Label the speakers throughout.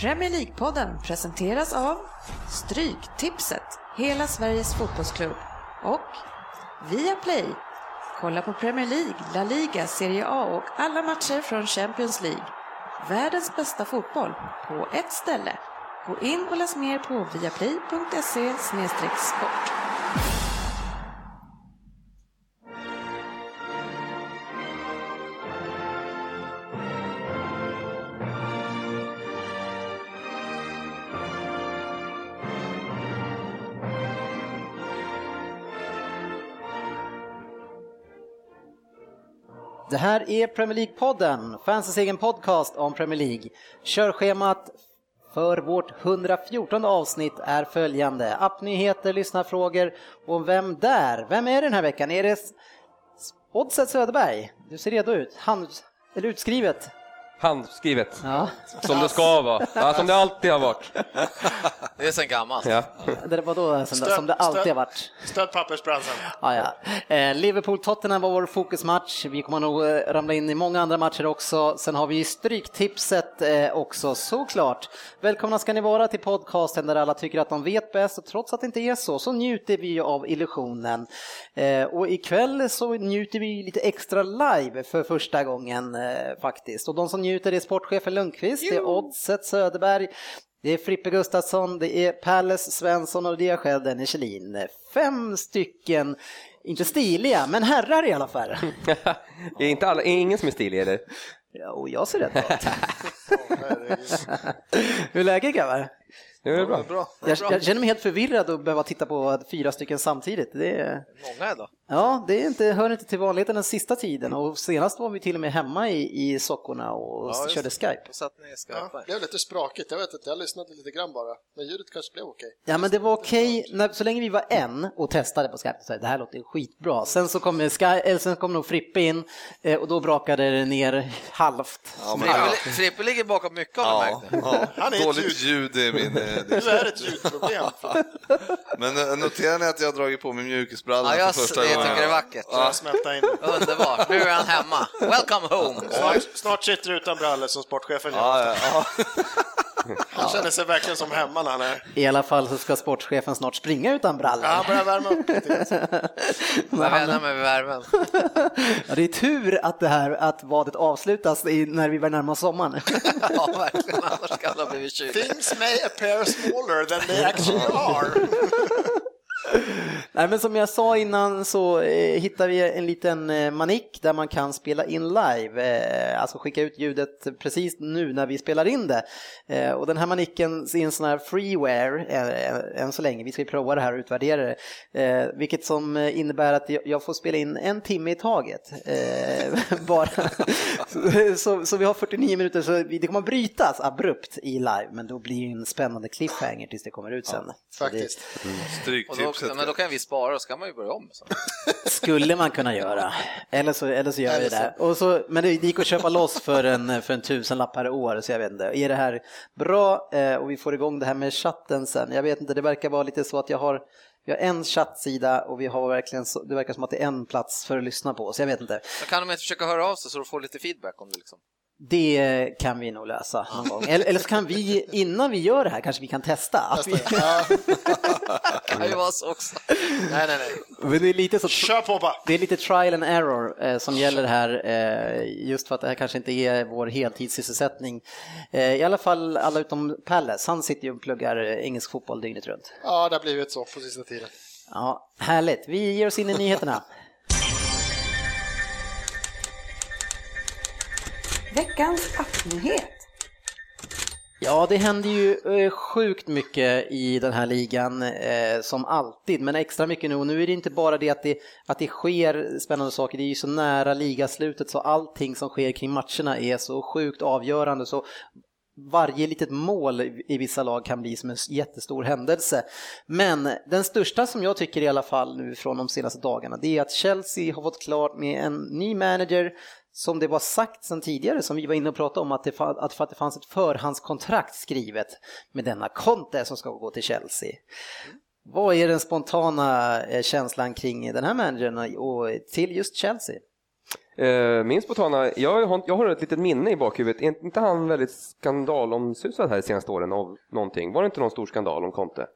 Speaker 1: Premier League-podden presenteras av Stryktipset, hela Sveriges fotbollsklubb och Viaplay. Kolla på Premier League, La Liga, Serie A och alla matcher från Champions League. Världens bästa fotboll på ett ställe. Gå in och läs mer på viaplay.se sport.
Speaker 2: Det här är Premier League-podden, fansens egen podcast om Premier League. Körschemat för vårt 114 avsnitt är följande. Appnyheter, lyssnarfrågor och vem där? Vem är det den här veckan? Är det Oddset Söderberg? Du ser redo ut. Hand... Eller utskrivet?
Speaker 3: Handskrivet,
Speaker 2: Ja.
Speaker 3: som det ska vara, ja, som det alltid har varit.
Speaker 4: Det är sen gammalt.
Speaker 3: Ja.
Speaker 2: Det var då som det, som det alltid har varit.
Speaker 5: Stödpappersbranschen.
Speaker 2: Ja, ja. Eh, Liverpool-Tottenham var vår fokusmatch. Vi kommer nog eh, ramla in i många andra matcher också. Sen har vi ju Stryktipset eh, också såklart. Välkomna ska ni vara till podcasten där alla tycker att de vet bäst och trots att det inte är så så njuter vi ju av illusionen. Eh, och ikväll så njuter vi lite extra live för första gången eh, faktiskt. Och de som njuter är sportchefen Lundqvist, det är Oddset Söderberg, det är Frippe Gustafsson, det är Palles Svensson och det är jag själv, Dennis Kjellin. Fem stycken, inte stiliga, men herrar i alla fall.
Speaker 3: Är inte alla, är ingen som är stilig eller?
Speaker 2: Ja, och jag ser rätt bra ut. Hur är läget grabbar?
Speaker 3: Nu är det bra.
Speaker 4: Bra.
Speaker 2: Jag, jag känner mig helt förvirrad att behöva titta på fyra stycken samtidigt. Det är,
Speaker 4: Många idag.
Speaker 2: ja, det är inte, hör inte till vanligheten den sista tiden och senast var vi till och med hemma i, i sockorna och
Speaker 4: Ja, just
Speaker 2: körde
Speaker 4: det.
Speaker 2: Skype.
Speaker 4: Då satt ni i Skype.
Speaker 5: Ja, blev lite sprakigt, jag vet inte, jag lyssnade lite grann bara. Men ljudet kanske blev okej.
Speaker 2: Ja men det var okej, när- så länge vi var en och testade på Skype, så här, det här låter skitbra. Sen så kom, Sky, eller sen kom nog Frippe in eh, och då brakade det ner halvt.
Speaker 4: Frippe, Frippe ligger bakom mycket av det
Speaker 6: Ja,
Speaker 4: märkte jag.
Speaker 6: ja.
Speaker 5: Han är ett
Speaker 6: Dåligt ljud i min... eh, det-
Speaker 5: Nu är det ett ljudproblem.
Speaker 6: Men eh, noterar ni att jag har dragit på mig mjukisbrallor
Speaker 4: Ja, jag
Speaker 6: för
Speaker 4: s-
Speaker 6: första
Speaker 4: jag
Speaker 6: gången?
Speaker 4: tycker det är vackert.
Speaker 5: Så jag smälta in.
Speaker 4: Underbart, nu är han hemma. Welcome home!
Speaker 5: Snart, snart sitter du utan brallor som sportchefen gör.
Speaker 6: Ja, ja, ja.
Speaker 5: Han känner sig verkligen som hemma när han är...
Speaker 2: I alla fall så ska sportchefen snart springa utan
Speaker 5: Ja,
Speaker 2: brallor.
Speaker 5: han börjar värma upp lite.
Speaker 4: Vad menar med värmen?
Speaker 2: Ja, det är tur att det här att vadet avslutas i, när vi börjar närma oss sommaren.
Speaker 4: Ja, verkligen. Annars ska alla bli kyliga.
Speaker 5: Things may appear smaller than they actually are.
Speaker 2: Nej, men som jag sa innan så eh, hittar vi en liten eh, manik där man kan spela in live, eh, alltså skicka ut ljudet precis nu när vi spelar in det. Eh, och den här manicken är en sån här freeware eh, än så länge, vi ska ju prova det här och utvärdera det. Eh, vilket som eh, innebär att jag- jag får spela in en timme i taget. Eh, bara. Så- så, så vi har 49 minuter, så vi- det kommer att brytas abrupt i live, men då blir det ju en spännande cliffhanger tills det kommer ut sen. Så
Speaker 5: Faktiskt.
Speaker 4: Och då,
Speaker 6: Stryktipset.
Speaker 4: men då kan vi spara och så kan man ju börja om. Så.
Speaker 2: Skulle man kunna göra. Eller så, eller så gör vi
Speaker 5: Eller så.
Speaker 2: det. Och så, men det gick att köpa loss för en, för en tusenlapp per år, så jag vet inte. Är det här bra eh, och vi får igång det här med chatten sen? Jag vet inte, det verkar vara lite så att jag har vi har en chattsida och vi har verkligen, så- det verkar som att det är en plats för att lyssna på, så jag vet inte.
Speaker 4: Då kan de inte försöka höra av sig så du får lite feedback om det liksom.
Speaker 2: Det kan vi nog lösa någon gång. Eller, eller så kan vi, innan vi gör det här, kanske vi kan testa. Att vi,
Speaker 5: Ja,
Speaker 4: kan ju vara så också. Nej, nej, nej.
Speaker 2: men det är lite så
Speaker 5: kör på bara.
Speaker 2: Det är lite trial and error eh, som gäller här, eh, just för att det här kanske inte är vår heltidssysselsättning. Eh, I alla fall alla utom Pallas, han sitter ju och pluggar eh, engelsk fotboll dygnet runt.
Speaker 5: Ja, det har blivit så på sista tiden.
Speaker 2: Ja, härligt, vi ger oss in i nyheterna.
Speaker 1: Veckans appnyhet.
Speaker 2: Ja, det händer ju eh, sjukt mycket i den här ligan eh, som alltid, men extra mycket nu. Och nu är det inte bara det att det, att det sker spännande saker, det är ju så nära ligaslutet så allting som sker kring matcherna är så sjukt avgörande. Så varje litet mål i vissa lag kan bli som en jättestor händelse. Men den största som jag tycker i alla fall nu från de senaste dagarna, det är att Chelsea har fått klart med en ny manager som det var sagt sedan tidigare, som vi var inne och pratade om, att det, fa- att, för att det fanns ett förhandskontrakt skrivet med denna Conte som ska gå till Chelsea. Vad är den spontana eh, känslan kring den här managern och till just Chelsea?
Speaker 3: Eh, Min spontana, jag har, jag har ett litet minne i bakhuvudet. Är inte han väldigt skandalomsusad här de senaste åren av någonting? Var det inte någon stor skandal om Conte?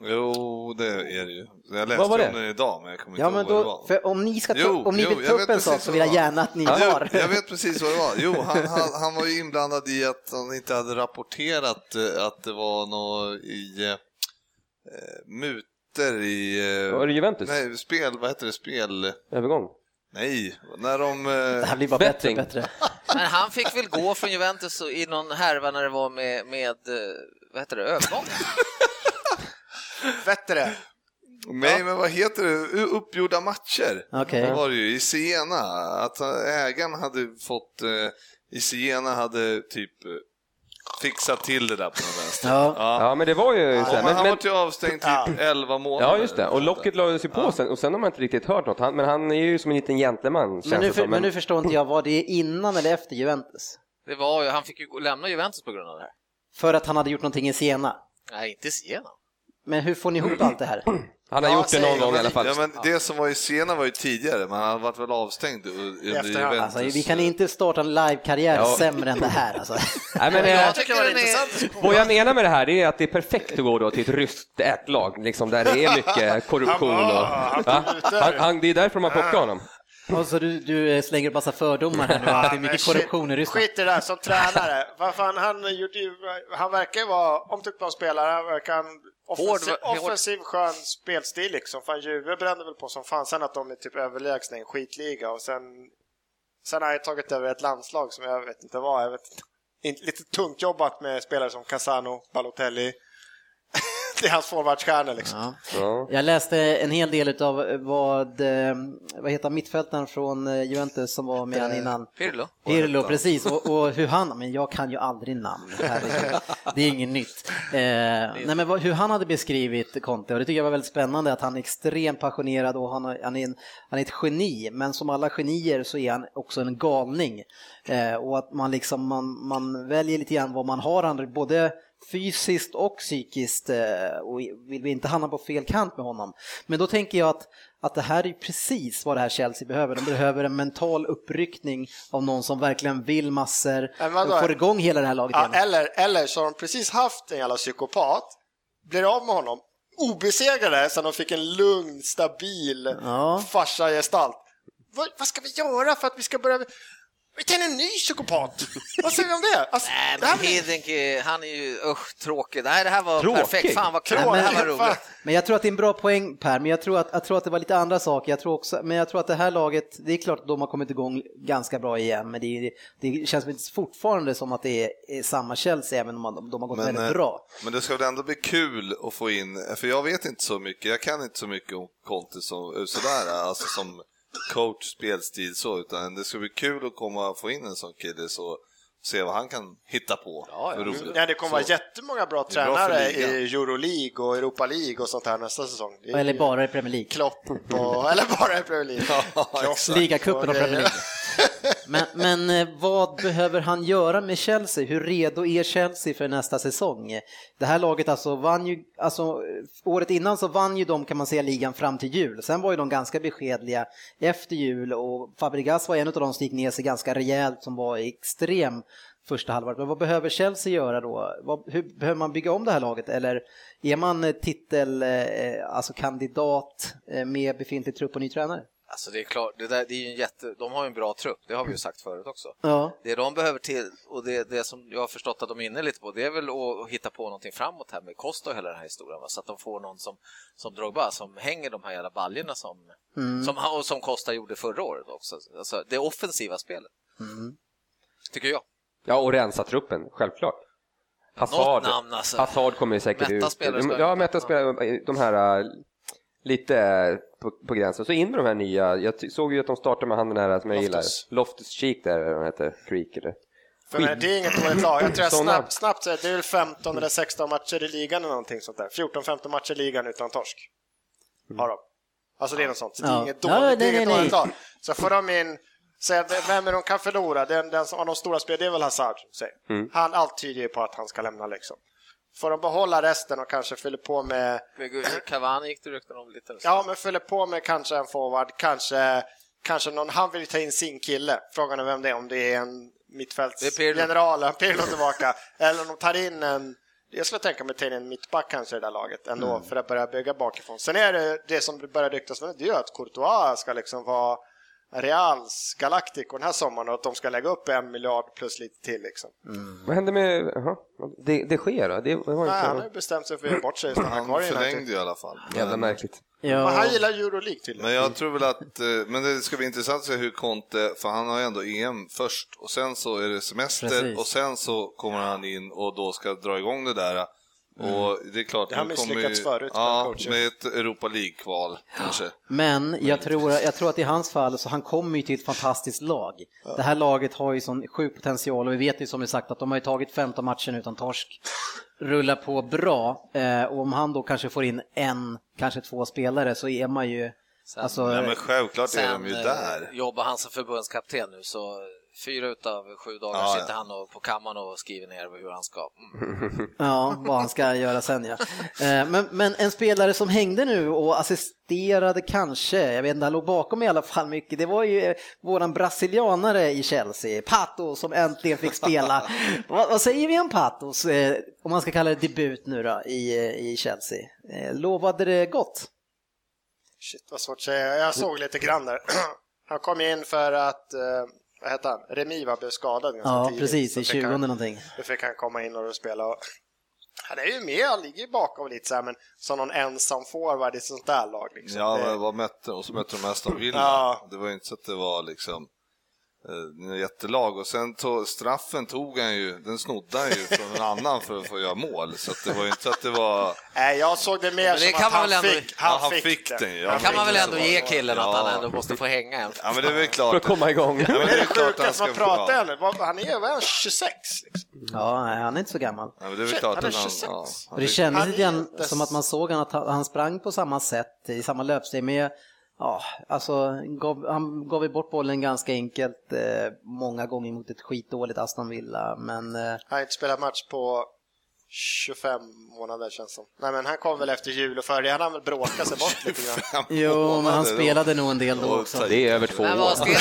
Speaker 6: Jo, det är det ju. Jag läste
Speaker 3: Vad var
Speaker 6: om
Speaker 3: det?
Speaker 6: den idag, men jag kommer
Speaker 2: Ja,
Speaker 6: inte
Speaker 2: men
Speaker 6: ihåg vad det
Speaker 2: då,
Speaker 6: var.
Speaker 2: för om ni, ska ta,
Speaker 6: Jo,
Speaker 2: om ni
Speaker 6: jo,
Speaker 2: vill
Speaker 6: jag
Speaker 2: ta
Speaker 6: vet
Speaker 2: upp en
Speaker 6: precis
Speaker 2: sak så
Speaker 6: vad
Speaker 2: vill jag
Speaker 6: det var.
Speaker 2: gärna att ni
Speaker 6: Jag,
Speaker 2: har.
Speaker 6: jag vet precis vad det var. Jo, han, han, han var ju inblandad i att han inte hade rapporterat eh, att det var något i eh, eh, mutor i... eh,
Speaker 3: Var det Juventus?
Speaker 6: Nej, spel, vad heter det, spel...
Speaker 3: Övergång?
Speaker 6: Nej, när de...
Speaker 2: Det här
Speaker 6: eh,
Speaker 2: blir bara bättre och
Speaker 3: Betting.
Speaker 2: bättre.
Speaker 4: Men han fick väl gå från Juventus och- i någon härva när det var med, med eh, vad heter det, övergång?
Speaker 5: Vettere.
Speaker 6: Nej, men vad heter det? U- Uppgjorda matcher
Speaker 2: Okej.
Speaker 6: var det ju i Siena. Att ägaren hade fått... eh, I Siena hade typ eh, fixat till det där på något vänster.
Speaker 2: Ja.
Speaker 3: Ja, men det var ju... så här,
Speaker 6: Ja, men,
Speaker 3: men,
Speaker 6: han
Speaker 3: men,
Speaker 6: var ju avstängd typ 11 månader.
Speaker 3: ja, just det. Och locket lades ju på sen, och sen har man inte riktigt hört något. Han, men han är ju som en liten gentleman, känns
Speaker 2: Men, nu
Speaker 3: det
Speaker 2: för,
Speaker 3: som.
Speaker 2: men nu förstår inte jag, var det innan eller efter Juventus?
Speaker 4: Det var ju, han fick ju gå- lämna Juventus på grund av det här.
Speaker 2: För att han hade gjort någonting i Siena.
Speaker 4: Nej, inte Siena.
Speaker 2: Men hur får ni ihop allt det här?
Speaker 3: han har
Speaker 5: Ja,
Speaker 3: gjort det någon
Speaker 5: säger
Speaker 3: gång i
Speaker 5: jag.
Speaker 3: alla fall.
Speaker 6: Ja, men det som var i Siena var ju tidigare, men han varit väl avstängd under
Speaker 5: Efterhand.
Speaker 6: Juventus.
Speaker 2: Alltså, vi kan inte starta en live-karriär
Speaker 3: Ja.
Speaker 2: sämre än det här alltså.
Speaker 3: Nej, men, eh,
Speaker 4: Jag tycker det var
Speaker 5: den är-
Speaker 4: intressant.
Speaker 3: Vad jag menar med det här är att det är perfekt att gå då till ett ryskt ätlag, liksom, där det är mycket korruption. Och,
Speaker 5: Han var- han
Speaker 3: Ja, han, han, det är därför man plockar honom.
Speaker 2: Och så du, du eh, slänger upp massa fördomar här nu, att det är
Speaker 5: men
Speaker 2: mycket
Speaker 5: shit,
Speaker 2: korruption i Ryssland.
Speaker 5: Skit i det där, som tränare. Vad fan, han, gjorde ju, han verkar ju vara omtyckt bland spelare. Han verkar ha en offensiv,
Speaker 4: Hård- hård-
Speaker 5: offensiv skön spelstil liksom. Fan, Juve brände väl på som fan. Sen att de är typ överlägsna i en skitliga och sen... Sen har jag tagit över ett landslag som jag vet inte vad. Jag vet inte. In- Lite tungt jobbat med spelare som Casano, Balotelli. det är hans forwardstjärnor liksom.
Speaker 2: Ja.
Speaker 3: Ja.
Speaker 2: Jag läste en hel del av vad, eh, vad heter han, mittfältaren från eh, Juventus som var med han innan?
Speaker 4: Pirlo?
Speaker 2: Pirlo, precis. Och, och hur han, men jag kan ju aldrig namn, herregud. det är inget nytt. Eh, nej, men vad, hur han hade beskrivit Conte, och det tycker jag var väldigt spännande, att han är extremt passionerad och han, har- han, är, en, han är ett geni, men som alla genier så är han också en galning. Eh, och att man, liksom, man, man väljer lite grann vad man har, han, både fysiskt och psykiskt eh, och vill vi inte hamna på fel kant med honom. Men då tänker jag att, att det här är ju precis vad det här Chelsea behöver. De behöver en mental uppryckning av någon som verkligen vill massor
Speaker 5: Men vadå?
Speaker 2: och får igång hela det här laget
Speaker 5: Ja, eh.
Speaker 2: igen.
Speaker 5: eller, eller så har de precis haft en jävla psykopat, blir av med honom, obesegrade sen de fick en lugn, stabil
Speaker 2: Ja.
Speaker 5: farsagestalt. Vad, vad ska vi göra för att vi ska börja... Vi tar in en ny psykopat! vad säger vi om det? Alltså,
Speaker 4: Nej,
Speaker 5: det här
Speaker 4: men
Speaker 5: blir-
Speaker 4: Hidink, han är ju usch, tråkig. Nej, det här var
Speaker 3: Tråkig?
Speaker 4: perfekt. Fan vad kul.
Speaker 5: Tråkig,
Speaker 4: Det här var
Speaker 5: fan.
Speaker 4: roligt.
Speaker 2: Men jag tror att det är en bra poäng Per, men jag tror att, jag tror att det var lite andra saker. Jag tror också, men jag tror att det här laget, det är klart att de har kommit igång ganska bra igen, men det, är- det känns inte fortfarande som att det är, är samma Chelsea, även om man- de har gått
Speaker 6: Men, eh,
Speaker 2: väldigt bra.
Speaker 6: men det ska väl ändå bli kul att få in, för jag vet inte så mycket, jag kan inte så mycket om Conte som, sådär, alltså som coach, spelstil så, utan det ska bli kul att komma och få in en sån kille så se vad han kan hitta på för roligt.
Speaker 5: Nej, det kommer vara
Speaker 6: Så.
Speaker 5: jättemånga bra
Speaker 6: är bra för
Speaker 5: tränare
Speaker 6: ligan.
Speaker 5: i Euroleague och Europa League och sånt här nästa säsong. Det är
Speaker 2: Eller bara i Premier League.
Speaker 5: Klopp och... Eller bara i Premier League. Klopp
Speaker 2: Ligacupen och
Speaker 5: grejer.
Speaker 2: Premier League. Men, men eh, vad behöver han göra med Chelsea? Hur redo är Chelsea för nästa säsong? Det här laget alltså vann ju, alltså eh, året innan så vann ju de kan man säga ligan fram till jul. Sen var ju de ganska beskedliga efter jul och Fabregas var en av de som gick ner sig ganska rejält som var extrem första halvåret. Men vad behöver Chelsea göra då? Vad, hur behöver man bygga om det här laget? Eller är man eh, titel, eh, alltså kandidat eh, med befintlig trupp och ny tränare?
Speaker 4: Alltså det är klart, det där, det är ju en jätte, de har ju en bra trupp, det har vi ju sagt förut också.
Speaker 2: Ja.
Speaker 4: Det de behöver till, och det, det som jag har förstått att de är inne lite på, det är väl att hitta på någonting framåt här med Costa och hela den här historien, va? så att de får någon som, som Drogba, som hänger de här jävla baljorna som, som, han- och som Costa gjorde förra året också. Alltså det offensiva spelet. Tycker jag.
Speaker 3: Ja, och rensa truppen, självklart. Hazard,
Speaker 4: Något namn, alltså.
Speaker 3: Hazard kommer ju säkert
Speaker 4: Mätta
Speaker 3: ut.
Speaker 4: spelare ska-
Speaker 3: ja, Mätta spelare, de här äh, lite äh, på, på gränsen. Så in med de här nya. Jag ty- såg ju att de startade med han den här som jag
Speaker 5: Loftus.
Speaker 3: gillar. Loftus Cheek där, eller vad han heter. Creek eller?
Speaker 5: För jag menar, det är inget dåligt lag. Jag tror jag
Speaker 3: Såna.
Speaker 5: snabbt, snabbt säger att det är väl 15 eller 16 matcher i ligan eller någonting sånt där. 14-15 matcher i ligan utan torsk. Har de. Alltså det är något sånt. Så det är
Speaker 2: Mm. Ja.
Speaker 5: inget
Speaker 2: Ja,
Speaker 5: dåligt, det är
Speaker 2: nej,
Speaker 5: inget
Speaker 2: nej,
Speaker 5: dåligt
Speaker 2: nej.
Speaker 5: lag. Så får de in, säg, vem är de kan förlora? Den, den som har de stora spel, det är väl Hazard. Säg.
Speaker 2: Mm.
Speaker 5: Han, allt tyder ju på att han ska lämna liksom. Får de behålla resten och kanske fyller på med
Speaker 4: Men gud, Cavani gick det rykten om lite.
Speaker 5: Ja, men fyller på med kanske en forward, kanske kanske någon, han vill ju ta in sin kille. Frågan är vem det är, om det är en
Speaker 4: Det är Pirlo.
Speaker 5: mittfältsgeneral, en Pirlo tillbaka, eller om de tar in en jag skulle tänka mig att ta in en mittback kanske i det där laget ändå
Speaker 4: Mm.
Speaker 5: för att börja bygga bakifrån. Sen är det det som börjar ryktas nu, det är ju att Courtois ska liksom vara Reals Galactico den här sommaren och att de ska lägga upp en miljard plus lite till liksom.
Speaker 3: Vad hände med... Jaha, det, det sker då? Det var
Speaker 5: Nej,
Speaker 3: inte...
Speaker 5: han har ju bestämt sig för att göra bort sig och stanna kvar
Speaker 6: Han
Speaker 5: i United.
Speaker 6: förlängde ju i alla fall.
Speaker 3: Jävla
Speaker 6: Men,
Speaker 3: märkligt.
Speaker 5: Men
Speaker 2: Ja,
Speaker 5: han gillar Euroleague tydligen.
Speaker 6: men jag tror väl att, eh, men det ska bli intressant att se hur Conte, för han har ju ändå EM först och sen så är det semester
Speaker 2: Precis.
Speaker 6: och sen så kommer han in och då ska dra igång det där. Och det är klart,
Speaker 5: Det har
Speaker 6: nu kommer ju-
Speaker 5: misslyckats förut med
Speaker 6: ja,
Speaker 5: coacher.
Speaker 6: med ett Europa League-kval kanske.
Speaker 2: men jag tror, jag tror att i hans fall så han kommer ju till ett fantastiskt lag. Det här laget har ju sån sjuk potential och vi vet ju som vi sagt att de har ju tagit 15 matcher utan torsk. Rullar på bra eh, och om han då kanske får in en, kanske två spelare så är man ju, alltså,
Speaker 6: Ja, men självklart är de ju
Speaker 4: eh,
Speaker 6: där.
Speaker 4: jobbar han som förbundskapten nu så fyra utav sju dagar
Speaker 6: Ja, ja.
Speaker 4: sitter han och på kammaren och skriver ner hur han ska. Mm.
Speaker 2: Ja, vad han ska göra sen ja. Eh, Men, men en spelare som hängde nu och assisterade kanske, jag vet inte, han låg bakom i alla fall mycket, det var ju eh, våran brasilianare i Chelsea, Pato, som äntligen fick spela. vad, vad säger vi om Patos, eh, om man ska kalla det debut nu då, i, eh, i Chelsea? Eh, Lovade det gott?
Speaker 5: Shit vad svårt att säga. Jag såg lite grann där. Han kom in för att, eh, vad hette han, Remiva blev skadad ganska
Speaker 2: Ja,
Speaker 5: tidigt.
Speaker 2: precis,
Speaker 5: Alltså, Så
Speaker 2: i
Speaker 5: fick
Speaker 2: 20
Speaker 5: han-
Speaker 2: någonting.
Speaker 5: Då fick han komma in och spela. Och han är ju med, han ligger ju bakom lite så här, men som någon ensam forward i ett sånt där lag. Liksom.
Speaker 6: Ja,
Speaker 5: det,
Speaker 6: men vad mötte de? Och så mötte de Aston Villa.
Speaker 5: Ja.
Speaker 6: Det var ju inte så att det var liksom eh, något jättelag. Och sen to, straffen tog han ju, den snodde han ju från en annan för att få göra mål. Så att det var ju inte så att det var...
Speaker 5: Nej, jag såg det mer
Speaker 4: Men det
Speaker 5: som
Speaker 4: kan
Speaker 5: att
Speaker 4: man
Speaker 5: han,
Speaker 4: väl ändå-
Speaker 5: fick,
Speaker 6: Ja, han fick den, ja.
Speaker 5: Han
Speaker 4: kan
Speaker 5: fick
Speaker 4: man väl
Speaker 5: den.
Speaker 4: ändå ge killen att
Speaker 6: Ja.
Speaker 4: han ändå måste få hänga en.
Speaker 6: Ja men det är väl klart.
Speaker 3: För att komma igång.
Speaker 6: Ja, men
Speaker 5: Det är det
Speaker 6: klart att han
Speaker 5: sjukaste
Speaker 6: ska
Speaker 5: man
Speaker 6: få-
Speaker 5: pratar
Speaker 6: ja.
Speaker 5: om. Vad- Han är, vad är han, 26? Liksom.
Speaker 2: Ja, nej, han är inte så gammal.
Speaker 6: Ja, men det är väl
Speaker 5: Shit,
Speaker 6: klart
Speaker 5: han är
Speaker 6: att han...
Speaker 5: 26.
Speaker 6: Ja,
Speaker 2: Och det
Speaker 6: fick-
Speaker 2: kändes
Speaker 5: Han är
Speaker 2: lite grann
Speaker 5: inte s-
Speaker 2: som att man såg han att han han sprang på samma sätt, i samma löpsteg, men jag- ja, alltså, gav, han gav ju bort bollen ganska enkelt eh, många gånger mot ett skitdåligt Aston Villa, men eh,
Speaker 5: Han har inte spelat match på 25 månader känns som. Nej, men han kom väl efter jul och före det. Han har väl bråkat sig bort lite grann.
Speaker 2: jo, men han spelade nog en del då
Speaker 6: Och
Speaker 2: också.
Speaker 6: ta-
Speaker 3: Det är över två
Speaker 4: Men
Speaker 3: år.
Speaker 4: vad skrev,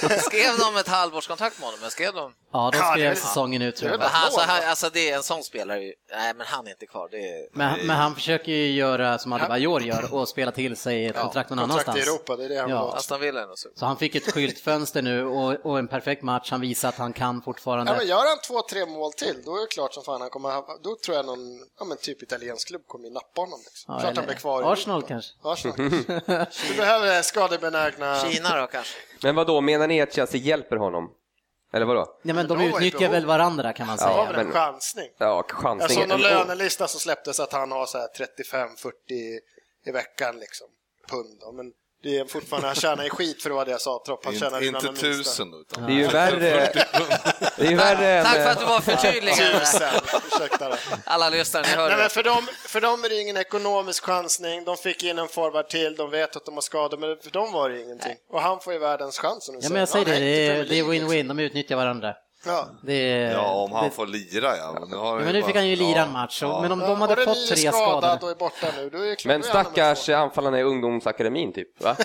Speaker 4: de, skrev de ett halvårskontrakt med honom? Men skrev de?
Speaker 2: Ja, de
Speaker 5: Ja, det är
Speaker 2: skrev
Speaker 5: väl-
Speaker 2: säsongen ut tror
Speaker 5: det är
Speaker 2: jag.
Speaker 5: väl-
Speaker 4: Men han, alltså,
Speaker 5: lån, va?
Speaker 4: han, alltså det är en sån spelare ju. Nej, men han är inte kvar. Det är...
Speaker 2: Men, men han försöker ju göra som Adebayor gör och spela till sig ett
Speaker 4: Ja,
Speaker 2: kontrakt någon
Speaker 5: Kontrakt i
Speaker 2: annanstans.
Speaker 5: Europa, det är det han
Speaker 2: Ja.
Speaker 5: ja.
Speaker 4: Aston Villa är nog så.
Speaker 2: Så han fick ett skyltfönster nu och, och en perfekt match, han visar att han kan
Speaker 5: Ja, men
Speaker 2: fortfarande.
Speaker 5: gör han två, tre mål till, då är det klart som fan han kommer ha- Då tror jag någon, ja men typ italiensk klubb kommer ju nappa honom. Liksom.
Speaker 2: Ja,
Speaker 5: klart han
Speaker 2: eller
Speaker 5: blir kvar i
Speaker 2: Arsenal
Speaker 5: Europa.
Speaker 2: kanske.
Speaker 5: Arsenal kanske. Du behöver skadebenägna...
Speaker 4: Kina då kanske?
Speaker 3: Men vad då menar ni att Chelsea hjälper honom? Eller vadå?
Speaker 2: Nej, men de
Speaker 5: de har ju
Speaker 2: utnyttjar
Speaker 5: behov.
Speaker 2: väl varandra kan man
Speaker 5: Det var
Speaker 2: säga.
Speaker 5: väl en
Speaker 3: men-
Speaker 5: chansning.
Speaker 3: Ja,
Speaker 5: Jag såg
Speaker 3: chansningen.
Speaker 5: någon lönelista som släpptes att han har så här 35-40 i veckan liksom. Pund. Ja, Men det är fortfarande, han tjänar ju skit för vad det jag sa Tropp. Han tjänar
Speaker 6: Inte,
Speaker 5: redan
Speaker 6: inte
Speaker 5: de minsta.
Speaker 6: tusen då, utan
Speaker 3: Det är ju värre... Det är ju värre än...
Speaker 4: Tack för att du var förtydligande.
Speaker 5: eh, Tusen, ursäkta det.
Speaker 4: Alla lyssnare, ni hör
Speaker 5: Nej,
Speaker 4: det.
Speaker 5: men för, dem, för dem är det ingen ekonomisk chansning, de fick in en forward till, de vet att de har skador, men för dem var det ingenting. Och han får ju världens chans. som du
Speaker 2: Ja, men jag säger det,
Speaker 5: Han
Speaker 2: det
Speaker 5: till
Speaker 2: är,
Speaker 5: typ Premier
Speaker 2: det är
Speaker 5: League,
Speaker 2: win-win, de utnyttjar varandra.
Speaker 5: liksom. Ja.
Speaker 2: Det är,
Speaker 6: Ja, om han
Speaker 2: det,
Speaker 6: får lira ja. Men nu, har
Speaker 2: ja,
Speaker 6: ju
Speaker 2: men nu
Speaker 6: bara-
Speaker 2: fick han ju lira
Speaker 6: ja.
Speaker 2: en match,
Speaker 6: Ja.
Speaker 2: och- men om
Speaker 5: Ja,
Speaker 2: de
Speaker 5: och
Speaker 2: hade
Speaker 5: den
Speaker 2: fått
Speaker 5: nye
Speaker 2: tre
Speaker 5: skadad
Speaker 2: skadade.
Speaker 5: och är borta nu, då är det klart
Speaker 3: Men
Speaker 5: då är han nummer
Speaker 3: stackars
Speaker 5: två.
Speaker 3: anfallarna i ungdomsakademin typ, va?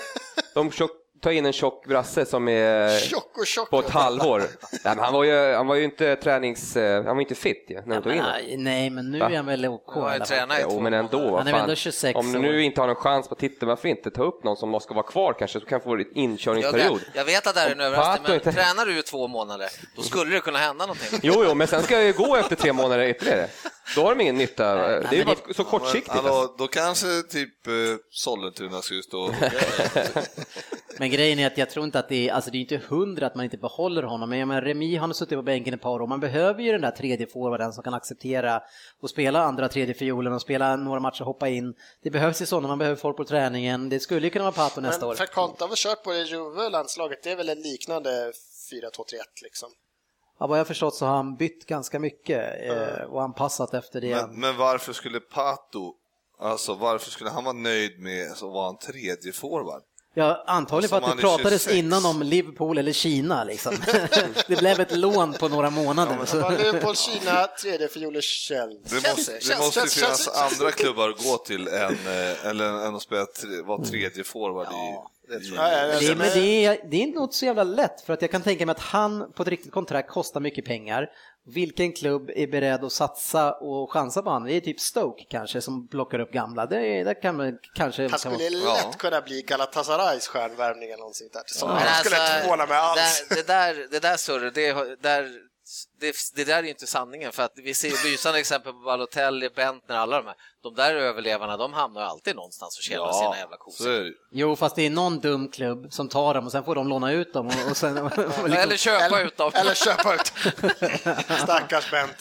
Speaker 3: De tjock, tar in en tjock brasse som är
Speaker 5: Tjock och tjock.
Speaker 3: på ett halvår. Nej, men han, var ju, han var ju inte tränings... eh, Han var ju inte fit ju, när de
Speaker 2: Ja,
Speaker 3: tog in
Speaker 2: men,
Speaker 3: honom.
Speaker 2: nej, nej, men nu
Speaker 3: Va?
Speaker 2: är han väl OK
Speaker 4: Jag har
Speaker 2: i
Speaker 4: ju
Speaker 2: alla fall.
Speaker 4: tränat i två
Speaker 3: Jo, men ändå.
Speaker 4: månader.
Speaker 3: Vad
Speaker 2: Han är
Speaker 3: fan.
Speaker 2: väl ändå 26
Speaker 3: Om du
Speaker 2: år.
Speaker 3: nu inte har någon chans på titeln, varför inte ta upp någon som måste vara kvar kanske, så kan få en inkörningsperiod?
Speaker 4: Jag, jag vet att det här är en
Speaker 3: Och
Speaker 4: överraskning,
Speaker 3: Pato
Speaker 4: men
Speaker 3: inte-
Speaker 4: tränar du i två månader, då skulle det kunna hända någonting.
Speaker 3: Jo, jo, men sen ska jag ju gå efter tre månader ytterligare. Då har de ingen nytta. Det är ju
Speaker 2: men
Speaker 3: bara
Speaker 2: det-
Speaker 3: så kortsiktigt.
Speaker 6: Men,
Speaker 3: alltså.
Speaker 6: hallå, då kanske typ eh, Sollentuna skulle stå
Speaker 2: Men grejen är att jag tror inte att det är, alltså det är inte hundra att man inte behåller honom, men jag menar Remi han har suttit på bänken ett par år, man behöver ju den där tredje forwarden som kan acceptera och spela andra tredje fiolen och spela några matcher, hoppa in. Det behövs ju sådana, man behöver folk på träningen, det skulle ju kunna vara Pato eh, nästa år.
Speaker 5: Men för Konta har väl kört på det i Juve, landslaget, det är väl en liknande 4-2-3-1 liksom.
Speaker 2: Ja, vad jag förstått så har han bytt ganska mycket eh, och anpassat efter det.
Speaker 6: Men, men varför skulle Pato, alltså varför skulle han vara nöjd med att vara en tredje forward?
Speaker 2: Ja, antagligen för
Speaker 6: Som
Speaker 2: att det
Speaker 6: han är
Speaker 2: pratades
Speaker 6: 26.
Speaker 2: innan om Liverpool eller Kina liksom. det blev ett lån på några månader.
Speaker 5: Det var
Speaker 2: så.
Speaker 5: Leopold Kina, tredje fioler Chelsea.
Speaker 6: Det måste, det
Speaker 5: Chelsea,
Speaker 6: måste ju
Speaker 5: Chelsea,
Speaker 6: finnas
Speaker 5: Chelsea.
Speaker 6: andra klubbar att gå till än, eh, eller, än att spela tre, vara tredje forward i... Det tror
Speaker 5: Ja, ja,
Speaker 6: jag.
Speaker 5: ja.
Speaker 2: Det,
Speaker 5: Alltså,
Speaker 2: men
Speaker 5: men-
Speaker 2: det är, det är nog inte så jävla lätt för att jag kan tänka mig att han på ett riktigt kontrakt kostar mycket pengar. Vilken klubb är beredd att satsa och chansa på honom? Det är typ Stoke kanske som plockar upp gamla. Det, är- det kan man kanske...
Speaker 5: Han skulle
Speaker 6: Ja.
Speaker 5: lätt kunna bli Galatasarays stjärnvärvning eller någonting där. Som
Speaker 4: Men
Speaker 5: jag skulle
Speaker 4: alltså,
Speaker 5: inte förvåna mig alls.
Speaker 4: Det, det där, det där surret, det, har- där, det, det där är ju inte sanningen för att vi ser ju lysande exempel på Balotelli, Bentner, alla de här. De där överlevarna, de hamnar ju alltid någonstans och tjänar sina jävla
Speaker 6: så
Speaker 4: kosor.
Speaker 6: är det ju.
Speaker 2: Jo, fast det är någon dum klubb som tar dem och sen får de låna ut dem. Och, och sen, och
Speaker 4: Ja, Eller
Speaker 2: liksom,
Speaker 4: köpa ut dem.
Speaker 5: Eller köpa ut. Stackars Bent.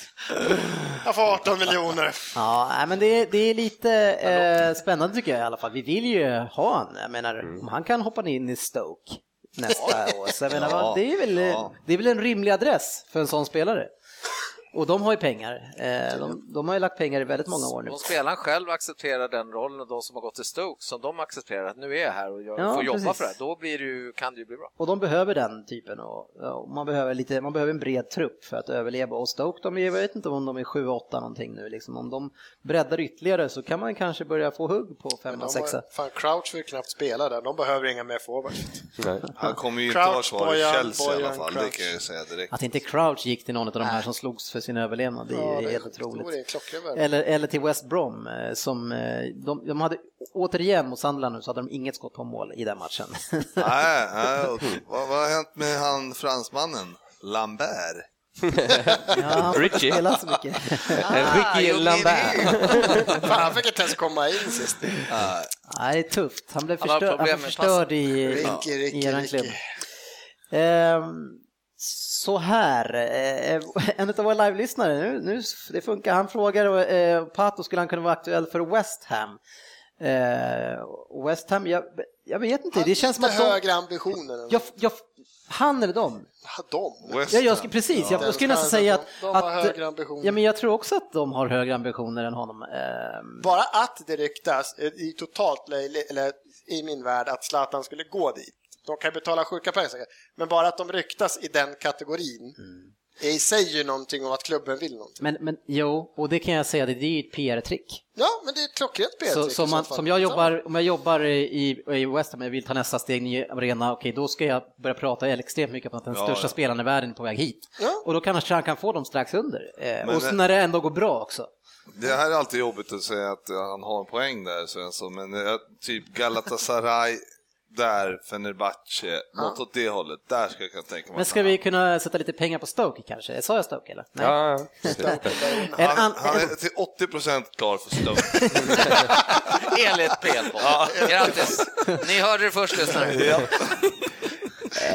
Speaker 5: Jag får 18 miljoner.
Speaker 2: ja, nej, men det, är- det är lite eh, spännande tycker jag i alla fall. Vi vill ju ha honom. Jag menar, om han kan hoppa in i Stoke nästa år. Så jag menar,
Speaker 6: Ja,
Speaker 2: vad- det, är väl,
Speaker 6: ja.
Speaker 2: det är väl en rimlig adress för en sån spelare. Och de har ju pengar. Eh, de, de har ju lagt pengar i väldigt många år nu.
Speaker 4: Om spelaren själv accepterar den rollen och de som har gått till Stoke som de accepterar att nu är jag här och jag
Speaker 2: Ja,
Speaker 4: får jobba
Speaker 2: precis.
Speaker 4: för det här, då blir det ju, kan det ju bli bra.
Speaker 2: Och de behöver den typen och, ja, och man, behöver lite, man behöver en bred trupp för att överleva. Och Stoke, de är, jag vet inte om de är 7-8 någonting nu, liksom. om de breddar ytterligare så kan man kanske börja få hugg på
Speaker 5: Men
Speaker 2: 5
Speaker 5: de
Speaker 2: 6
Speaker 5: har- Fan, Crouch vill knappt spela där. De behöver inga mer forwards.
Speaker 3: Nej.
Speaker 6: Han kommer ju inte
Speaker 5: Crouch,
Speaker 6: vara kvar i
Speaker 5: Bojan,
Speaker 6: Chelsea i alla
Speaker 5: Bojan,
Speaker 6: fall, det
Speaker 5: Crouch.
Speaker 6: kan jag ju säga direkt.
Speaker 2: Att inte Crouch gick till någon av de här som slogs för sin överlevnad, det är ju
Speaker 5: Ja, det är
Speaker 2: helt
Speaker 5: sjukt. Det vore en
Speaker 2: otroligt.
Speaker 5: klockren värld.
Speaker 2: Eller, eller till West Brom, eh, som eh, de, de hade, återigen mot Sunderland nu, så hade de inget skott på mål i den matchen.
Speaker 6: Nej, nej, och vad, vad har hänt med han fransmannen? Lambert?
Speaker 2: ja, han får inte
Speaker 3: Richie.
Speaker 2: spela så mycket.
Speaker 4: Ricky Lambert.
Speaker 5: Fan, han fick inte ens komma in sist.
Speaker 6: Ah,
Speaker 2: Nej, det är tufft. Han blev
Speaker 4: Han har
Speaker 2: förstörd, han blev
Speaker 4: problem med
Speaker 2: förstörd i, i,
Speaker 5: Ricky,
Speaker 2: i
Speaker 5: Ricky,
Speaker 2: eran klubb.
Speaker 5: Ricky.
Speaker 2: Ehm, så här, eh, en av våra live-lyssnare, nu, nu, det funkar, han frågar eh, Pato skulle han kunna vara aktuell för West Ham? Eh, och West Ham, jag, jag vet inte, det känns som att
Speaker 5: Lite
Speaker 2: de,
Speaker 5: högre ambitioner än
Speaker 2: jag, jag, han eller dem?
Speaker 5: Ja, de.
Speaker 6: West
Speaker 2: Ja, jag,
Speaker 6: Ham.
Speaker 2: skulle- precis, jag,
Speaker 5: Ja.
Speaker 2: jag skulle nästan säga att...
Speaker 5: De har högre
Speaker 2: att
Speaker 5: ambitioner.
Speaker 2: ja, men jag tror också att de har högre ambitioner än honom. Ehm,
Speaker 5: Bara att det ryktas, eh, i totalt löjligt, eller i min värld, att Zlatan skulle gå dit. De kan ju betala sjuka pengar säkert, men bara att de ryktas i den kategorin
Speaker 2: Mm.
Speaker 5: är i sig ju någonting om att klubben vill någonting.
Speaker 2: men, men jo, och det kan jag säga, det, det är ju ett PR-trick.
Speaker 5: Ja, men det är ett klockrent PR.
Speaker 2: Så, som, man, som jag jobbar, om jag jobbar i, i West Ham, jag vill ta nästa steg, ny arena, okej då ska jag börja prata extremt mycket om att den
Speaker 6: Ja,
Speaker 2: största
Speaker 6: ja.
Speaker 2: spelaren i världen är på väg hit.
Speaker 5: Ja.
Speaker 2: Och då kanske han kan få dem strax under. Eh,
Speaker 6: Men-
Speaker 2: och så när det ändå går bra också.
Speaker 6: Det här är alltid jobbigt att säga att eh, han har en poäng där, så alltså, men eh, typ Galatasaray, där, Fenerbahce, något åt det hållet, där ska jag kunna tänka mig
Speaker 2: Men
Speaker 6: att
Speaker 2: ska
Speaker 6: han-
Speaker 2: vi kunna sätta lite pengar på Stoke kanske? Sa jag Stoke eller? Nej.
Speaker 3: Ja, ja.
Speaker 2: En
Speaker 6: Han,
Speaker 2: an-
Speaker 6: han är till 80% klar för Stoke.
Speaker 4: Enligt PL-podd. Grattis! Ni hörde det först lyssnare.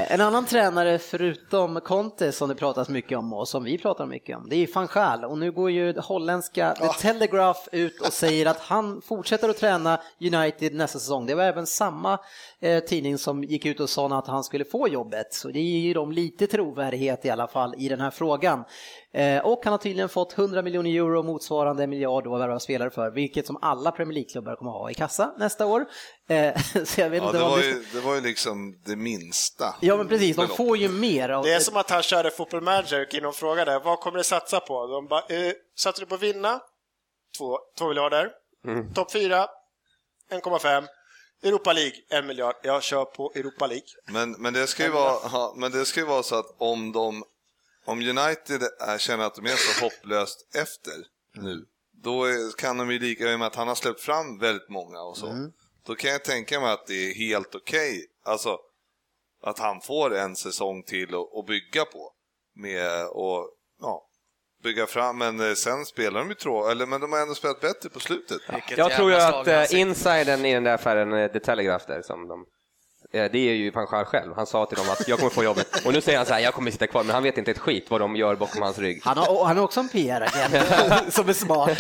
Speaker 2: En annan tränare förutom Conte som det pratas mycket om och som vi pratar mycket om, det är van Gaal. Och nu går ju det holländska The Telegraph ut och säger att han fortsätter att träna United nästa säsong. Det var även samma eh, tidning som gick ut och sa att han skulle få jobbet. Så det ger ju dem lite trovärdighet i alla fall i den här frågan. Eh, och han har tydligen fått 100 miljoner euro motsvarande en miljard då att värva spelare för, vilket som alla Premier League-klubbar kommer ha i kassa nästa år. Eh, så jag vet
Speaker 6: Ja,
Speaker 2: inte
Speaker 6: det,
Speaker 2: vad
Speaker 6: var
Speaker 2: det-
Speaker 6: ju, det var ju liksom det minsta.
Speaker 2: Ja men precis, de
Speaker 6: beloppet.
Speaker 2: får ju mer. Av
Speaker 5: Det är som att han körde football manager och någon fråga där, vad kommer du satsa på? De bara, eh, satsar du på vinna? Två, två miljarder. Topp fyra, 1,5. Europa League, en miljard. Jag kör på Europa League.
Speaker 6: Men, men, det ska ju vara, ja, men det ska ju vara så att om, de, om United är, känner att de är så hopplöst efter nu, då är, kan de ju lika, i och med att han har släppt fram väldigt många och så, då kan jag tänka mig att det är helt okej, alltså att han får en säsong till att, att bygga på. Med och, ja, bygga fram, men eh, sen spelar de ju trå, eller men de har ändå spelat bättre på slutet.
Speaker 3: Jag tror ju att eh,
Speaker 4: in...
Speaker 3: insidern i den där affären, eh, The Telegraph där, som de, eh, det är ju van Gaal själv. Han sa till dem att jag kommer få jobbet. Och nu säger han så här, jag kommer sitta kvar, men han vet inte ett skit vad de gör bakom hans rygg.
Speaker 2: Han har, och han har också en PR-agent som är smart.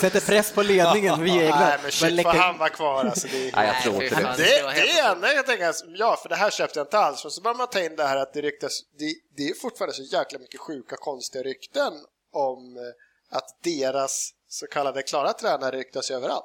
Speaker 2: Sätter press på ledningen via egna.
Speaker 5: Nej men shit, får
Speaker 2: läcker-
Speaker 5: han vara kvar alltså. Det är...
Speaker 3: Nej, jag
Speaker 4: Nej,
Speaker 3: tror
Speaker 4: fy
Speaker 3: inte det.
Speaker 4: fan.
Speaker 5: Det, det är enda jag tänker, alltså, ja för det här köpte jag inte alls. Och så börjar man ta in det här att det ryktas, det, det är fortfarande så jäkla mycket sjuka konstiga rykten om eh, att deras så kallade klara tränare ryktas överallt.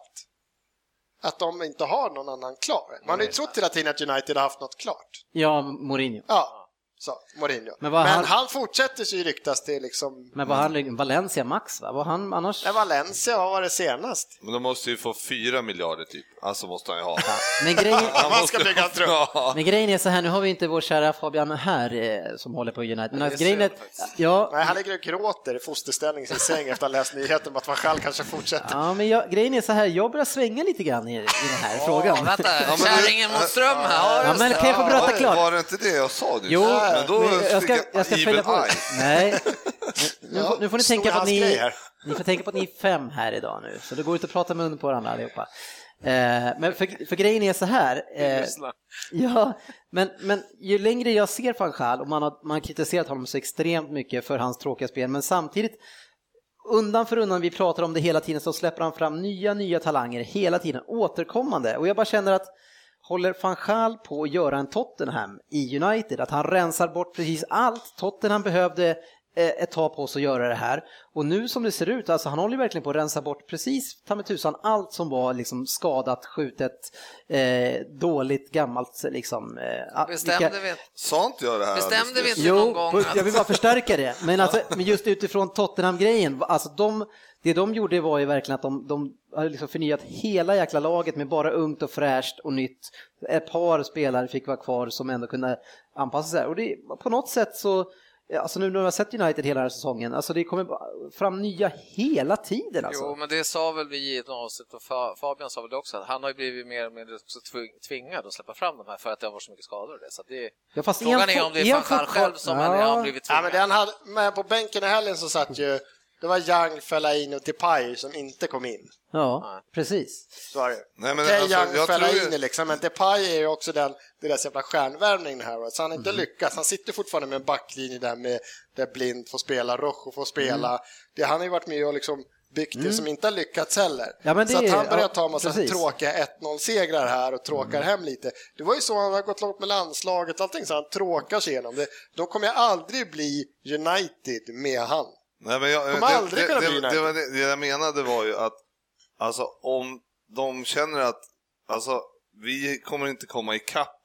Speaker 5: Att de inte har någon annan klar. Man har ju trott hela tiden att United har haft något klart.
Speaker 2: Ja, Mourinho.
Speaker 5: Ja, Så, Mourinho.
Speaker 2: Men
Speaker 5: Men,
Speaker 2: vad han-
Speaker 5: han... fortsätter ju ryktas till liksom...
Speaker 2: Men var han, Valencia max va? Var han annars?
Speaker 5: Nej, Valencia, vad var det senast?
Speaker 6: Men de måste ju få fyra miljarder typ, alltså måste han ju ha.
Speaker 2: Men grejen,
Speaker 5: Om man ska bygga en trupp.
Speaker 6: Ja.
Speaker 2: men grejen är så här, nu har vi inte vår kära Fabian här eh, som håller på United. Men alltså, grejen är, ja,
Speaker 5: Nej, han ligger och gråter i fosterställning i sin säng efter att ha läst nyheten om att van Gaal kanske fortsätter.
Speaker 2: ja, men jag, grejen är så här, jag börjar svänga lite grann i, i den här frågan.
Speaker 4: Ja, vänta,
Speaker 6: men du-
Speaker 4: kärringen mot ström här.
Speaker 2: Ja,
Speaker 4: just
Speaker 2: men
Speaker 4: det.
Speaker 2: kan jag få
Speaker 4: Ja.
Speaker 2: prata
Speaker 6: Var-
Speaker 2: klart?
Speaker 6: Var det inte det jag sa nu?
Speaker 2: Jo,
Speaker 6: men då
Speaker 2: men Ah, jag ska,
Speaker 6: fick
Speaker 2: jag ska
Speaker 6: evil
Speaker 2: följa på.
Speaker 6: eye.
Speaker 2: Nej, nu, får- nu får ni
Speaker 5: snor
Speaker 2: tänka på att
Speaker 5: hans
Speaker 2: ni,
Speaker 5: grej här.
Speaker 2: ni får tänka på att ni är fem här idag nu, så det går inte att prata mun på varandra allihopa. Eh, men för, för grejen är så här, eh,
Speaker 4: Lyssna.
Speaker 2: ja, men, men ju längre jag ser van Gaal, och man har, man har kritiserat honom så extremt mycket för hans tråkiga spel, men samtidigt undan för undan, vi pratar om det hela tiden, så släpper han fram nya, nya talanger hela tiden, återkommande. Och jag bara känner att håller van Gaal på att göra en Tottenham i United, att han rensar bort precis allt. Tottenham behövde eh, ett tag på sig att göra det här. Och nu som det ser ut, alltså han håller ju verkligen på att rensa bort precis, ta med tusan, allt som var liksom skadat, skjutet, eh, dåligt, gammalt liksom. Eh,
Speaker 4: Bestämde
Speaker 2: vilka-
Speaker 4: vi inte?
Speaker 6: Sa inte jag det här?
Speaker 4: Bestämde
Speaker 6: alldeles
Speaker 4: vi
Speaker 6: nyss?
Speaker 4: inte någon gång
Speaker 2: på-
Speaker 4: att-
Speaker 2: jag vill bara förstärka det. Men, alltså, men just utifrån Tottenham-grejen, alltså de, det de gjorde var ju verkligen att de, de hade liksom förnyat hela jäkla laget med bara ungt och fräscht och nytt. Ett par spelare fick vara kvar som ändå kunde anpassa sig. Och det, på något sätt så, alltså nu när vi har sett United hela den här säsongen, alltså det kommer bara fram nya hela tiden alltså.
Speaker 4: Jo, men det sa väl vi i ett avsnitt och Fa- Fabian sa väl det också att han har ju blivit mer och mer också tving- tvingad att släppa fram de här för att det har varit så mycket skador och det. Så att det
Speaker 2: Ja, fast är han
Speaker 4: frågan är
Speaker 2: for-
Speaker 4: om det
Speaker 2: är
Speaker 4: är
Speaker 2: han
Speaker 4: van Gaal
Speaker 2: fortfar-
Speaker 4: själv som eller har han blivit
Speaker 5: Ja, men
Speaker 4: tvingad.
Speaker 5: den hade, men på bänken i helgen så satt ju, det var Young, Fellaini och Depay som inte kom in.
Speaker 2: Ja, precis.
Speaker 5: Så är det.
Speaker 6: Nej, men
Speaker 5: Okej,
Speaker 6: alltså,
Speaker 5: Young,
Speaker 6: jag tror ju-
Speaker 5: Fellaini liksom, men Depay är ju också den, deras jävla stjärnvärvning den här året, så han har
Speaker 6: Mhm.
Speaker 5: inte lyckats. Han sitter fortfarande med en backlinje där, med, där Blind får spela, Rojo får spela.
Speaker 6: Mm.
Speaker 5: Det, han har ju varit med och liksom byggt det som inte har lyckats heller.
Speaker 2: Ja, men
Speaker 5: så
Speaker 2: det
Speaker 5: att
Speaker 2: är-
Speaker 5: han börjar
Speaker 2: ja,
Speaker 5: ta en massa
Speaker 2: precis.
Speaker 5: tråkiga 1-0-segrar här och tråkar
Speaker 6: Mm.
Speaker 5: hem lite. Det var ju så han har gått långt med landslaget, allting så han tråkar sig igenom det. Då kommer jag aldrig bli United med han.
Speaker 6: Nej, men jag,
Speaker 5: Kommer aldrig kunna bli
Speaker 6: det, det,
Speaker 5: United.
Speaker 6: var det, det jag menade var ju att alltså, om de känner att alltså, vi kommer inte komma ikapp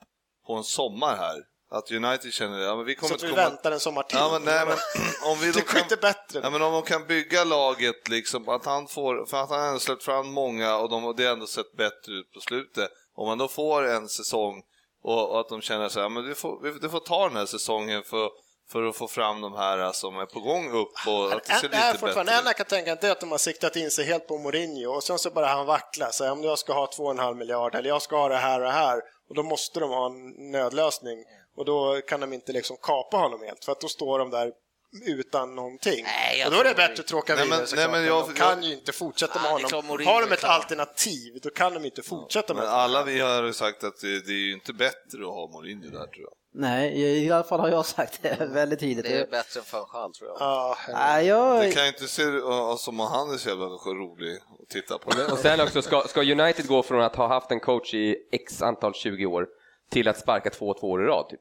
Speaker 6: på en sommar här. Att United känner det. Ja, men vi kommer
Speaker 5: Så att
Speaker 6: inte
Speaker 5: vi
Speaker 6: komma...
Speaker 5: väntar en sommar till.
Speaker 6: Ja, men, nej, men, om vi då
Speaker 5: det går
Speaker 6: kan...
Speaker 5: inte bättre.
Speaker 6: Ja, men om de kan bygga laget, liksom, att han får, för att han har släppt fram många och de, och det har ändå sett bättre ut på slutet. Om man då får en säsong och, och att de känner så här, men du får, vi- du får ta den här säsongen för, för att få fram de här eh, som är på gång upp och att det ser
Speaker 5: Det är
Speaker 6: lite
Speaker 5: fortfarande,
Speaker 6: bättre
Speaker 5: det
Speaker 6: ut.
Speaker 5: enda jag kan tänka det är att de har siktat in sig helt på Mourinho och sen så bara han vacklar. Så här, om jag ska ha 2,5 miljard eller jag ska ha det här och det här och då måste de ha en nödlösning och då kan de inte liksom kapa honom helt för att då står de där utan någonting.
Speaker 4: Nej, jag
Speaker 5: och då är det
Speaker 4: tror
Speaker 5: bättre att tråka
Speaker 6: Nej,
Speaker 5: vidare
Speaker 6: men-
Speaker 5: såklart,
Speaker 6: nej, men
Speaker 5: men
Speaker 6: jag-
Speaker 5: De kan ju inte fortsätta med
Speaker 4: Ja, det är klart
Speaker 5: honom.
Speaker 4: Mourinho
Speaker 5: Har de
Speaker 4: är
Speaker 5: ett
Speaker 4: klar.
Speaker 5: alternativ då kan de inte fortsätta med
Speaker 6: Men
Speaker 5: honom.
Speaker 6: alla vi har ju sagt att det, det är ju inte bättre att ha Mourinho där tror jag.
Speaker 2: Nej, i i alla fall har jag sagt det väldigt tidigt.
Speaker 4: Det är bättre än van Gaal tror jag.
Speaker 5: Ja,
Speaker 2: Nej, jag...
Speaker 6: Det kan ju inte se eh, som att han är så jävla rolig att titta på.
Speaker 3: Och sen också, ska, ska United gå från att ha haft en coach i x antal 20 år till att sparka två två år i rad? Typ.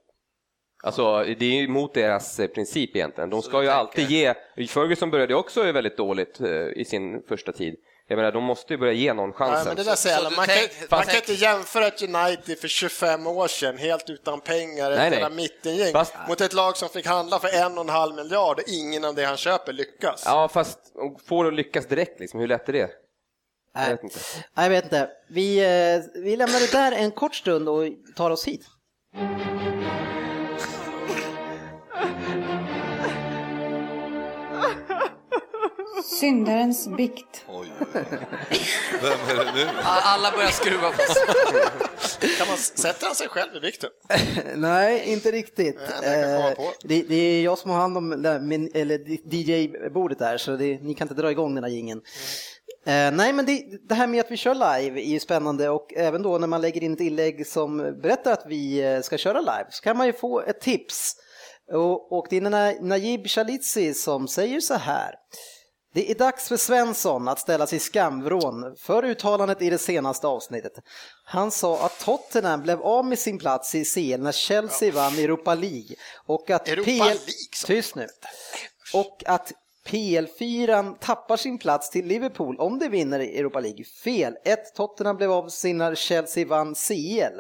Speaker 3: Alltså, det är ju mot deras eh, princip egentligen. De ska ju alltid ge... Ferguson började också ju väldigt dåligt eh, i sin första tid. Jag menar, de måste ju börja ge någon
Speaker 5: Nej,
Speaker 3: chansen.
Speaker 5: men det där säger
Speaker 4: Så
Speaker 5: alla.
Speaker 4: du
Speaker 5: Man, kan,
Speaker 4: tänk-
Speaker 5: man
Speaker 4: fast-
Speaker 5: kan inte jämföra ett United för 25 år sedan helt utan pengar,
Speaker 3: Nej, nej.
Speaker 5: ett jävla mittengäng,
Speaker 3: Fast-
Speaker 5: mot ett lag som fick handla för en och en halv miljard och ingen av det han köper lyckas.
Speaker 3: Ja, fast får du lyckas direkt liksom, hur lätt är det?
Speaker 2: Nej.
Speaker 3: vet inte.
Speaker 2: Nej, Äh, jag vet inte. Vi, eh, vi lämnar det där en kort stund och tar oss hit.
Speaker 1: Syndarens bikt.
Speaker 6: Oj, oj, oj. Vem är det nu?
Speaker 4: Alla börjar skruva på sig.
Speaker 5: Kan man, sätter han sig själv i vikten?
Speaker 2: Nej, inte riktigt.
Speaker 5: men jag kan komma
Speaker 2: Eh,
Speaker 5: på.
Speaker 2: det, det är jag som har hand om det här, min, eller DJ-bordet där, så det, ni kan inte dra igång den här jingeln.
Speaker 5: Mm.
Speaker 2: Eh, nej, men det, det här med att vi kör live är ju spännande och även då när man lägger in ett inlägg som berättar att vi eh, ska köra live så kan man ju få ett tips. Och, och det är Na- Najib Shalitzi som säger så här. Det är dags för Svensson att ställa sig i skamvrån för uttalandet i det senaste avsnittet. Han sa att Tottenham blev av med sin plats i CL när Chelsea vann Europa League och att
Speaker 5: Europa
Speaker 2: PL...
Speaker 5: League, sa
Speaker 2: Tyst nu. Och att PL4 tappar sin plats till Liverpool om de vinner Europa League. Fel. 1. Tottenham blev av sina Chelsea vann CL.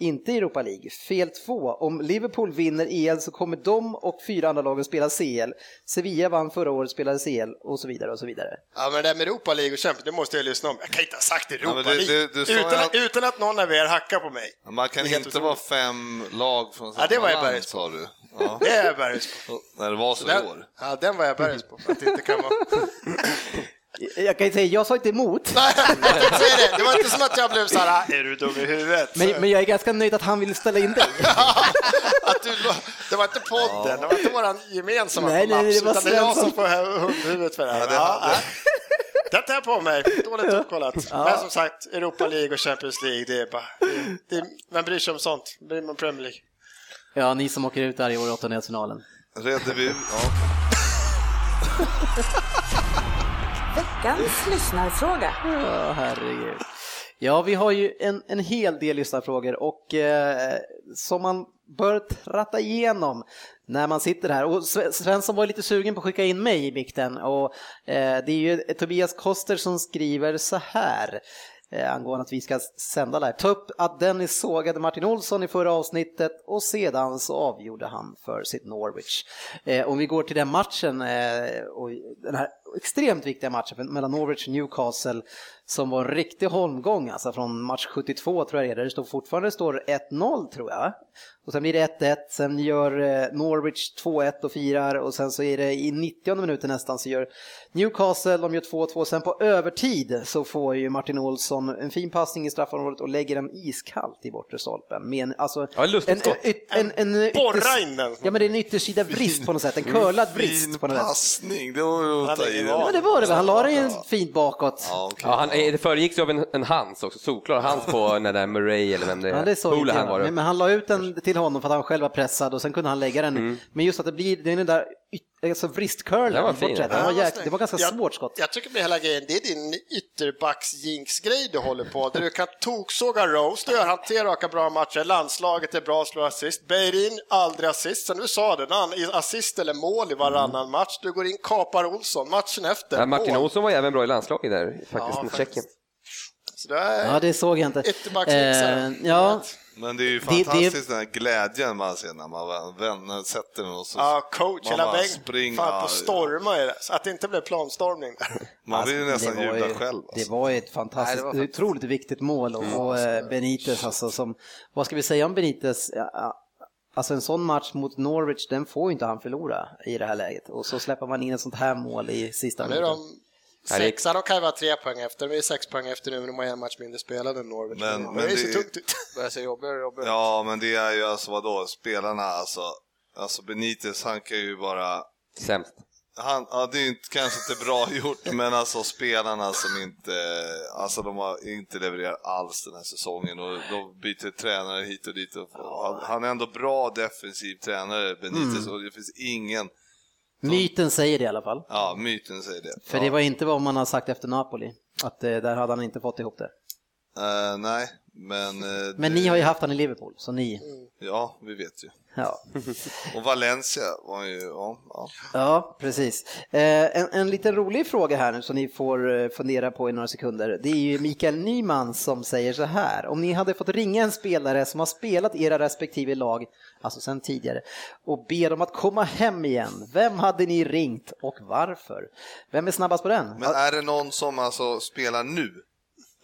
Speaker 2: inte i Europa League. Fel två. Om Liverpool vinner EL så kommer de och fyra andra lagen spela CL. Sevilla vann förra året, spelade CL och så vidare och så vidare.
Speaker 5: Ja, men det där med Europa League och Champions, det måste jag lyssna om. Jag kan inte ha sagt
Speaker 6: Ja,
Speaker 5: Europa
Speaker 6: men du-
Speaker 5: League.
Speaker 6: du- du sa
Speaker 5: utan,
Speaker 6: ju att-
Speaker 5: utan att någon av er hackar på mig.
Speaker 6: Man kan
Speaker 5: Det är helt
Speaker 6: inte vara fem lag från samma
Speaker 5: Ja, det var jag bergs
Speaker 6: land,
Speaker 5: på.
Speaker 6: sa du. Ja.
Speaker 5: Det är jag bergis på.
Speaker 6: Och När det var så i
Speaker 5: Den,
Speaker 6: år.
Speaker 5: ja, den var jag bergis på. Att det inte kan vara...
Speaker 2: Jag kan ju säga, jag sa inte emot.
Speaker 5: Nej, så är det. det var inte som att jag blev så här, "Ah, är du dum i huvudet?
Speaker 2: Men, men jag är ganska nöjd att han vill ställa in dig.
Speaker 5: Att du, lo- det var inte podden, det var inte våran gemensamma
Speaker 2: Nej, nej,
Speaker 5: kollaps,
Speaker 2: det var
Speaker 5: utan det är jag som
Speaker 2: Svensson.
Speaker 5: får hu- huvudet för det här.
Speaker 6: Ja,
Speaker 5: Ja,
Speaker 6: det hade-
Speaker 5: nej. det tar jag på mig, dåligt uppkollat. Men som sagt, Europa League och Champions League, det är bara... Det, det, vem bryr sig om sånt? Bryr man Premier League?
Speaker 2: Ja, ni som åker ut där i år i åttondelsfinalen.
Speaker 6: Redde vi ut, ja.
Speaker 1: Veckans lyssnarfråga.
Speaker 2: Ja, herregud. Ja, vi har ju en, en hel del lyssnarfrågor och eh, som man bör tratta igenom när man sitter här. Och Sve- Svensson var ju lite sugen på att skicka in mig i bikten och eh, det är ju Tobias Koster som skriver så här eh, angående att vi ska sända live. Ta upp att Dennis sågade Martin Olsson i förra avsnittet och sedan så avgjorde han för sitt Norwich. Eh, om vi går till den matchen, eh, och den här extremt viktiga matchen mellan Norwich och Newcastle som var en riktig holmgång alltså från match 72 tror jag det är, där det står fortfarande står 1-0 tror jag. Och sen blir det 1-1, sen gör eh, Norwich 2-1 och firar och sen så är det i 90 minuten nästan så gör Newcastle, de gör 2-2, sen på övertid så får ju Martin Olsson en fin passning i straffområdet och lägger den iskallt i bortre stolpen. Med en, alltså,
Speaker 3: Ja, lustigt
Speaker 2: en,
Speaker 3: skott.
Speaker 2: en, en, en, en
Speaker 5: Borra in den.
Speaker 2: Ja men det är en yttersida brist på något sätt, en curlad brist på något sätt.
Speaker 6: passning, det var ju att ta i.
Speaker 2: Ja, men det var det väl, han la den ju fint bakåt.
Speaker 6: Ja, okej.
Speaker 3: Ja, han, eh, det föregicks ju av en, en hans också, solklar hans på den där Murray eller vem det är.
Speaker 2: Ja, det såg
Speaker 3: Houlihan var det.
Speaker 2: Men han la ut den till honom för att han själv var pressad och sen kunde han lägga den. Men just att det blir det är den där yt- alltså vristcurlen.
Speaker 3: Den var fin.
Speaker 2: bortre.
Speaker 5: Ja,
Speaker 2: Den var
Speaker 5: vad
Speaker 2: jäk-
Speaker 5: snyggt.
Speaker 2: det var ganska
Speaker 5: Jag-
Speaker 2: svårt skott.
Speaker 5: Jag tycker med hela grejen, det är din ytterbacks-jinx-grej du håller på, där du kan toksåga Rose, då gör han tre raka bra matcher, landslaget är bra, slår assist, Beirin aldrig assist, sen du sa det, han är assist eller mål i varannan
Speaker 6: Mm.
Speaker 5: match, du går in, kapar Olsson, matchen efter,
Speaker 3: Ja, Martin
Speaker 5: mål.
Speaker 3: Olsson var ju även bra i landslaget där, faktiskt, mot
Speaker 5: faktiskt.
Speaker 3: Tjeckien.
Speaker 5: Så det är
Speaker 2: Ja, det såg jag inte.
Speaker 5: ytterbacksjinxare.
Speaker 2: Eh, ja,
Speaker 6: Men det är ju
Speaker 2: Det- det-
Speaker 6: fantastiskt den här glädjen man ser när man vänner sätter med och så
Speaker 5: Ja, coach,
Speaker 6: man
Speaker 5: hela
Speaker 6: bara
Speaker 5: bänken,
Speaker 6: springer.
Speaker 5: fan på storma är det. Så att det inte blev planstormning där.
Speaker 6: Man vill ju nästan
Speaker 2: Alltså, det var
Speaker 6: jubla
Speaker 2: ju-
Speaker 6: själv.
Speaker 2: Det
Speaker 6: Alltså.
Speaker 2: var ju ett fantastiskt,
Speaker 4: Nej, det var
Speaker 2: otroligt viktigt mål och, och eh, Benitez alltså som, vad ska vi säga om Benitez? Ja, ja, Alltså en sån match mot Norwich, den får ju inte han förlora i det här läget. Och så släpper man in ett sånt här mål i sista
Speaker 5: Nu är
Speaker 2: minuten.
Speaker 5: de
Speaker 3: Ja, det-
Speaker 5: sexa, de kan ju vara tre poäng efter, vi är sex poäng efter nu, men de har en match mindre spelad än Norwich.
Speaker 6: Men-
Speaker 5: det
Speaker 6: men
Speaker 5: är så
Speaker 6: det-
Speaker 5: tungt ut.
Speaker 4: Börjar se jobbigare och jobbigare.
Speaker 6: Ja, men det är ju alltså vadå, spelarna alltså. Alltså Benitez, han kan ju bara
Speaker 3: Sämst.
Speaker 6: Han, ja, det är ju inte, kanske inte bra gjort, men alltså spelarna som inte, alltså de har inte levererat alls den här säsongen och de byter tränare hit och dit. Och, och han, han är ändå bra defensiv tränare, Benitez, och det finns ingen,
Speaker 2: Myten säger det i alla fall.
Speaker 6: ja myten säger det.
Speaker 2: För
Speaker 6: ja.
Speaker 2: det var inte vad man har sagt efter Napoli, att eh, där hade han inte fått ihop det.
Speaker 6: Eh, nej, men... eh,
Speaker 2: Men
Speaker 6: det, Mm.
Speaker 2: ni har ju haft han i Liverpool, så ni,
Speaker 6: Ja, vi vet ju.
Speaker 2: ja.
Speaker 6: Och Valencia var ju, ja. ja.
Speaker 2: Ja, precis. Eh, en, en liten rolig fråga här nu som ni får eh, fundera på i några sekunder. Det är ju Mikael Nyman som säger så här. Om ni hade fått ringa en spelare som har spelat i era respektive lag, alltså sen tidigare, och be dem att komma hem igen. Vem hade ni ringt och varför? Vem är snabbast på den?
Speaker 6: Men är det någon som alltså spelar nu?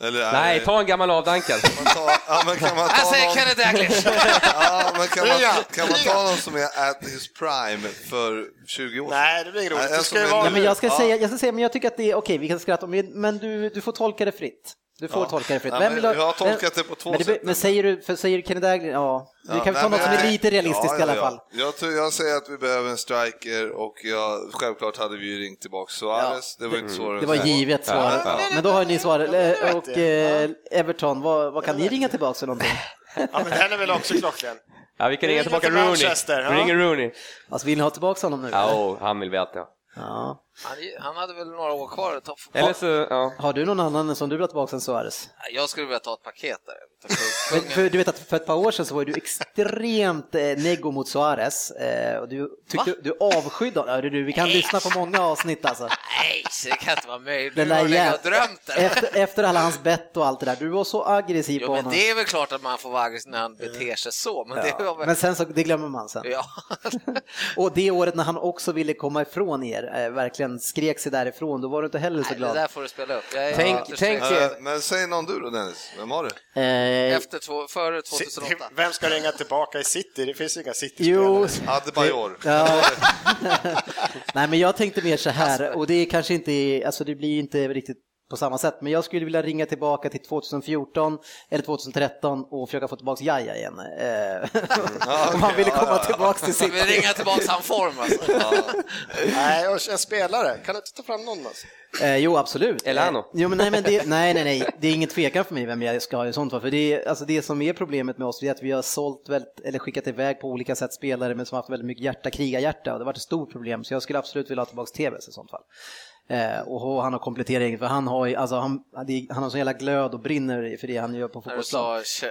Speaker 6: Eller är
Speaker 3: Nej,
Speaker 5: Eh.
Speaker 6: det,
Speaker 3: ta en gammal avdankad.
Speaker 6: man tar- ja, men kan man ta
Speaker 4: Jag säger
Speaker 6: någon...
Speaker 4: Kenneth Daglish!
Speaker 6: Ja, men kan man, kan man ta någon som är at his prime för 20 år sedan?
Speaker 5: Nej, alltså, det blir inget roligt.
Speaker 6: Nej,
Speaker 5: Det ska ju
Speaker 6: en som är
Speaker 5: vara-
Speaker 2: Ja, men jag, ska
Speaker 6: Ja.
Speaker 2: säga, jag ska säga, men jag tycker att det är okej, vi kan skratta om det, men du, du får tolka det fritt. Du får
Speaker 6: Ja.
Speaker 2: tolka det fritt.
Speaker 6: Ja,
Speaker 2: Vem
Speaker 6: men
Speaker 2: vill ha-
Speaker 6: jag har tolkat
Speaker 2: vem-
Speaker 6: det på två
Speaker 2: men
Speaker 6: sätt.
Speaker 2: Men säger du, för säger du Kenny Daglish, ja. Vi
Speaker 6: Ja,
Speaker 2: kan väl ta
Speaker 6: nej,
Speaker 2: något som
Speaker 6: men-
Speaker 2: är lite realistiskt
Speaker 6: Ja,
Speaker 2: i alla
Speaker 6: ja, ja.
Speaker 2: fall.
Speaker 6: Jag, tror, jag säger att vi behöver en striker och jag, självklart hade vi ju ringt tillbaka Suarez. Det var ju inte svårare
Speaker 2: Det var
Speaker 6: än så.
Speaker 2: givet svar.
Speaker 6: Ja,
Speaker 2: Ja, Men då har ni svar. Eh, Och eh, Everton, vad, vad kan ni ringa tillbaka för någonting?
Speaker 5: Ja, men den är väl också klockren.
Speaker 3: Ja, vi kan ringa
Speaker 5: ringer
Speaker 3: tillbaka
Speaker 5: till
Speaker 3: Rooney.
Speaker 5: Manchester, ja.
Speaker 3: Vi ringer Rooney.
Speaker 2: Alltså vill ni ha tillbaka honom nu?
Speaker 3: Ja, oh,
Speaker 2: eller?
Speaker 3: och han vill vi alltid ha.
Speaker 2: Ja.
Speaker 4: Han, han hade väl några år kvar att ta för
Speaker 3: Eller så, ja.
Speaker 2: Har du någon annan som du vill ha tillbaka än Suarez?
Speaker 4: Jag skulle vilja ta ett paket där. Ta
Speaker 2: För,
Speaker 4: kung-
Speaker 2: för, du vet att för ett par år sedan så var ju du extremt eh, neggo mot Suarez eh, och du, tyckte, du avskydde honom. Ja, du, du, vi kan lyssna på många avsnitt alltså.
Speaker 4: Nej, så det kan inte vara möjligt.
Speaker 2: Den
Speaker 4: Du
Speaker 2: där
Speaker 4: har legat
Speaker 2: jävla-
Speaker 4: och drömt där.
Speaker 2: efter, efter alla hans bett och allt det där. Du var så aggressiv
Speaker 4: Jo,
Speaker 2: på
Speaker 4: men
Speaker 2: honom.
Speaker 4: det är väl klart att man får vara aggressiv när han beter sig så, men det var
Speaker 2: Ja.
Speaker 4: väl...
Speaker 2: Men sen så, det glömmer man sen.
Speaker 4: Ja.
Speaker 2: Och det året när han också ville komma ifrån er, eh, verkligen skrek sig därifrån, då var du inte heller så
Speaker 4: Nej, det
Speaker 2: glad.
Speaker 4: där får du spela upp. Jag är
Speaker 3: Tänk-
Speaker 4: ytterst
Speaker 3: tänk-
Speaker 4: tveksam.
Speaker 6: Eh, Men säg någon du då Dennis, vem har du?
Speaker 2: Eh,
Speaker 4: Efter två, före 2008.
Speaker 5: Vem ska ringa tillbaka i City? Det finns ju inga
Speaker 2: jo,
Speaker 5: City-spelare.
Speaker 6: Adebayor.
Speaker 2: Ja. Nej, men jag tänkte mer så här, och det är kanske inte, är- alltså det blir inte riktigt på samma sätt, men jag skulle vilja ringa tillbaka till 2014 eller 2013 och försöka få tillbaka Jaja igen. Eh, Om han ville komma tillbaka till
Speaker 4: Vi
Speaker 2: sitt.
Speaker 4: ringer tillbaka han form alltså.
Speaker 5: Nej, och en spelare. Kan du inte ta fram någon? Alltså?
Speaker 2: Eh, jo, absolut.
Speaker 3: Elano.
Speaker 2: Eh, Jo, men nej, men det, nej, nej, nej, det är ingen tvekan för mig vem jag ska ha i sånt fall. För det, är- alltså det som är problemet med oss det är att vi har sålt väldigt, eller skickat iväg på olika sätt spelare men som har haft väldigt mycket hjärta, krigarhjärta och det har varit ett stort problem. Så jag skulle absolut vilja ha tillbaka Tevez i sånt fall. Eh, och han har komplettering för han har ju, alltså han, det är- han har sån jävla glöd och brinner för det han gör på
Speaker 4: När du
Speaker 2: fotbollsplan.
Speaker 4: sa kä-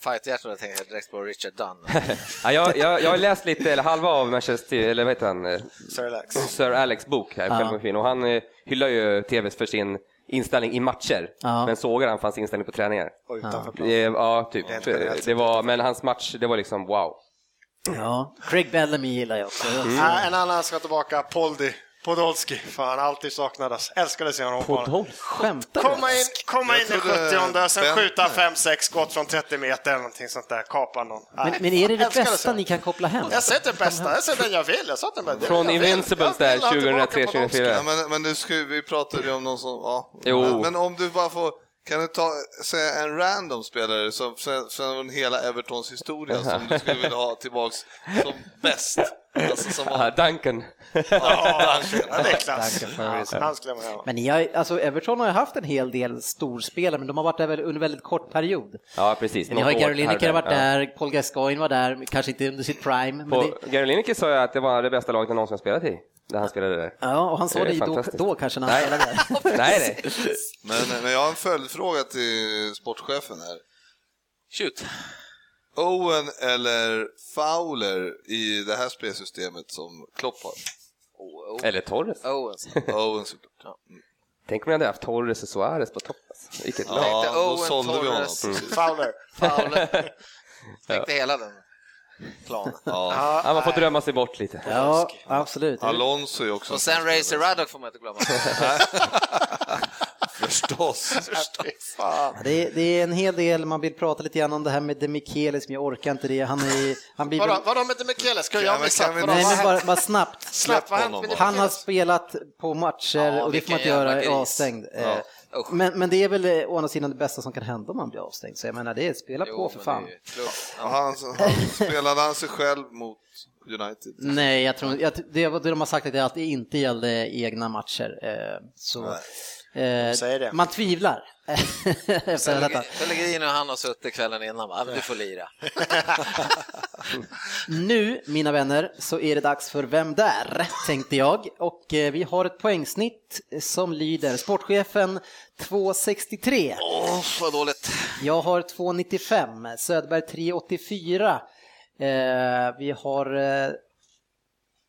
Speaker 4: fighthjärtat tänkte jag direkt på Richard Dunn.
Speaker 3: Ja, jag, jag, jag har läst lite, eller halva av Manchester, eller vad heter han, eh,
Speaker 5: Sir Alex.
Speaker 3: Sir Alex bok här, Självmordsmaskin, och han eh, hyllar ju TVs för sin inställning i matcher,
Speaker 2: Ja.
Speaker 3: men sågar han för hans inställning på träningar.
Speaker 5: Och utanför
Speaker 3: Eh,
Speaker 5: plan.
Speaker 3: Ja, typ.
Speaker 5: Rent generellt sett.
Speaker 3: Det var, men hans match, det var liksom wow.
Speaker 2: Ja. Craig Bellamy gillar jag också.
Speaker 5: Nej, Äh, en annan ska tillbaka. Poldi. Podolski. Fan, alltid saknades. Älskade att se honom på banan.
Speaker 2: Skämtar du?
Speaker 5: Komma in, komma
Speaker 6: Jag
Speaker 5: in i
Speaker 6: trodde
Speaker 5: 70 sen
Speaker 6: Bent-
Speaker 5: skjuta 5-6 skott från 30 meter eller någonting sånt där. Kapa någon. Nej.
Speaker 2: Men, men är det det
Speaker 5: Älskar
Speaker 2: bästa
Speaker 5: så.
Speaker 2: ni kan koppla hem?
Speaker 5: Jag sett den bästa, jag sett den jag vill. Jag satt den bästa.
Speaker 3: Från
Speaker 5: Jag vill-
Speaker 3: Invincibles
Speaker 5: jag
Speaker 3: där
Speaker 5: vill ha tillbaka
Speaker 3: 2003,
Speaker 5: Podolski.
Speaker 3: 2004.
Speaker 6: Ja, men, men nu ska vi, vi pratade ju om någon som, ja.
Speaker 3: Jo.
Speaker 6: Men, men om du bara får, kan du ta, säga en random spelare som från- från hela Evertons historia som du skulle vilja ha tillbaks som bäst? Alltså som
Speaker 3: Ah,
Speaker 6: var,
Speaker 3: Duncan.
Speaker 5: Ja, ja, det är klass. Han skulle man ha.
Speaker 2: Men ni har, alltså Everton har ju haft en hel del storspelare, men de har varit där väl under väldigt kort period.
Speaker 3: Ja, precis.
Speaker 2: Ni har ju
Speaker 3: Något år
Speaker 2: Gary Lineker
Speaker 3: här och
Speaker 2: varit där, Paul Gascoigne var där, kanske inte under sitt prime. Men det,
Speaker 3: På, Gary Lineker sa ju att det var det bästa laget han någonsin har spelat i, där han spelade där.
Speaker 2: ja, och han sa
Speaker 3: Det är
Speaker 2: det ju då,
Speaker 3: fantastiskt.
Speaker 2: då kanske när han spelade där.
Speaker 3: Nej, nej.
Speaker 6: men, men jag har en följdfråga till sportchefen här.
Speaker 4: Shoot.
Speaker 6: Owen eller Fowler i det här spelsystemet som Klopp har?
Speaker 4: Oh, oh.
Speaker 3: Eller Torres.
Speaker 4: Owens.
Speaker 6: Owen såklart.
Speaker 3: Tänk om jag hade haft Torres och Suarez på topp. alltså. Vilket lag.
Speaker 6: Ja,
Speaker 4: Tänkte
Speaker 6: då
Speaker 4: Owen,
Speaker 6: sålde vi honom.
Speaker 4: Torres.
Speaker 6: Mm.
Speaker 5: Fowler.
Speaker 4: Fowler. Tänkte hela den planen.
Speaker 6: Ja.
Speaker 3: Ja, man får drömma sig bort lite.
Speaker 2: Ja, absolut.
Speaker 6: Alonso är också
Speaker 4: Och sen Razor Ruddock får man inte glömma.
Speaker 6: förstås.
Speaker 5: Fy fan.
Speaker 2: Det, det är en hel del, man vill prata lite grann om det här med De Michelis, men jag orkar inte det. Han, är, han blir...
Speaker 5: Vadå, vadå med Demikele? Ska
Speaker 6: Ja,
Speaker 5: jag
Speaker 6: men
Speaker 5: missa?
Speaker 6: kan vi-
Speaker 5: Vadå,
Speaker 2: nej,
Speaker 5: vad
Speaker 2: men
Speaker 5: har
Speaker 2: bara,
Speaker 5: hänt?
Speaker 2: bara snabbt.
Speaker 5: Släpp, vad har hänt
Speaker 6: honom
Speaker 5: med
Speaker 6: bara.
Speaker 5: Demichelis?
Speaker 2: Han har spelat på matcher
Speaker 4: Ja,
Speaker 2: och det får man inte
Speaker 4: vilken jävla
Speaker 2: göra i
Speaker 4: gris.
Speaker 2: avstängd. Eh,
Speaker 4: Usch.
Speaker 2: Men, men det är väl eh, å andra sidan det bästa som kan hända om man blir avstängd. Så jag menar, det är spela på för
Speaker 4: men
Speaker 2: fan.
Speaker 4: det är ju klart.
Speaker 6: Ja, Han, han spelade han sig själv mot United?
Speaker 4: Mm,
Speaker 2: Nej, jag tror jag, det, var det de har sagt att det alltid inte gällde egna matcher. Eh, så, eh,
Speaker 5: säger det.
Speaker 2: Man tvivlar. Efter detta.
Speaker 4: Pellegrino och han har suttit kvällen innan va? Men du får lira.
Speaker 2: Nu, mina vänner, så är det dags för Vem där? tänkte jag. Och eh, vi har ett poängsnitt som lyder Sportchefen 263.
Speaker 4: Åh, vad dåligt.
Speaker 2: Jag har 2,95, Söderberg 3,84. Eh, vi har eh,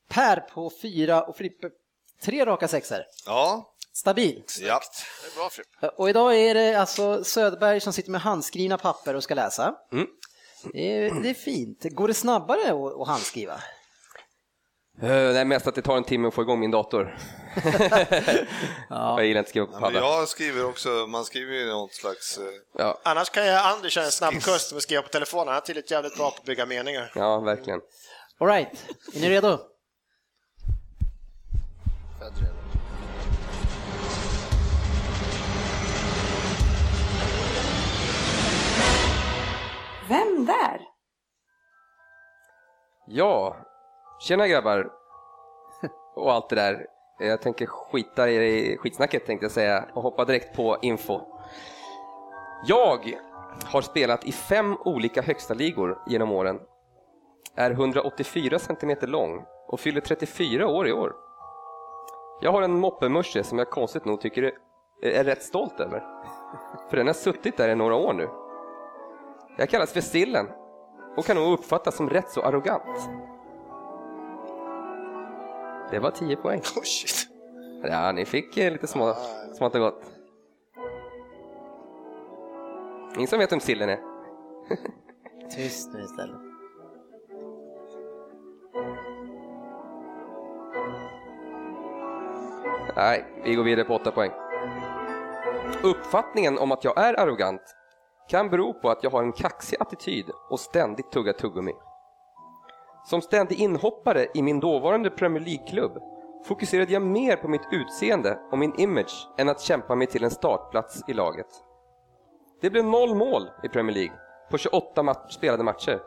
Speaker 2: Per på 4 och Frippe tre raka sexor.
Speaker 6: Ja.
Speaker 2: Stabilt.
Speaker 6: ja.
Speaker 4: Det är bra Fripp.
Speaker 2: Och idag är det alltså Söderberg som sitter med handskrivna papper och ska läsa. Det, är, det är fint. Går det snabbare att att handskriva?
Speaker 3: Eh, Det är mest att det tar en timme att få igång min dator. Jag gillar inte att skriva på
Speaker 6: Men
Speaker 3: padda.
Speaker 6: jag skriver också, man skriver ju något slags... eh,
Speaker 3: Ja,
Speaker 5: Annars kan jag Anders köra en snabb kurs med att skriva på telefonen. Han är tydligt jävligt bra på att bygga
Speaker 6: Oh,
Speaker 5: meningar.
Speaker 3: ja, verkligen.
Speaker 2: All right, är ni redo?
Speaker 1: Vem där?
Speaker 3: Ja, tjena grabbar. Och allt det där. Jag tänker skita i det i skitsnacket tänkte jag säga och hoppa direkt på info. Jag har spelat i fem olika högsta ligor genom åren. Är 184 centimeter lång och fyller 34 år i år. Jag har en moppemörsche som jag konstigt nog tycker är, är rätt stolt över. För den har suttit där i några år nu. Jag kallas för Sillen och kan nog uppfattas som rätt så arrogant. Det var 10 poäng.
Speaker 5: Oh, shit.
Speaker 3: Ja, ni fick eh, lite små, smått och gott. Ingen som vet vem Sillen är?
Speaker 2: Tyst nu istället.
Speaker 3: Nej, vi går vidare på 8 poäng. Uppfattningen om att jag är arrogant kan bero på att jag har en kaxig attityd och ständigt tuggar tuggummi. Som ständig inhoppare i min dåvarande Premier League-klubb fokuserade jag mer på mitt utseende och min image än att kämpa mig till en startplats i laget. Det blev noll mål i Premier League på 28 mat- spelade matcher.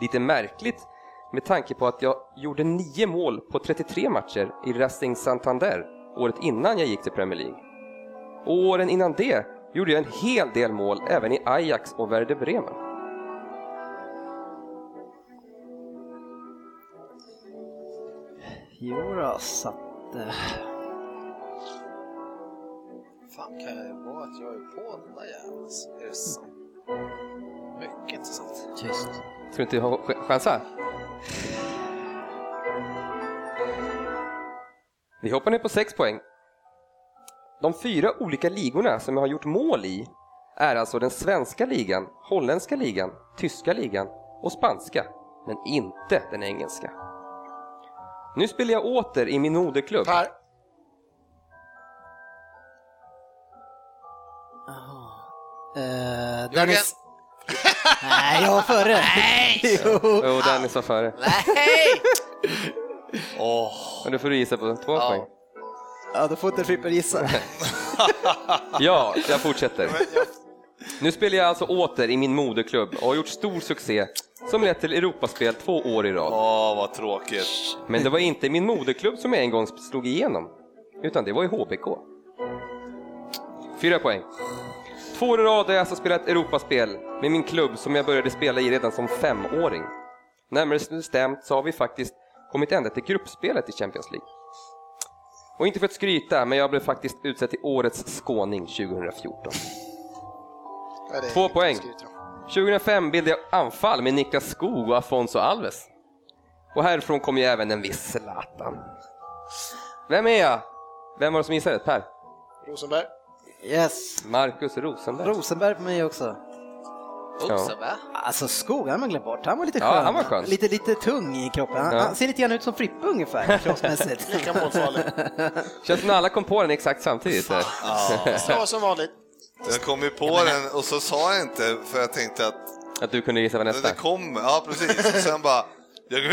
Speaker 3: Lite märkligt med tanke på att jag gjorde nio mål på 33 matcher i Racing Santander året innan jag gick till Premier League. Och åren innan det gjorde jag en hel del mål även i Ajax och Werder Bremen.
Speaker 2: Jodå, så att... eh,
Speaker 4: fan kan det vara att jag är på den där jäveln? Är det sant? Mycket intressant.
Speaker 2: Tyst.
Speaker 3: Ska du inte ha ch- chansa? Vi hoppar ner på 6 poäng. De fyra olika ligorna som jag har gjort mål i är alltså den svenska ligan, holländska ligan, tyska ligan och spanska, men inte den engelska. Nu spelar jag åter i min moderklubb.
Speaker 5: Per,
Speaker 2: Eh,
Speaker 4: Jörgen!
Speaker 2: Dennis... Nej, jag var före. Nej! jo.
Speaker 3: Jo, Dennis var före.
Speaker 4: Nej!
Speaker 3: Men du får du gissa på två poäng.
Speaker 2: Ja, då får inte Frippe gissa.
Speaker 3: Ja, jag fortsätter. Nu spelar jag alltså åter i min moderklubb och har gjort stor succé som lett till Europaspel två år i rad.
Speaker 6: Åh, vad tråkigt.
Speaker 3: Men det var inte i min moderklubb som jag en gång slog igenom, utan det var i HBK. Fyra poäng. Två år i rad har jag alltså spelat Europaspel med min klubb som jag började spela i redan som femåring. Närmare bestämt så har vi faktiskt kommit ända till gruppspelet i Champions League. Och inte för att skryta, men jag blev faktiskt utsedd till Årets skåning 2014.
Speaker 5: Ja, det är
Speaker 3: Två
Speaker 5: inget
Speaker 3: poäng.
Speaker 5: att skryta om.
Speaker 3: 2005 bildade jag anfall med Niklas Skog och Afonso Alves. Och härifrån kom ju även en viss Zlatan. Vem är jag? Vem var det som gissade? Per?
Speaker 5: Rosenberg.
Speaker 2: Yes.
Speaker 3: Marcus Rosenberg.
Speaker 2: Rosenberg på mig också.
Speaker 4: Oxen, va?
Speaker 2: Alltså skog, han har man glömt bort. Han var lite
Speaker 3: Ja,
Speaker 2: skön.
Speaker 3: han var skön.
Speaker 2: Lite, lite tung i kroppen. Han,
Speaker 3: Ja.
Speaker 2: han ser lite grann ut som Frippe ungefär, kroppsmässigt.
Speaker 5: Lika målfarlig.
Speaker 3: Känns som när alla kom på den exakt samtidigt. där.
Speaker 5: Ja, som vanligt.
Speaker 6: Jag kom ju på den och så sa jag inte för jag tänkte att
Speaker 3: Att du kunde gissa vad
Speaker 6: den
Speaker 3: nästa.
Speaker 6: där kommer. Ja, precis. Och sen bara... Jag...
Speaker 3: Men,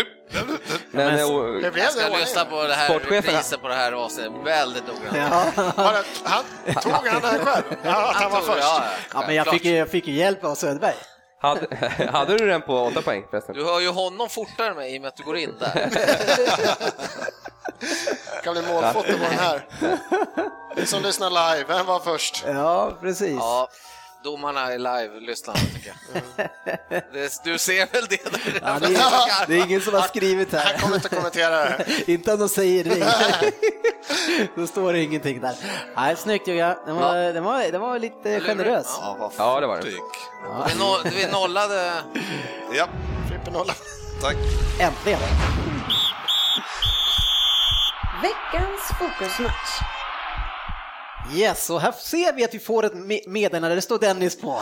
Speaker 3: eh,
Speaker 2: Men-
Speaker 3: och-
Speaker 5: Det blev
Speaker 4: Jag ska
Speaker 5: det.
Speaker 4: lyssna på det här
Speaker 3: Sportchefen-
Speaker 4: reprisen på det här avsnittet väldigt noggrant.
Speaker 2: Ja.
Speaker 5: Han, han tog han det här själv? Ja, att han var
Speaker 4: Anton,
Speaker 5: först.
Speaker 4: ja,
Speaker 2: ja, men jag
Speaker 4: självklart.
Speaker 2: fick, ju- jag fick ju hjälp av Söderberg.
Speaker 3: hade, hade du den på åtta poäng förresten?
Speaker 4: Du hör ju honom fortare än mig i och med att du går in där.
Speaker 5: kan bli målfoto på den här. Ni som lyssnar live, vem var först?
Speaker 2: Ja, precis.
Speaker 4: Ja, domarna är live, lyssnarna tycker jag.
Speaker 5: Mm.
Speaker 4: Det, du ser väl det där?
Speaker 2: Ja, det, är, det är ingen som har skrivit
Speaker 5: Han
Speaker 2: här.
Speaker 5: kommer inte kommentera det här.
Speaker 2: inte om de säger det. Då står det ingenting där. Nej, snyggt Jugga. Den var, den var, den var lite generös.
Speaker 6: Ja, vad
Speaker 3: Ja, det var det.
Speaker 6: fort gick.
Speaker 4: Vi, no, vi nollade...
Speaker 6: Ja,
Speaker 5: Frippe nolla.
Speaker 6: tack.
Speaker 2: Äntligen.
Speaker 1: Veckans fokusmatch.
Speaker 2: Yes, och här ser vi att vi får ett me- meddelande, det står Dennis på.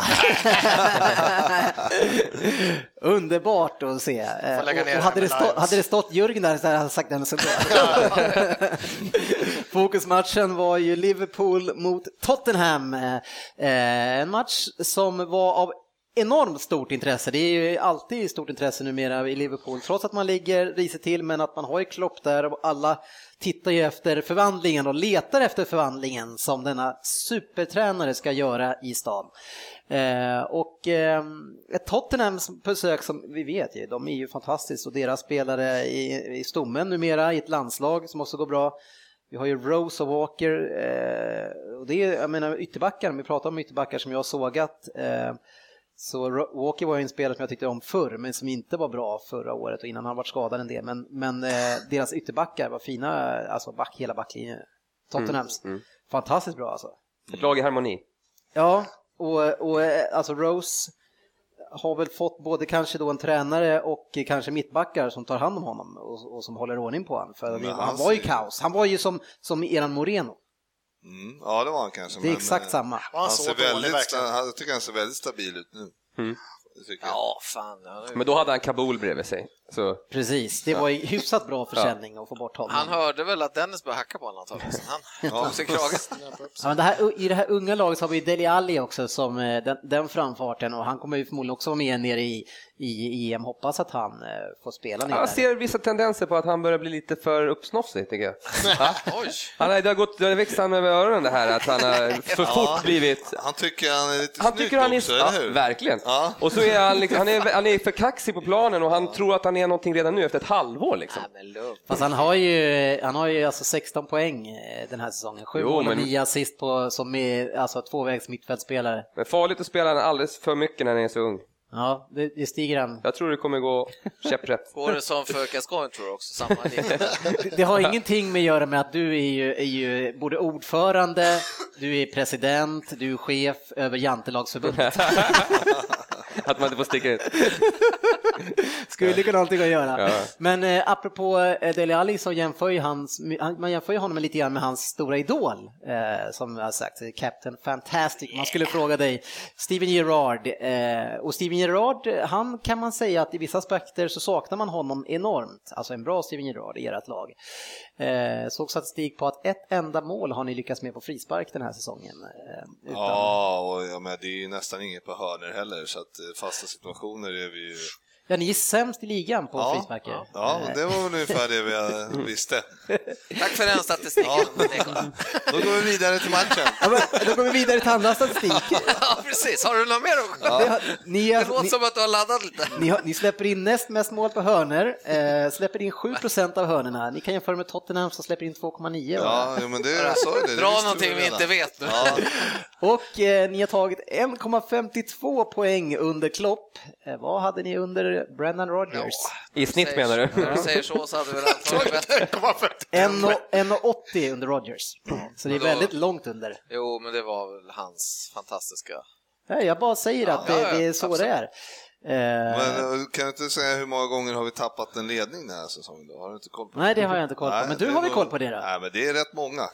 Speaker 2: Underbart att se. Eh,
Speaker 5: lägga
Speaker 2: Och,
Speaker 5: ner
Speaker 2: och hade, det
Speaker 5: det här
Speaker 2: stå,
Speaker 5: med lives.
Speaker 2: hade det stått Jörgen där så hade han sagt Dennis ändå. Fokusmatchen var ju Liverpool mot Tottenham. Eh, En match som var av enormt stort intresse. Det är ju alltid stort intresse numera i Liverpool, trots att man ligger risigt till, men att man har ju Klopp där och alla tittar ju efter förvandlingen och letar efter förvandlingen som denna supertränare ska göra i stan. Eh, och eh, ett Tottenham som- på besök som vi vet ju, de är ju fantastiskt och deras spelare i, i stommen numera i ett landslag som också går bra. Vi har ju Rose och Walker eh, och det är, jag menar ytterbackar, om vi pratar om ytterbackar som jag har sågat. Eh, Så Ro- Walker var ju en spelare som jag tyckte om förr, men som inte var bra förra året och innan han var skadad en del. Men, men eh, deras ytterbackar var fina, alltså back, hela backlinjen. Tottenhams. Fantastiskt bra alltså.
Speaker 3: Ett lag i harmoni.
Speaker 2: Ja, och, och eh, alltså Rose har väl fått både kanske då en tränare och kanske mittbackar som tar hand om honom och, och som håller ordning på honom. För
Speaker 6: Men
Speaker 2: han
Speaker 6: han
Speaker 2: var ju
Speaker 6: ser ju-
Speaker 2: kaos, han var ju som, som eran Moreno.
Speaker 6: Mm, ja, det var han kanske.
Speaker 2: Det är
Speaker 6: men,
Speaker 2: exakt
Speaker 6: eh,
Speaker 2: samma.
Speaker 5: Och
Speaker 6: Han
Speaker 5: han såg
Speaker 6: ser
Speaker 5: dålig
Speaker 6: väldigt,
Speaker 5: verkligen.
Speaker 6: sta- han, jag tycker han ser väldigt stabil ut nu.
Speaker 3: Mm.
Speaker 6: Det tycker jag.
Speaker 4: Ja, fan. ja, det-
Speaker 3: Men då hade han Kabul bredvid sig. Så
Speaker 2: Precis, det var ju hyfsat bra försäljning att få bort honom.
Speaker 6: Mm.
Speaker 4: Han hörde väl att Dennis började hacka på honom antagligen, så han tog sig kragen.
Speaker 2: Ja, men det här, I det här unga laget så har vi Deli Alli också som eh, den, den framfarten och han kommer ju förmodligen också vara med nere i, i EM. Hoppas att han eh, får spela nere.
Speaker 3: jag ser vissa tendenser på att han börjar bli lite för uppsnofsig tycker jag.
Speaker 4: Oj!
Speaker 3: Han har, det har, gått, det har växt han över öronen det här att han har för fort blivit
Speaker 6: Han tycker han är lite
Speaker 3: Han
Speaker 6: snygg
Speaker 3: tycker han är...
Speaker 6: också,
Speaker 3: ja,
Speaker 6: eller hur?
Speaker 3: verkligen.
Speaker 6: Ja.
Speaker 3: Och så är han, liksom, han, är, han är för kaxig på planen och han tror att han är någonting redan nu efter ett halvår liksom.
Speaker 4: Ja, men lugn.
Speaker 2: Fast han har ju, han har ju alltså 16 poäng eh, den här säsongen. Sju
Speaker 3: Jo,
Speaker 2: mål och
Speaker 3: men-
Speaker 2: nio assist på, som är alltså tvåvägs mittfältspelare.
Speaker 3: Men farligt att spela han alldeles för mycket när han är så ung.
Speaker 2: Ja, det, det stiger han.
Speaker 3: Jag tror det kommer gå käpprätt.
Speaker 4: Går det som för Gascoigne tror jag också, samma linje.
Speaker 2: Det, det har ingenting med att göra med att du är ju, är ju både ordförande, du är president, du är chef över jantelagsförbundet.
Speaker 3: Att man inte får sticka ut.
Speaker 2: Skulle kunna ha någonting att göra.
Speaker 3: Ja.
Speaker 2: Men eh, apropå eh, Dele Alli så jämför ju hans, han, man jämför ju honom lite grann med hans stora idol, eh, som jag har sagt, eh, Captain Fantastic. Man skulle fråga dig, Steven Gerrard. Eh, och Steven Gerrard, eh, han kan man säga att i vissa aspekter så saknar man honom enormt. Alltså en bra Steven Gerrard i ert lag. Eh, såg statistik på att ett enda mål har ni lyckats med på frispark den här säsongen. Eh, utan,
Speaker 6: Ja, och jag menar, det är ju nästan inget på hörner heller, så att eh, fasta situationer är vi ju...
Speaker 2: ja, ni är sämst i ligan på
Speaker 6: Ja,
Speaker 2: frisparker.
Speaker 6: Ja, men det var väl ungefär det vi eh,
Speaker 3: Mm.
Speaker 6: visste.
Speaker 4: Tack för den statistiken. Ja.
Speaker 6: Då går vi vidare till matchen.
Speaker 2: Ja, men, då går vi vidare till andra statistik.
Speaker 4: precis. Har du något mer att
Speaker 2: Det har- Ni,
Speaker 4: Det låter
Speaker 2: ni,
Speaker 4: som att du har laddat lite.
Speaker 2: ni, har- ni släpper in näst mest mål på hörner, eh, släpper in 7% av hörnerna. Ni kan jämföra med Tottenham som släpper in 2,9. va?
Speaker 6: Ja, jo, men det jag sa ju det. det
Speaker 4: Dra
Speaker 6: visste
Speaker 4: någonting vi
Speaker 6: redan.
Speaker 4: inte vet nu.
Speaker 6: Ja,
Speaker 2: Och eh, ni har tagit 1,52 poäng under Klopp. Eh, vad hade ni under Brendan Rodgers?
Speaker 3: I snitt menar du?
Speaker 4: När du säger så så hade vi väl antagligen bättre.
Speaker 2: 1,80 under Rodgers. Så det är
Speaker 4: Då-
Speaker 2: väldigt långt under.
Speaker 4: Jo, men det var väl hans fantastiska...
Speaker 2: Nej, jag bara säger att
Speaker 4: Ja, ja,
Speaker 2: det, det är så
Speaker 4: absolut.
Speaker 2: det är. Eh,
Speaker 6: men eh, kan du inte säga hur många gånger har vi tappat en ledning den här säsongen? Då? Har du inte koll på det?
Speaker 2: nej, det har jag inte koll på.
Speaker 6: Nej,
Speaker 2: Men du
Speaker 6: det
Speaker 2: har väl
Speaker 6: var-
Speaker 2: koll på det då?
Speaker 6: Nej, men det är rätt många.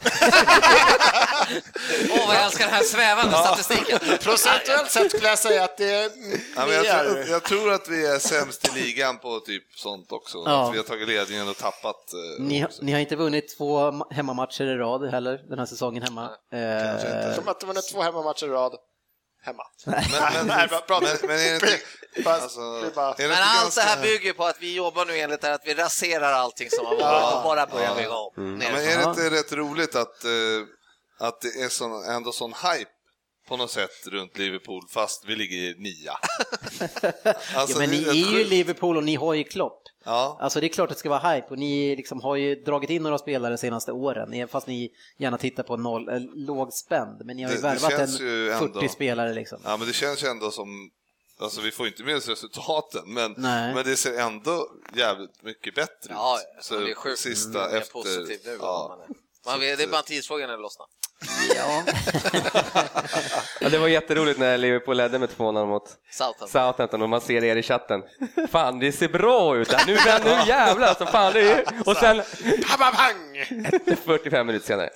Speaker 4: Åh, vad jag älskar den här svävande statistiken.
Speaker 5: Procentuellt sett skulle jag säga att det är
Speaker 6: Ja, men jag, tror,
Speaker 5: mer.
Speaker 6: jag tror att vi är sämst i ligan på typ sånt också.
Speaker 2: Ja.
Speaker 6: Att vi har tagit ledningen och tappat. eh,
Speaker 2: Ni,
Speaker 6: också.
Speaker 2: ni har inte vunnit två ma- hemmamatcher i rad heller den här säsongen hemma. Eh,
Speaker 5: Som att de vunnit två hemmamatcher i rad. Hemma.
Speaker 6: Men, men,
Speaker 5: Nej, bara-
Speaker 6: men, men är det inte...
Speaker 5: Fast
Speaker 6: Alltså,
Speaker 5: det är bara-
Speaker 6: är det
Speaker 4: Men
Speaker 6: inte
Speaker 4: allt det
Speaker 6: ganska-
Speaker 4: här bygger på att vi jobbar nu enligt det här att vi raserar allting som har varit och bara börjar bygga om.
Speaker 6: Ja,
Speaker 4: nerifrån.
Speaker 6: men är det inte rätt roligt att, eh, att det är sån, ändå sån hype på något sätt runt Liverpool fast vi ligger i nia?
Speaker 2: ja,
Speaker 6: Alltså,
Speaker 2: men
Speaker 6: det
Speaker 2: ni
Speaker 6: rätt
Speaker 2: är ju
Speaker 6: sjukt.
Speaker 2: Liverpool och ni har ju Klopp.
Speaker 6: Ja,
Speaker 2: Alltså det är klart att det ska vara hype och ni liksom har ju dragit in några spelare de senaste åren, även fast ni gärna tittar på noll, eh, låg spänd. Men ni har ju
Speaker 6: Det- det
Speaker 2: värvat en
Speaker 6: känns ju
Speaker 2: 40
Speaker 6: ändå-
Speaker 2: spelare liksom.
Speaker 6: ja, men det känns ju ändå som... Alltså vi får inte med oss resultaten, men,
Speaker 2: Nej.
Speaker 6: men det ser ändå jävligt mycket bättre
Speaker 4: Ja,
Speaker 6: ut.
Speaker 4: så det är sjukt.
Speaker 6: Sista
Speaker 4: man är
Speaker 6: efter...
Speaker 4: positiv nu.
Speaker 6: ja.
Speaker 4: Man är. Man vet, det är bara en tidsfråga när det lossnar.
Speaker 2: Ja.
Speaker 3: Ja, det var jätteroligt när Liverpool ledde med 2-0 mot
Speaker 4: Southampton.
Speaker 3: Southampton och man ser er i chatten. Fan, det ser bra ut här. Nu, men, nu jävlar alltså. Fan, det är... Och sen
Speaker 5: Pababang!
Speaker 3: 45 minuter senare.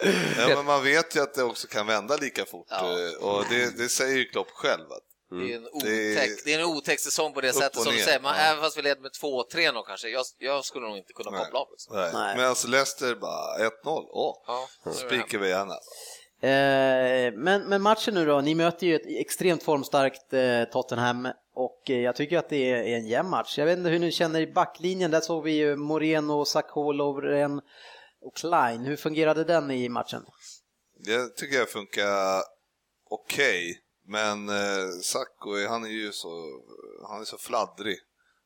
Speaker 6: Ja, men man vet ju att det också kan vända lika fort eh, och det, det säger ju Klopp själv. Att,
Speaker 4: Det, är en
Speaker 6: Det är-
Speaker 4: otäck, det är en otäck säsong på det
Speaker 6: Upp
Speaker 4: sättet
Speaker 6: och
Speaker 4: som du
Speaker 6: ner,
Speaker 4: säger. Man,
Speaker 6: ja.
Speaker 4: Även fast vi leder med 2-3 nog kanske. Jag, jag skulle nog inte kunna
Speaker 6: Nej.
Speaker 4: koppla av. Liksom.
Speaker 6: nej.
Speaker 2: Nej.
Speaker 6: Men alltså Leicester bara 1-0, åh,
Speaker 4: Ja, nu är det
Speaker 6: spikar vi alltså. gärna.
Speaker 2: Eh, men, men matchen nu då, ni möter ju ett extremt formstarkt eh, Tottenham och eh, jag tycker att det är är en jämn match. Jag vet inte hur ni känner i backlinjen, där såg vi ju Moreno, Sakho, Lovren och Klein. Hur fungerade den i matchen?
Speaker 6: Det tycker jag funkar okej, men eh, Sacco, han är ju så, han är så fladdrig,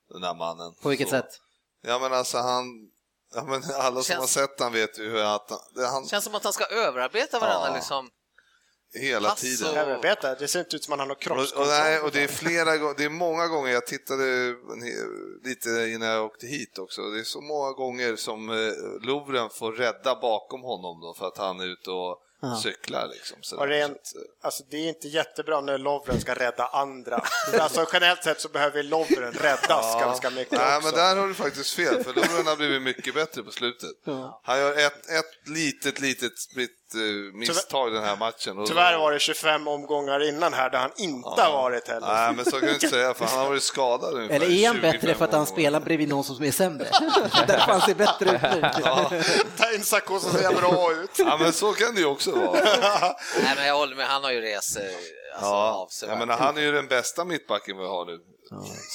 Speaker 6: den där mannen.
Speaker 2: På vilket
Speaker 6: så.
Speaker 2: sätt?
Speaker 6: Ja men alltså han, ja, men alla som
Speaker 4: Känns-
Speaker 6: har sett han vet ju hur att han, det- han
Speaker 4: Känns som att han ska överarbeta varandra.
Speaker 6: Ja.
Speaker 4: Liksom.
Speaker 6: hela
Speaker 4: Pass
Speaker 6: tiden.
Speaker 4: och-
Speaker 5: Överarbetad. Det ser inte ut som att han har
Speaker 6: Och,
Speaker 5: kroppskontroll.
Speaker 6: och, nej, och det är flera gånger, det är många gånger, jag tittade ne- lite innan jag åkte hit också, det är så många gånger som eh, Lovren får rädda bakom honom då för att han är ute och cyklar liksom. sådär.
Speaker 5: Och rent,
Speaker 6: Så att, eh,
Speaker 5: alltså det är inte jättebra när Lovren ska rädda andra. Alltså generellt sett så behöver Lovren räddas ganska mycket
Speaker 6: eh, Nej,
Speaker 5: också.
Speaker 6: men där har du faktiskt fel, för Lovren har blivit mycket bättre på slutet. Han gör ett, ett litet, litet spritt eh, misstag den här matchen. Och-
Speaker 5: Tyvärr var det 25 omgångar innan här där han inte har varit heller.
Speaker 6: Nej, men så kan du inte säga, för han har varit skadad ungefär
Speaker 2: Eller är han
Speaker 6: 25
Speaker 2: bättre för att han
Speaker 6: gånger.
Speaker 2: spelar bredvid någon som är sämre? Därför han ser bättre ut nu.
Speaker 5: Ta in Sacco så ser jag bra ut.
Speaker 6: Ja, men så kan det ju också vara.
Speaker 4: Nej, men jag håller med, han har ju resor alltså,
Speaker 6: Ja,
Speaker 4: avsevärt.
Speaker 6: jag menar, han är ju den bästa mittbacken vi har nu.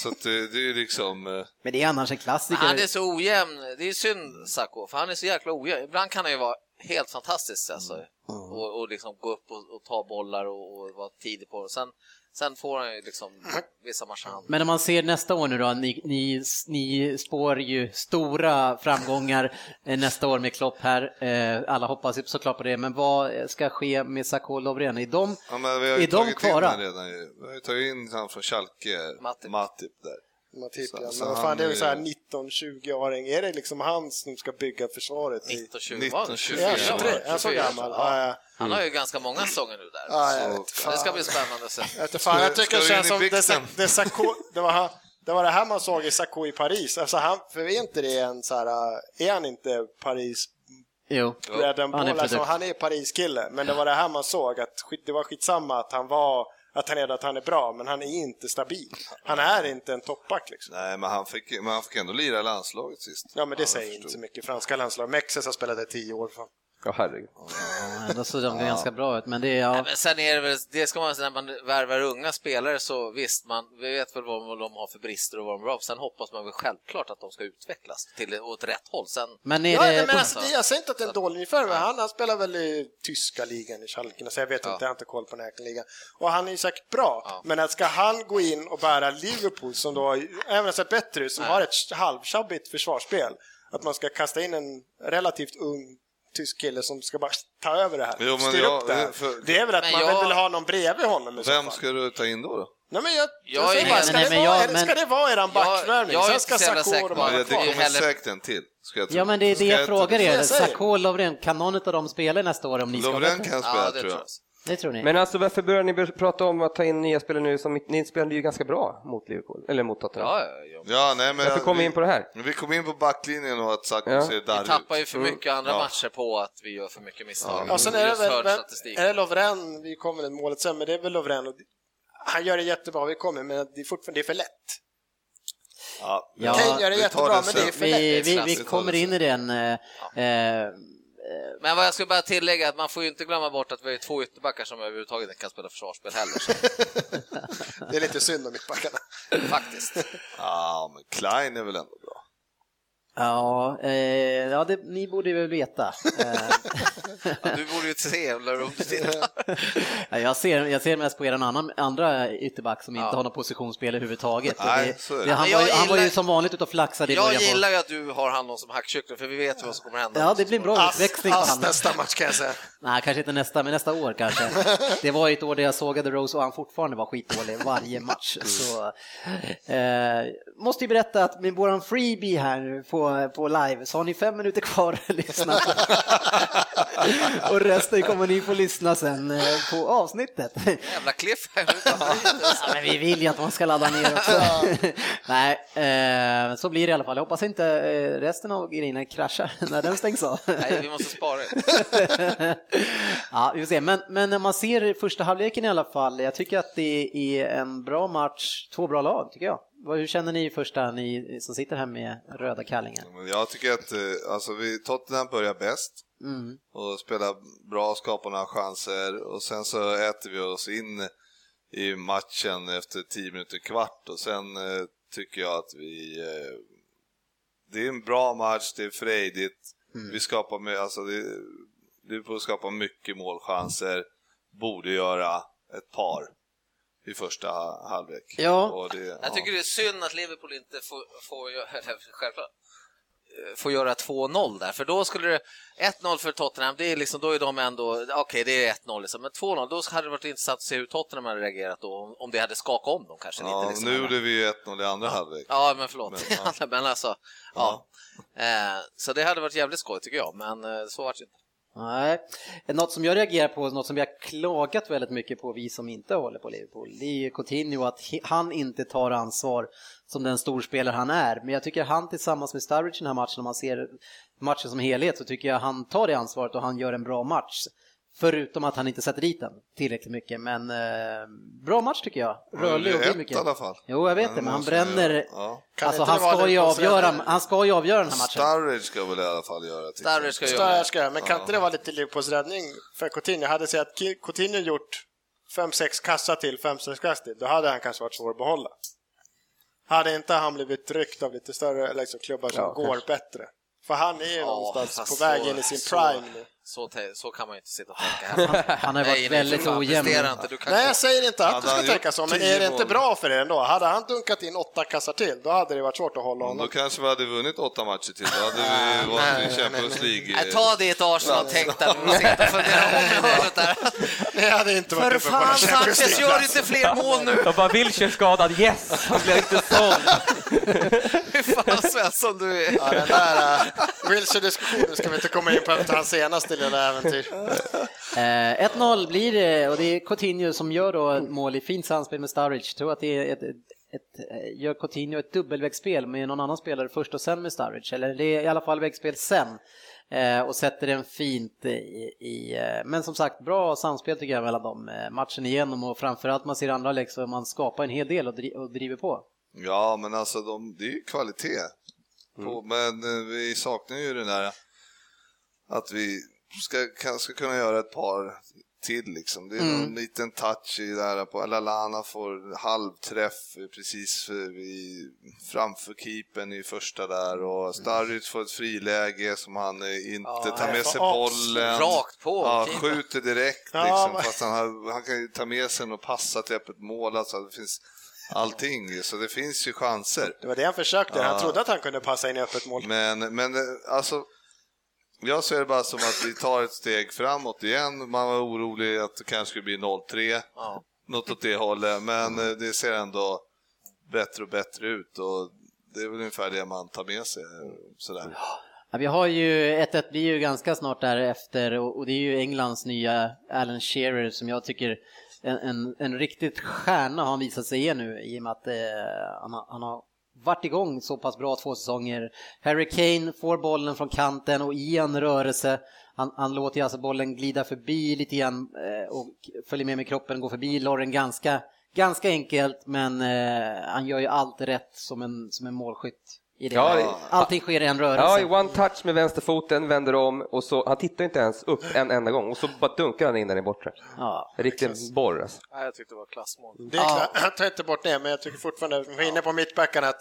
Speaker 6: Så att det, det är ju liksom... eh,
Speaker 2: Men det är annars en klassiker.
Speaker 4: Han är så ojämn. Det är synd Sacco, för han är så jäkla ojämn. Ibland kan han ju vara helt fantastisk alltså.
Speaker 5: Mm.
Speaker 4: Och, och liksom gå upp och, och ta bollar och, och vara tidig på det. Sen, sen får han ju liksom vissa matcher han...
Speaker 2: Men om man ser nästa år nu då, ni, ni, ni spår ju stora framgångar eh, nästa år med Klopp här. Eh, Alla hoppas ju såklart på det, men vad eh, ska ske med Sakho och Lovren? Är de,
Speaker 6: Ja, men vi har ju
Speaker 2: är de
Speaker 6: tagit in
Speaker 2: klara?
Speaker 6: han redan ju. Vi har ju tagit in han från Schalke,
Speaker 4: Matip.
Speaker 6: där.
Speaker 5: Matip,
Speaker 6: Så-
Speaker 5: ja.
Speaker 6: så
Speaker 5: Men vad
Speaker 6: han
Speaker 5: fan, det är väl
Speaker 6: är-
Speaker 5: så här 19-20-åring. Är det liksom han som ska bygga försvaret? i-
Speaker 4: 19-20 var han.
Speaker 6: 19-20.
Speaker 5: Är han
Speaker 6: 24?
Speaker 5: 23? Är han så gammal? Ja, ja.
Speaker 4: Han har ju ganska många säsonger nu där.
Speaker 5: Ja, jag
Speaker 4: Så
Speaker 5: vet
Speaker 4: det ska
Speaker 5: fan.
Speaker 4: bli spännande att se.
Speaker 5: Jag vet inte fan, jag
Speaker 6: Ska-
Speaker 5: tycker det
Speaker 6: ska
Speaker 5: känns
Speaker 6: du
Speaker 5: som
Speaker 6: in i blixten?
Speaker 5: det, det, Sarko, det, var, han- det var det här man såg i Sarko i Paris. Alltså han, för är inte det en så här, äh, är han inte Paris
Speaker 2: jo,
Speaker 5: bread and
Speaker 2: han är
Speaker 5: ball? Alltså,
Speaker 2: produkt.
Speaker 5: han är Paris-kille, men det var det här man såg, att skit, det var skitsamma att han var, att han är att han är bra, men han är inte stabil. Han är inte en toppback liksom.
Speaker 6: Nej, men han, fick, men han fick ändå lira i landslaget sist.
Speaker 5: Ja men det
Speaker 6: jag
Speaker 5: säger inte
Speaker 6: förstod.
Speaker 5: så mycket, franska landslaget. Mexes har spelat i tio år. Fan.
Speaker 3: Ja, herregud.
Speaker 2: Ja, ändå ser de ganska bra ut, men det är...
Speaker 4: Nej,
Speaker 2: Ja,
Speaker 4: men sen är det väl, det ska man säga, när man värvar unga spelare så visst, man vi vet väl vad de har för brister och vad de är bra på. Sen hoppas man väl självklart att de ska utvecklas till, åt rätt håll. Sen,
Speaker 2: men
Speaker 5: Ja,
Speaker 2: är
Speaker 5: nej,
Speaker 2: det...
Speaker 5: men alltså, det- jag säger inte att det är en dålig nyförvärv, men han, han spelar väl i tyska ligan i Schalke, så jag vet
Speaker 4: Ja.
Speaker 5: inte, jag har inte koll på den här ligan. Och han är ju säkert bra,
Speaker 4: Ja.
Speaker 5: men att ska han gå in och bära Liverpool som då, även sett bättre ut, som
Speaker 4: Nej.
Speaker 5: har ett halvtjabbigt försvarsspel, att man ska kasta in en relativt ung tysk kille som ska bara ta över det här,
Speaker 6: Jo, men
Speaker 5: styra
Speaker 6: jag-
Speaker 5: upp det här.
Speaker 6: för-
Speaker 5: Det är väl att
Speaker 4: Men
Speaker 5: man
Speaker 4: jag-
Speaker 5: vill ha någon bredvid honom i så
Speaker 6: Vem
Speaker 5: fall.
Speaker 6: ska du ta in då? då?
Speaker 5: Nej, men jag, jag,
Speaker 4: Jag
Speaker 5: säger
Speaker 4: är-
Speaker 5: bara,
Speaker 4: Nej,
Speaker 5: ska,
Speaker 2: nej,
Speaker 5: det
Speaker 2: men
Speaker 5: vara,
Speaker 2: jag-
Speaker 5: är det-
Speaker 2: men-
Speaker 5: ska det vara eran backvärvning?
Speaker 4: jag är
Speaker 5: Sen
Speaker 4: inte
Speaker 5: ska
Speaker 4: så jävla
Speaker 5: Sarko
Speaker 4: säker
Speaker 5: och de
Speaker 4: på-
Speaker 6: Ja,
Speaker 5: andra
Speaker 6: det
Speaker 4: det är
Speaker 5: kvar.
Speaker 4: ju
Speaker 6: kommer
Speaker 4: heller-
Speaker 6: säkert en till. Ska jag tro.
Speaker 2: Ja, men det är
Speaker 6: Ska
Speaker 2: det jag
Speaker 6: inte-
Speaker 2: frågar
Speaker 5: Det är
Speaker 2: er.
Speaker 5: det jag säger.
Speaker 2: Sakho och Lovren, kan någon av dem spela nästa år om ni ska vara
Speaker 6: Lovren
Speaker 2: bättre?
Speaker 6: kan spela, tror jag.
Speaker 2: Det tror ni?
Speaker 3: Men alltså varför börjar ni bör- prata om att ta in nya spelare nu? Som, ni spelade ju ganska bra mot Liverpool, eller mot Tottenham.
Speaker 4: Ja, ja, ja.
Speaker 6: Ja, nej, men
Speaker 3: Varför kom vi in på det här?
Speaker 6: Vi kom in på backlinjen och att Zacko
Speaker 3: Ja.
Speaker 6: ser darrig
Speaker 4: Vi tappar ju
Speaker 6: ut.
Speaker 4: för mycket andra
Speaker 6: Ja.
Speaker 4: matcher på att vi gör för mycket misstag.
Speaker 5: Ja, sen är det
Speaker 4: Just
Speaker 5: väl,
Speaker 4: för
Speaker 5: väl
Speaker 4: statistik.
Speaker 5: är det Lovren, vi kommer till målet sen, men det är väl Lovren. Och han gör det jättebra, vi kommer, men det är fortfarande det är för lätt.
Speaker 6: Ja,
Speaker 2: Ja,
Speaker 5: Kane gör det
Speaker 6: vi tar
Speaker 5: jättebra, men
Speaker 6: sen.
Speaker 5: det är för lätt.
Speaker 2: Vi, vi, vi
Speaker 6: Klassiskt.
Speaker 2: kommer in i den... eh, eh,
Speaker 4: Men vad jag skulle bara tillägga är att man får ju inte glömma bort att vi har ju två ytterbackar som överhuvudtaget inte kan spela försvarsspel heller. Så,
Speaker 5: Det är lite synd om mittbackarna.
Speaker 4: faktiskt.
Speaker 6: Ja, men Klein är väl ändå bra.
Speaker 2: Ja, eh, ja det, ni borde väl veta.
Speaker 4: Ja, du borde ju se jävla om du tittar.
Speaker 2: Eh, jag, ser, jag ser mest på er än annan, andra ytterback som inte
Speaker 4: Ja.
Speaker 2: har något positionsspel överhuvudtaget. Och
Speaker 6: Nej, så är det.
Speaker 2: han,
Speaker 4: Men
Speaker 2: var
Speaker 4: jag
Speaker 2: ju, han var ju
Speaker 4: gillar-
Speaker 2: som vanligt ute och flaxade i
Speaker 4: Jag
Speaker 2: början på-
Speaker 4: gillar ju att du har hand om som hackkyckling för vi vet ju vad som kommer hända.
Speaker 2: Ja, det blir en bra utväxling på
Speaker 5: Ass
Speaker 2: honom.
Speaker 5: nästa match kan jag säga.
Speaker 2: Nej, kanske inte nästa, men nästa år kanske. Det var ju ett år där jag sågade Rose och han fortfarande var skitdålig varje match. Så, eh, måste ju berätta att med våran freebie här nu på, på live så har ni fem minuter kvar att lyssna. och resten kommer ni få lyssna sen eh, på avsnittet.
Speaker 4: Jävla cliffhanger.
Speaker 2: Ja, men vi vill ju att man ska ladda ner också. Nej, eh, så blir det i alla fall. Jag hoppas inte eh, resten av grejerna kraschar när den stängs av.
Speaker 4: Nej, vi måste spara det.
Speaker 2: ja, vi får se. Men, men när man ser första halvleken i alla fall, jag tycker att det är en bra match, två bra lag tycker jag. Vad- Hur känner ni första, ni som sitter här med röda kallingar?
Speaker 6: Men jag tycker att eh, alltså, vi, Tottenham börjar bäst
Speaker 2: Mm.
Speaker 6: och spelar bra, skapar några chanser och sen så äter vi oss in i matchen efter 10 minuter kvart och sen eh, tycker jag att vi... Eh, det är en bra match, det är frejdigt,
Speaker 2: Mm.
Speaker 6: vi skapar med, alltså det, Liverpool skapar mycket målchanser, borde göra ett par i första ha- halvlek.
Speaker 2: Ja.
Speaker 6: Och det, ja.
Speaker 4: Jag tycker det är synd att Liverpool inte får, får göra- eller självklart, eh, får göra 2-0 där, för då skulle det... 1-0 för Tottenham, det är liksom, då är de ändå... Okej, det är 1-0, liksom, men 2-0, då hade det varit intressant att se hur Tottenham hade reagerat då, om- om det hade skakat om dem kanske lite.
Speaker 6: Ja,
Speaker 4: Liksom,
Speaker 6: nu gjorde vi ju 1-0 i andra halvlek.
Speaker 4: Ja, men förlåt.
Speaker 6: Men,
Speaker 4: Men,
Speaker 6: ja.
Speaker 4: alltså, ja. Eh, så det hade varit jävligt skoj tycker jag, men eh, så vart det inte.
Speaker 2: Nej. Något som jag reagerar på, något som vi har klagat väldigt mycket på, vi som inte håller på Liverpool, det är ju Coutinho, att he- han inte tar ansvar som den storspelare han är. Men jag tycker han tillsammans med Sturridge i den här matchen, om man ser matchen som helhet, så tycker jag han tar det ansvaret och han gör en bra match. Förutom att han inte sätter dit den tillräckligt mycket, men eh, bra match tycker jag. Rörlig och
Speaker 6: Ett
Speaker 2: blir
Speaker 6: i
Speaker 2: mycket.
Speaker 6: alla fall.
Speaker 2: Jo, jag vet det, men han bränner.
Speaker 6: Ja.
Speaker 5: Kan
Speaker 2: Alltså
Speaker 5: inte
Speaker 2: han
Speaker 5: det vara
Speaker 2: ska, ju
Speaker 5: Liverpools
Speaker 2: avgöra,
Speaker 5: räddning?
Speaker 2: han ska ju avgöra den här matchen.
Speaker 6: Sturridge ska väl i alla fall göra till.
Speaker 4: Starry ska göra det.
Speaker 5: Större ska jag, men kan inte det vara lite Liverpools räddning för Coutinho? Hade sett att Ki- Coutinho gjort 5-6 kassa till, 5-6 kast till, då hade han kanske varit svår att behålla. Hade inte han blivit ryckt av lite större liksom, klubbar som går bättre? För han är ju någonstans
Speaker 4: fast
Speaker 5: på väg
Speaker 4: så-
Speaker 5: in i sin
Speaker 4: så-
Speaker 5: prime nu.
Speaker 4: Så, te- så kan man ju inte sitta och tänka här.
Speaker 2: Han har ju varit väldigt ojämn.
Speaker 4: Inte, du kan
Speaker 5: Nej, jag säger inte att
Speaker 6: Hade
Speaker 5: du ska
Speaker 6: han gjort
Speaker 5: tänka så, men
Speaker 6: tio
Speaker 5: är det inte
Speaker 6: mål?
Speaker 5: bra för er ändå? Hade han dunkat in åtta kassar till, då hade det varit svårt att hålla
Speaker 6: Mm, Då
Speaker 5: honom.
Speaker 6: kanske vi hade vunnit åtta matcher till. Då hade vi varit i Champions League. eh,
Speaker 4: Nej, ta ditt Arsenal-tänk där, men sitta och fundera om i hörnet där.
Speaker 5: Det hade inte varit
Speaker 4: För
Speaker 5: uppe på den
Speaker 4: fan Sanchez, gör inte fler mål nu!
Speaker 3: Jag bara, Wilshire skadad, yes! Han blev inte såld.
Speaker 4: Fy fan Svensson, du är...
Speaker 5: Ja, den
Speaker 6: äh,
Speaker 5: där uh, Wilshire-diskussionen ska vi inte komma in på efter hans senaste lilla äventyr.
Speaker 2: Eh, 1-0 blir det och det är Coutinho som gör då ett mål i fint samspel med Sturridge. Tror att det är ett, ett, ett, eh, gör Coutinho ett dubbelvägsspel med någon annan spelare först och sen med Sturridge. Eller det är i alla fall vägsspel sen. Eh, och sätter den fint i, i eh, men som sagt bra samspel tycker jag mellan dem eh, matchen igenom och framförallt man ser andra läget så man skapar en hel del och, dri- och driver på.
Speaker 6: Ja, men alltså de, det är ju kvalitet. På, men eh, vi saknar ju den där att vi ska, kan, ska kunna göra ett par till liksom. Det är
Speaker 4: Mm.
Speaker 6: någon liten touch i det här på Lalana får halvträff precis vid, framför keepern i första där och Starryt får ett friläge som han eh, inte tar med
Speaker 5: nej,
Speaker 6: sig
Speaker 5: fan,
Speaker 6: bollen.
Speaker 4: Rakt på
Speaker 6: Ja,
Speaker 4: keepern.
Speaker 6: skjuter direkt
Speaker 5: Ja,
Speaker 6: liksom,
Speaker 5: men-
Speaker 6: fast han, har, han kan ju ta med sig den och passa till öppet mål. Alltså, det finns allting, så det finns ju chanser.
Speaker 5: Det var det han försökte, han trodde att han kunde passa in i öppet mål.
Speaker 6: Men, men eh, alltså, jag ser det bara som att vi tar ett steg framåt igen. Man var orolig att det kanske skulle bli 0-3,
Speaker 4: Ja.
Speaker 6: något åt det hållet, men eh, det ser ändå bättre och bättre ut. Och det är väl ungefär det man tar med sig. eh, Sådär.
Speaker 2: Ja, vi har ju 1-1 blir ju ganska snart därefter och, och det är ju Englands nya Alan Shearer som jag tycker en, en, en riktigt stjärna har han visat sig är nu i och med att eh, han, har, han har varit igång så pass bra två säsonger. Harry Kane får bollen från kanten och i en rörelse han, han låter ju alltså bollen glida förbi lite grann eh, och följer med med kroppen, går förbi Lauren ganska, ganska enkelt men eh, han gör ju allt rätt som en, som en målskytt. I det.
Speaker 3: Ja, det-
Speaker 2: Allting sker i en rörelse.
Speaker 3: Ja, i one touch med vänsterfoten, vänder om och så, han tittar inte ens upp en enda gång och så bara dunkar han in den i bortre.
Speaker 2: Ja.
Speaker 3: Riktig borr alltså.
Speaker 4: Nej, jag tyckte det var klassmål.
Speaker 5: Det är klart, jag tar inte bort det, men jag tycker fortfarande, vi var inne på mittbackarna, att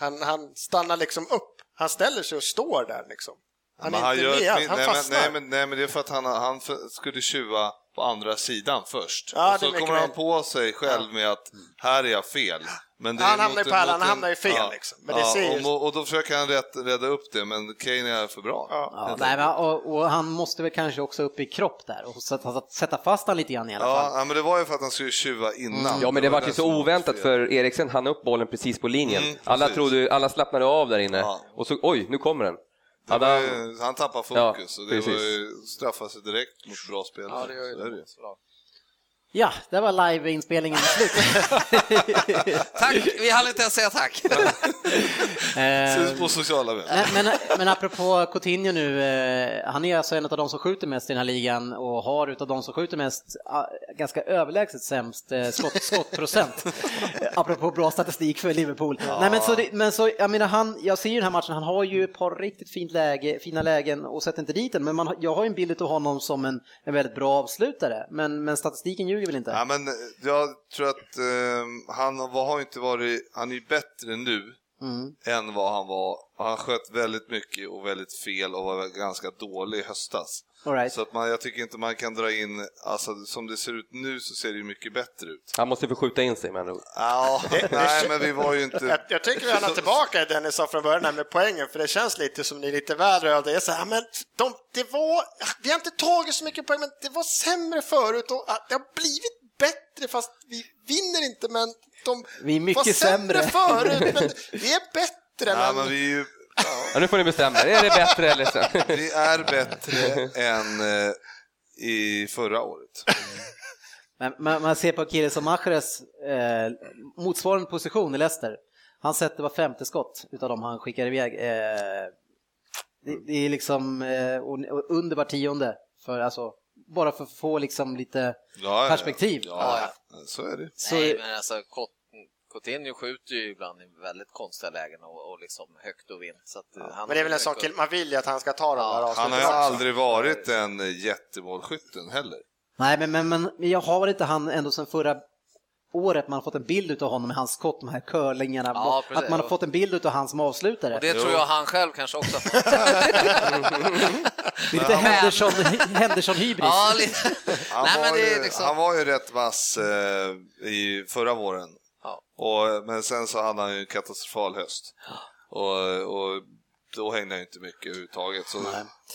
Speaker 5: han, han stannar liksom upp. Han ställer sig och står där liksom. Han
Speaker 6: Men
Speaker 5: är inte med,
Speaker 6: min-
Speaker 5: han
Speaker 6: nej, men,
Speaker 5: fastnar.
Speaker 6: nej, men, nej, men det är för att han, han för- skulle tjuva på andra sidan först.
Speaker 5: Ja,
Speaker 6: och
Speaker 5: det är
Speaker 6: så
Speaker 5: mycket
Speaker 6: kommer han
Speaker 5: möjligt.
Speaker 6: på sig själv med att här är jag fel. Men det
Speaker 5: Ja,
Speaker 6: är
Speaker 5: han hamnar
Speaker 6: mot-
Speaker 5: i pärlan,
Speaker 6: mot
Speaker 5: han
Speaker 6: en-
Speaker 5: hamnar ju fel, liksom. Men det
Speaker 6: ja,
Speaker 5: ser ju-
Speaker 6: och, och då försöker han rätt, rädda upp det, men Kane är för bra.
Speaker 5: Ja.
Speaker 2: Ja, nej, men, och, och han måste väl kanske också upp i kropp där och sätta, sätta fast han lite grann i alla
Speaker 6: Ja,
Speaker 2: fall.
Speaker 6: ja, men det var ju för att han skulle tjuva innan.
Speaker 3: Ja, men det var ju
Speaker 6: den
Speaker 3: så
Speaker 6: som
Speaker 3: oväntat
Speaker 6: fel.
Speaker 3: för Eriksen hann upp bollen precis på linjen.
Speaker 6: Mm,
Speaker 3: alla
Speaker 6: precis.
Speaker 3: trodde, alla slappnade av där inne
Speaker 6: Ja.
Speaker 3: och så, oj, nu kommer den.
Speaker 6: Det
Speaker 3: Hade
Speaker 6: var
Speaker 3: han-
Speaker 6: ju- Han tappar fokus
Speaker 3: Ja,
Speaker 6: och det var
Speaker 3: precis.
Speaker 6: ju, straffar sig direkt mot bra spelare.
Speaker 4: Ja, det gör ju
Speaker 6: Så är det ju.
Speaker 4: det. Bra.
Speaker 2: Ja, där var liveinspelningen slut.
Speaker 4: Tack, vi hann inte ens säga tack.
Speaker 6: Syns
Speaker 2: eh,
Speaker 6: på sociala medier.
Speaker 2: nej, men, men apropå Coutinho nu, eh, han är alltså en av de som skjuter mest i den här ligan och har utav de som skjuter mest ah, ganska överlägset sämst eh, skott, skottprocent. Eh, apropå bra statistik för Liverpool. Nej, men så, det- men så, jag menar han, jag ser ju den här matchen, han har ju ett par riktigt fint läge, fina lägen och sätter inte dit den, men man, har- jag har ju en bild av honom som en, en väldigt bra avslutare, men, men statistiken ljuger väl inte?
Speaker 6: Ja, ehm, men jag tror att eh, han har- har inte varit, han är ju bättre nu än vad han var. Och han sköt väldigt mycket och väldigt fel och var ganska dålig i höstas.
Speaker 2: All right.
Speaker 6: Så att man, jag tycker inte man kan dra in, alltså som det ser ut nu så ser det ju mycket bättre ut.
Speaker 3: Han måste få skjuta in sig med andra ord.
Speaker 6: Ja, nej men vi var ju
Speaker 5: Jag,
Speaker 6: inte...
Speaker 5: jag tänker gärna tillbaka i det ni sa från början här med poängen, för det känns lite som ni är lite väl röda. Jag säger, ja, men de, det var, vi har inte tagit så mycket poäng, men det var sämre förut och att det har blivit bättre fast vi vinner inte, men de
Speaker 2: Vi är mycket
Speaker 5: var sämre
Speaker 2: sämre.
Speaker 5: förut, men vi är bättre.
Speaker 6: Nej,
Speaker 5: men,
Speaker 6: men vi är ju... Ja.
Speaker 3: Ja, nu får ni bestämma er. Är det bättre eller så?
Speaker 6: Vi är bättre än eh, i förra året.
Speaker 2: Men man, man ser på Kirill som Mahrez eh, motsvarande position i Leicester. Han sätter var femte skott utav dem han skickar iväg. Eh, det, det är liksom eh, och, och under var tionde. För, alltså, bara för att få liksom lite
Speaker 6: Ja, ja,
Speaker 2: perspektiv.
Speaker 6: Ja, ja. så är det.
Speaker 2: Så,
Speaker 4: Nej, men alltså Cot- Coutinho skjuter ju ibland i väldigt konstiga lägen och, och liksom högt och vint. Så att eh, han
Speaker 5: men det är väl en sån kille, man vill ju att han ska ta de där
Speaker 6: Han har ju
Speaker 5: avsluten.
Speaker 6: aldrig varit en eh, jättemålskytten heller.
Speaker 2: nej men, men, men jag har inte han ändå sedan förra året man har fått en bild utav honom med hans skott, de här curlingarna.
Speaker 4: Ja, precis.
Speaker 2: att man har fått en bild utav han som avslutare.
Speaker 4: Och det tror jag han själv kanske också.
Speaker 2: Det är lite Henderson, Henderson-hybris.
Speaker 4: ja, lite.
Speaker 6: Han,
Speaker 4: Nej, men
Speaker 6: var,
Speaker 4: det är
Speaker 6: ju,
Speaker 4: liksom-
Speaker 6: han var ju rätt vass eh, i förra våren.
Speaker 4: Ja.
Speaker 6: Och, men sen så hade han ju en katastrofal höst. Och, och då hängde han ju inte mycket överhuvudtaget. Så,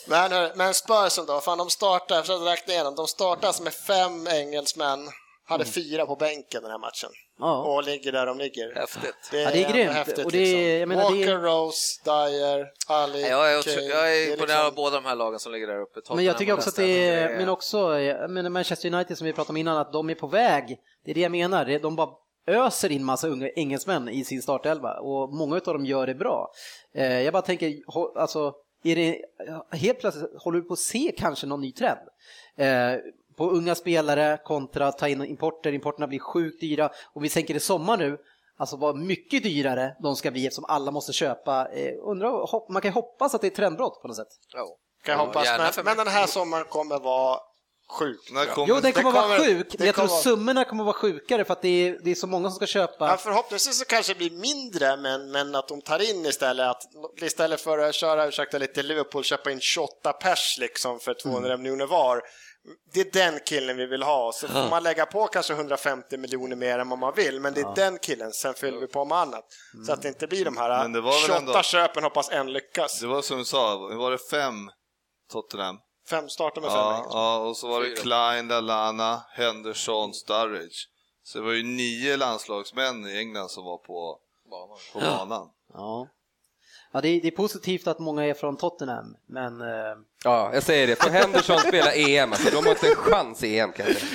Speaker 5: Men, hörru, men Spursen då, fan de startar, jag försökte räkna igenom, de startar alltså med fem engelsmän, hade fyra på bänken den här matchen.
Speaker 2: Mm. Ja.
Speaker 5: Och ligger där de ligger.
Speaker 4: Häftigt.
Speaker 5: Det är,
Speaker 2: Ja, det är
Speaker 5: ändå
Speaker 2: grymt.
Speaker 5: häftigt.
Speaker 2: Och det är- jag
Speaker 5: liksom.
Speaker 2: menar, det
Speaker 5: Walker,
Speaker 2: är-
Speaker 5: Rose, Dyer, Ali,
Speaker 4: Jag är,
Speaker 5: Kane.
Speaker 4: jag
Speaker 5: Det
Speaker 4: är
Speaker 5: liksom-
Speaker 4: imponerad av båda de här lagen som ligger där uppe. Tottenham
Speaker 2: Men jag tycker
Speaker 4: och
Speaker 2: också att
Speaker 4: Leicester.
Speaker 2: det är, men också, jag menar Manchester United som vi pratade om innan, att de är på väg. Det är det jag menar, Det- de bara öser in massa unga engelsmän i sin startelva och många av dem gör det bra. Eh, Jag bara tänker, ho- alltså, är det, helt plötsligt håller vi på att se kanske någon ny trend. Eh, På unga spelare kontra att ta in importer, importerna blir sjukt dyra och vi tänker i sommar nu, Alltså vad mycket dyrare de ska bli eftersom alla måste köpa. Eh, undrar, hopp, man kan ju hoppas att det är ett trendbrott på något sätt.
Speaker 4: Ja.
Speaker 5: Kan jag hoppas,
Speaker 4: Gärna
Speaker 5: men,
Speaker 4: för mig.
Speaker 5: men den här sommaren kommer vara sjuk.
Speaker 6: när kom
Speaker 2: Jo, den kommer
Speaker 5: Det
Speaker 2: vara
Speaker 5: kommer-
Speaker 2: sjuk,
Speaker 5: det
Speaker 2: men jag tror
Speaker 5: kommer-
Speaker 2: summorna kommer vara sjukare för att det är, det är så många som ska köpa.
Speaker 5: Ja, förhoppningsvis så kanske det blir mindre, men, men att de tar in istället att istället för att köra, ursäkta lite Liverpool, köpa in 28 pers liksom för 200
Speaker 4: Mm.
Speaker 5: miljoner var. Det är den killen vi vill ha, så får man lägga på kanske 150 miljoner mer än vad man vill, men det är den killen, sen fyller vi på med annat.
Speaker 4: Mm.
Speaker 5: Så att det inte blir de här
Speaker 6: Men det var väl
Speaker 5: 28
Speaker 6: ändå-
Speaker 5: köpen, hoppas en lyckas.
Speaker 6: Det var som du sa, var det fem Tottenham?
Speaker 5: Fem startar med fem
Speaker 6: Ja,
Speaker 5: engelska.
Speaker 6: ja, och så var det
Speaker 4: Fyra.
Speaker 6: Klein, Lallana, Henderson, Sturridge. Så det var ju nio landslagsmän i England som var på,
Speaker 4: Banan.
Speaker 6: på banan.
Speaker 2: Ja. Ja, det, är, det är positivt att många är från Tottenham, men eh,
Speaker 3: Ja, jag säger det. Får Henderson spela EM, alltså, de har inte en chans i E EM kanske.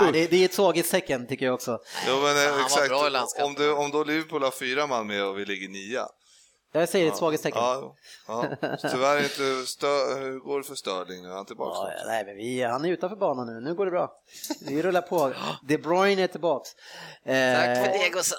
Speaker 2: nej, det, det är ett svaghetstecken tycker jag också.
Speaker 6: Jo, men eh,
Speaker 4: han var
Speaker 6: exakt.
Speaker 4: bra i landskampen.
Speaker 6: Om, du, om då Liverpool har fyra man med och vi ligger nia.
Speaker 2: Jag säger det är ett svaghetstecken. Ja,
Speaker 6: Ja, ja. Tyvärr är inte stö, hur går det för Sterling nu? Är han tillbaka? snart?
Speaker 2: nej, men vi, han är utanför banan nu, nu går det bra. Vi rullar på. De Bruyne är tillbaks. Eh,
Speaker 4: Tack för det gossen.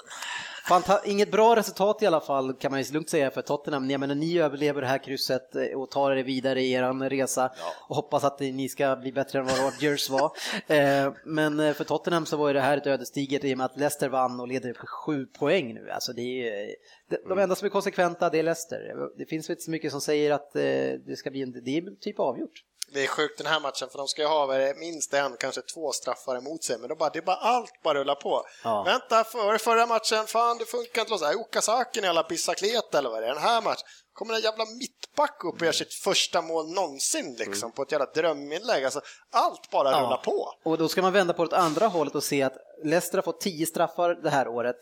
Speaker 2: Fanta- inget bra resultat i alla fall kan man ju lugnt säga för Tottenham. Jag menar, ni överlever det här krysset eh, och tar er vidare i er resa och hoppas att ni ska bli bättre än vad Rodgers var. Eh, Men eh, för Tottenham så var ju det här ett ödesdigert i och med att Leicester vann och leder på sju poäng nu. Alltså det är, ju- de- de enda som är konsekventa det är Leicester. Det finns väl inte så mycket som säger att eh, det ska bli en, det är typ avgjort.
Speaker 5: Det är sjukt den här matchen för de ska ju ha vad är det, minst en, kanske två straffar emot sig men de bara, det är bara allt bara rullar på.
Speaker 2: Ja.
Speaker 5: Vänta, för, förra matchen, fan det funkar inte loss. Äh, Okazaki i alla Bicicleta eller vad det är, den här matchen. Kommer en jävla mittback upp och gör sitt första mål någonsin liksom på ett jävla dröminlägg. Alltså, allt bara
Speaker 2: Mm. Ja.
Speaker 5: rullar på.
Speaker 2: Och då ska man vända på det åt andra hållet och se att Leicester har fått 10 straffar det här året.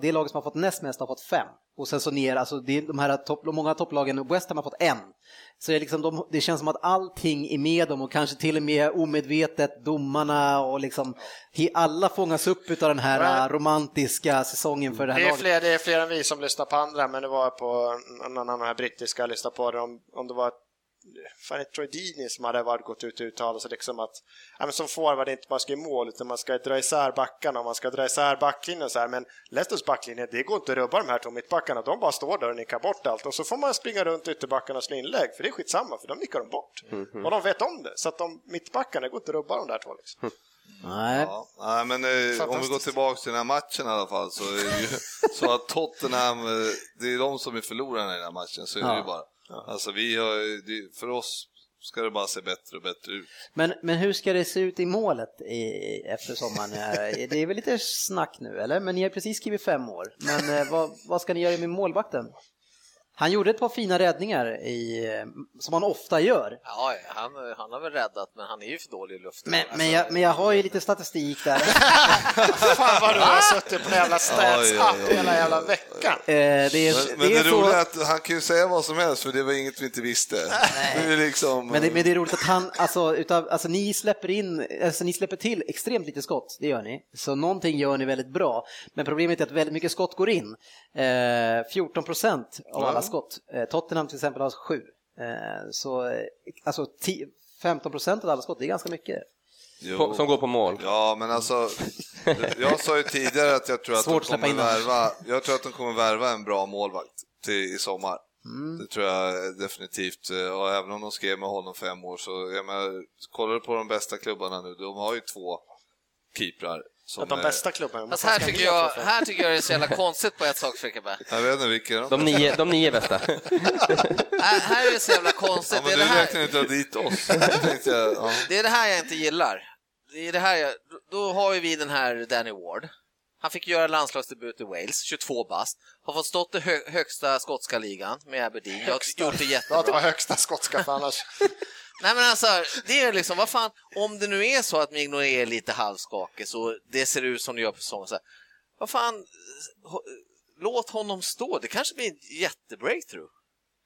Speaker 2: Det lag som har fått näst mest har fått fem. Och sen så ner, alltså det är de här topp, många av topplagen, West Ham har fått en. Så det, är liksom de, det känns som att allting är med dem och kanske till och med omedvetet domarna och liksom he- alla fångas upp utav den här
Speaker 5: Nej.
Speaker 2: eh, romantiska säsongen för det här
Speaker 5: Det är,
Speaker 2: laget.
Speaker 5: fler, det är fler än vi som lyssnar på andra, men det var på en annan av de här brittiska jag lyssnade på det, om, om det var fan, ett Troy Deeney som hade varit, gått ut och uttalat sig liksom att ja, men som forward inte man ska i mål utan man ska dra isär backarna och man ska dra isär backlinjen och så här, men Leicesters backlinje det går inte att rubba de här två mittbackarna, de bara står där och nickar bort allt och så får man springa runt ytterbackarna och slå inlägg för det är
Speaker 6: Mhm.
Speaker 5: skitsamma för de nickar de bort och de vet om det så att de mittbackarna det går inte att rubba de där två liksom.
Speaker 2: Nej.
Speaker 6: Ja, nej, men eh, om vi går
Speaker 5: Fantastiskt.
Speaker 6: tillbaka till den här matchen i alla fall så är det ju så att Tottenham, eh, det är de som är förlorarna i den här matchen, så är det
Speaker 2: Ja.
Speaker 6: ju bara. Alltså vi har, ju- det, för oss ska det bara se bättre och bättre ut.
Speaker 2: Men, men hur ska det se ut i målet i, efter sommaren? här? Det är väl lite snack nu eller? Men ni har precis skrivit fem år. Men eh, vad, vad ska ni göra med målvakten? Han gjorde ett par fina räddningar i, eh, som han ofta gör.
Speaker 4: Ja, ja, han, han har väl räddat, men han är ju för dålig i luften. Alltså,
Speaker 2: Men, men, jag, men jag har ju lite statistik där. Eh,
Speaker 5: Fan vad du har suttit på den jävla
Speaker 6: Oj, oj,
Speaker 5: stats-app
Speaker 6: oj,
Speaker 5: hela
Speaker 6: oj.
Speaker 5: jävla veckan.
Speaker 2: Eh, det är,
Speaker 6: Men, men det,
Speaker 2: är så-
Speaker 6: roliga är att han kan ju säga vad som helst för det var inget vi inte visste. Det är ju liksom,
Speaker 2: Men det, men det är roligt att han, alltså, utav, alltså ni släpper in, alltså ni släpper till extremt lite skott, det gör ni. Så någonting gör ni väldigt bra. Men problemet är att väldigt mycket skott går in. Eh, 14 procent av alla skott. Eh, Tottenham till exempel har 7. Eh, så eh, alltså 10, 15 procent av alla skott, det är ganska mycket.
Speaker 6: Jo.
Speaker 3: På, som går på mål.
Speaker 6: Ja, men alltså, jag sa ju tidigare att jag tror att,
Speaker 2: Svårt
Speaker 6: de
Speaker 2: att släppa
Speaker 6: kommer,
Speaker 2: in den.
Speaker 6: värva, jag tror att de kommer värva en bra målvakt till, i sommar.
Speaker 2: Mm.
Speaker 6: Det tror jag definitivt. Och även om de skrev med honom fem år så, jag menar, kollar du på de bästa klubbarna nu, de har ju två keeprar. Som
Speaker 5: Att de
Speaker 6: är-
Speaker 5: bästa
Speaker 4: Fast
Speaker 5: klubbarna. måste
Speaker 4: här
Speaker 5: ha
Speaker 4: tycker,
Speaker 5: skandal
Speaker 4: jag,
Speaker 5: för.
Speaker 4: här tycker jag det är så jävla konstigt på ett sak, Frickeberg.
Speaker 6: Jag vet inte vilka de,
Speaker 3: De nio, de nio bästa.
Speaker 4: Här, här är det så jävla konstigt.
Speaker 6: Ja,
Speaker 4: det,
Speaker 6: men
Speaker 4: är
Speaker 6: du
Speaker 4: det,
Speaker 6: räknar
Speaker 4: här,
Speaker 6: ju inte dit oss. Jag tänkte, ja.
Speaker 4: det är det här jag inte gillar. Det är det här jag, då har ju vi den här Danny Ward. Han fick göra landslagsdebut i Wales, 22 bast. Har fått stått i hö, högsta skotska ligan med Aberdeen. Jag har gjort det
Speaker 5: Ja, det
Speaker 4: jättebra.
Speaker 5: var högsta skotska för annars.
Speaker 4: Nej men alltså, det är liksom, vad fan, om det nu är så att Migno är lite halvskakig så det ser ut som det gör på säsongen, så här, vad fan, ho- låt honom stå, det kanske blir en jättebreakthrough.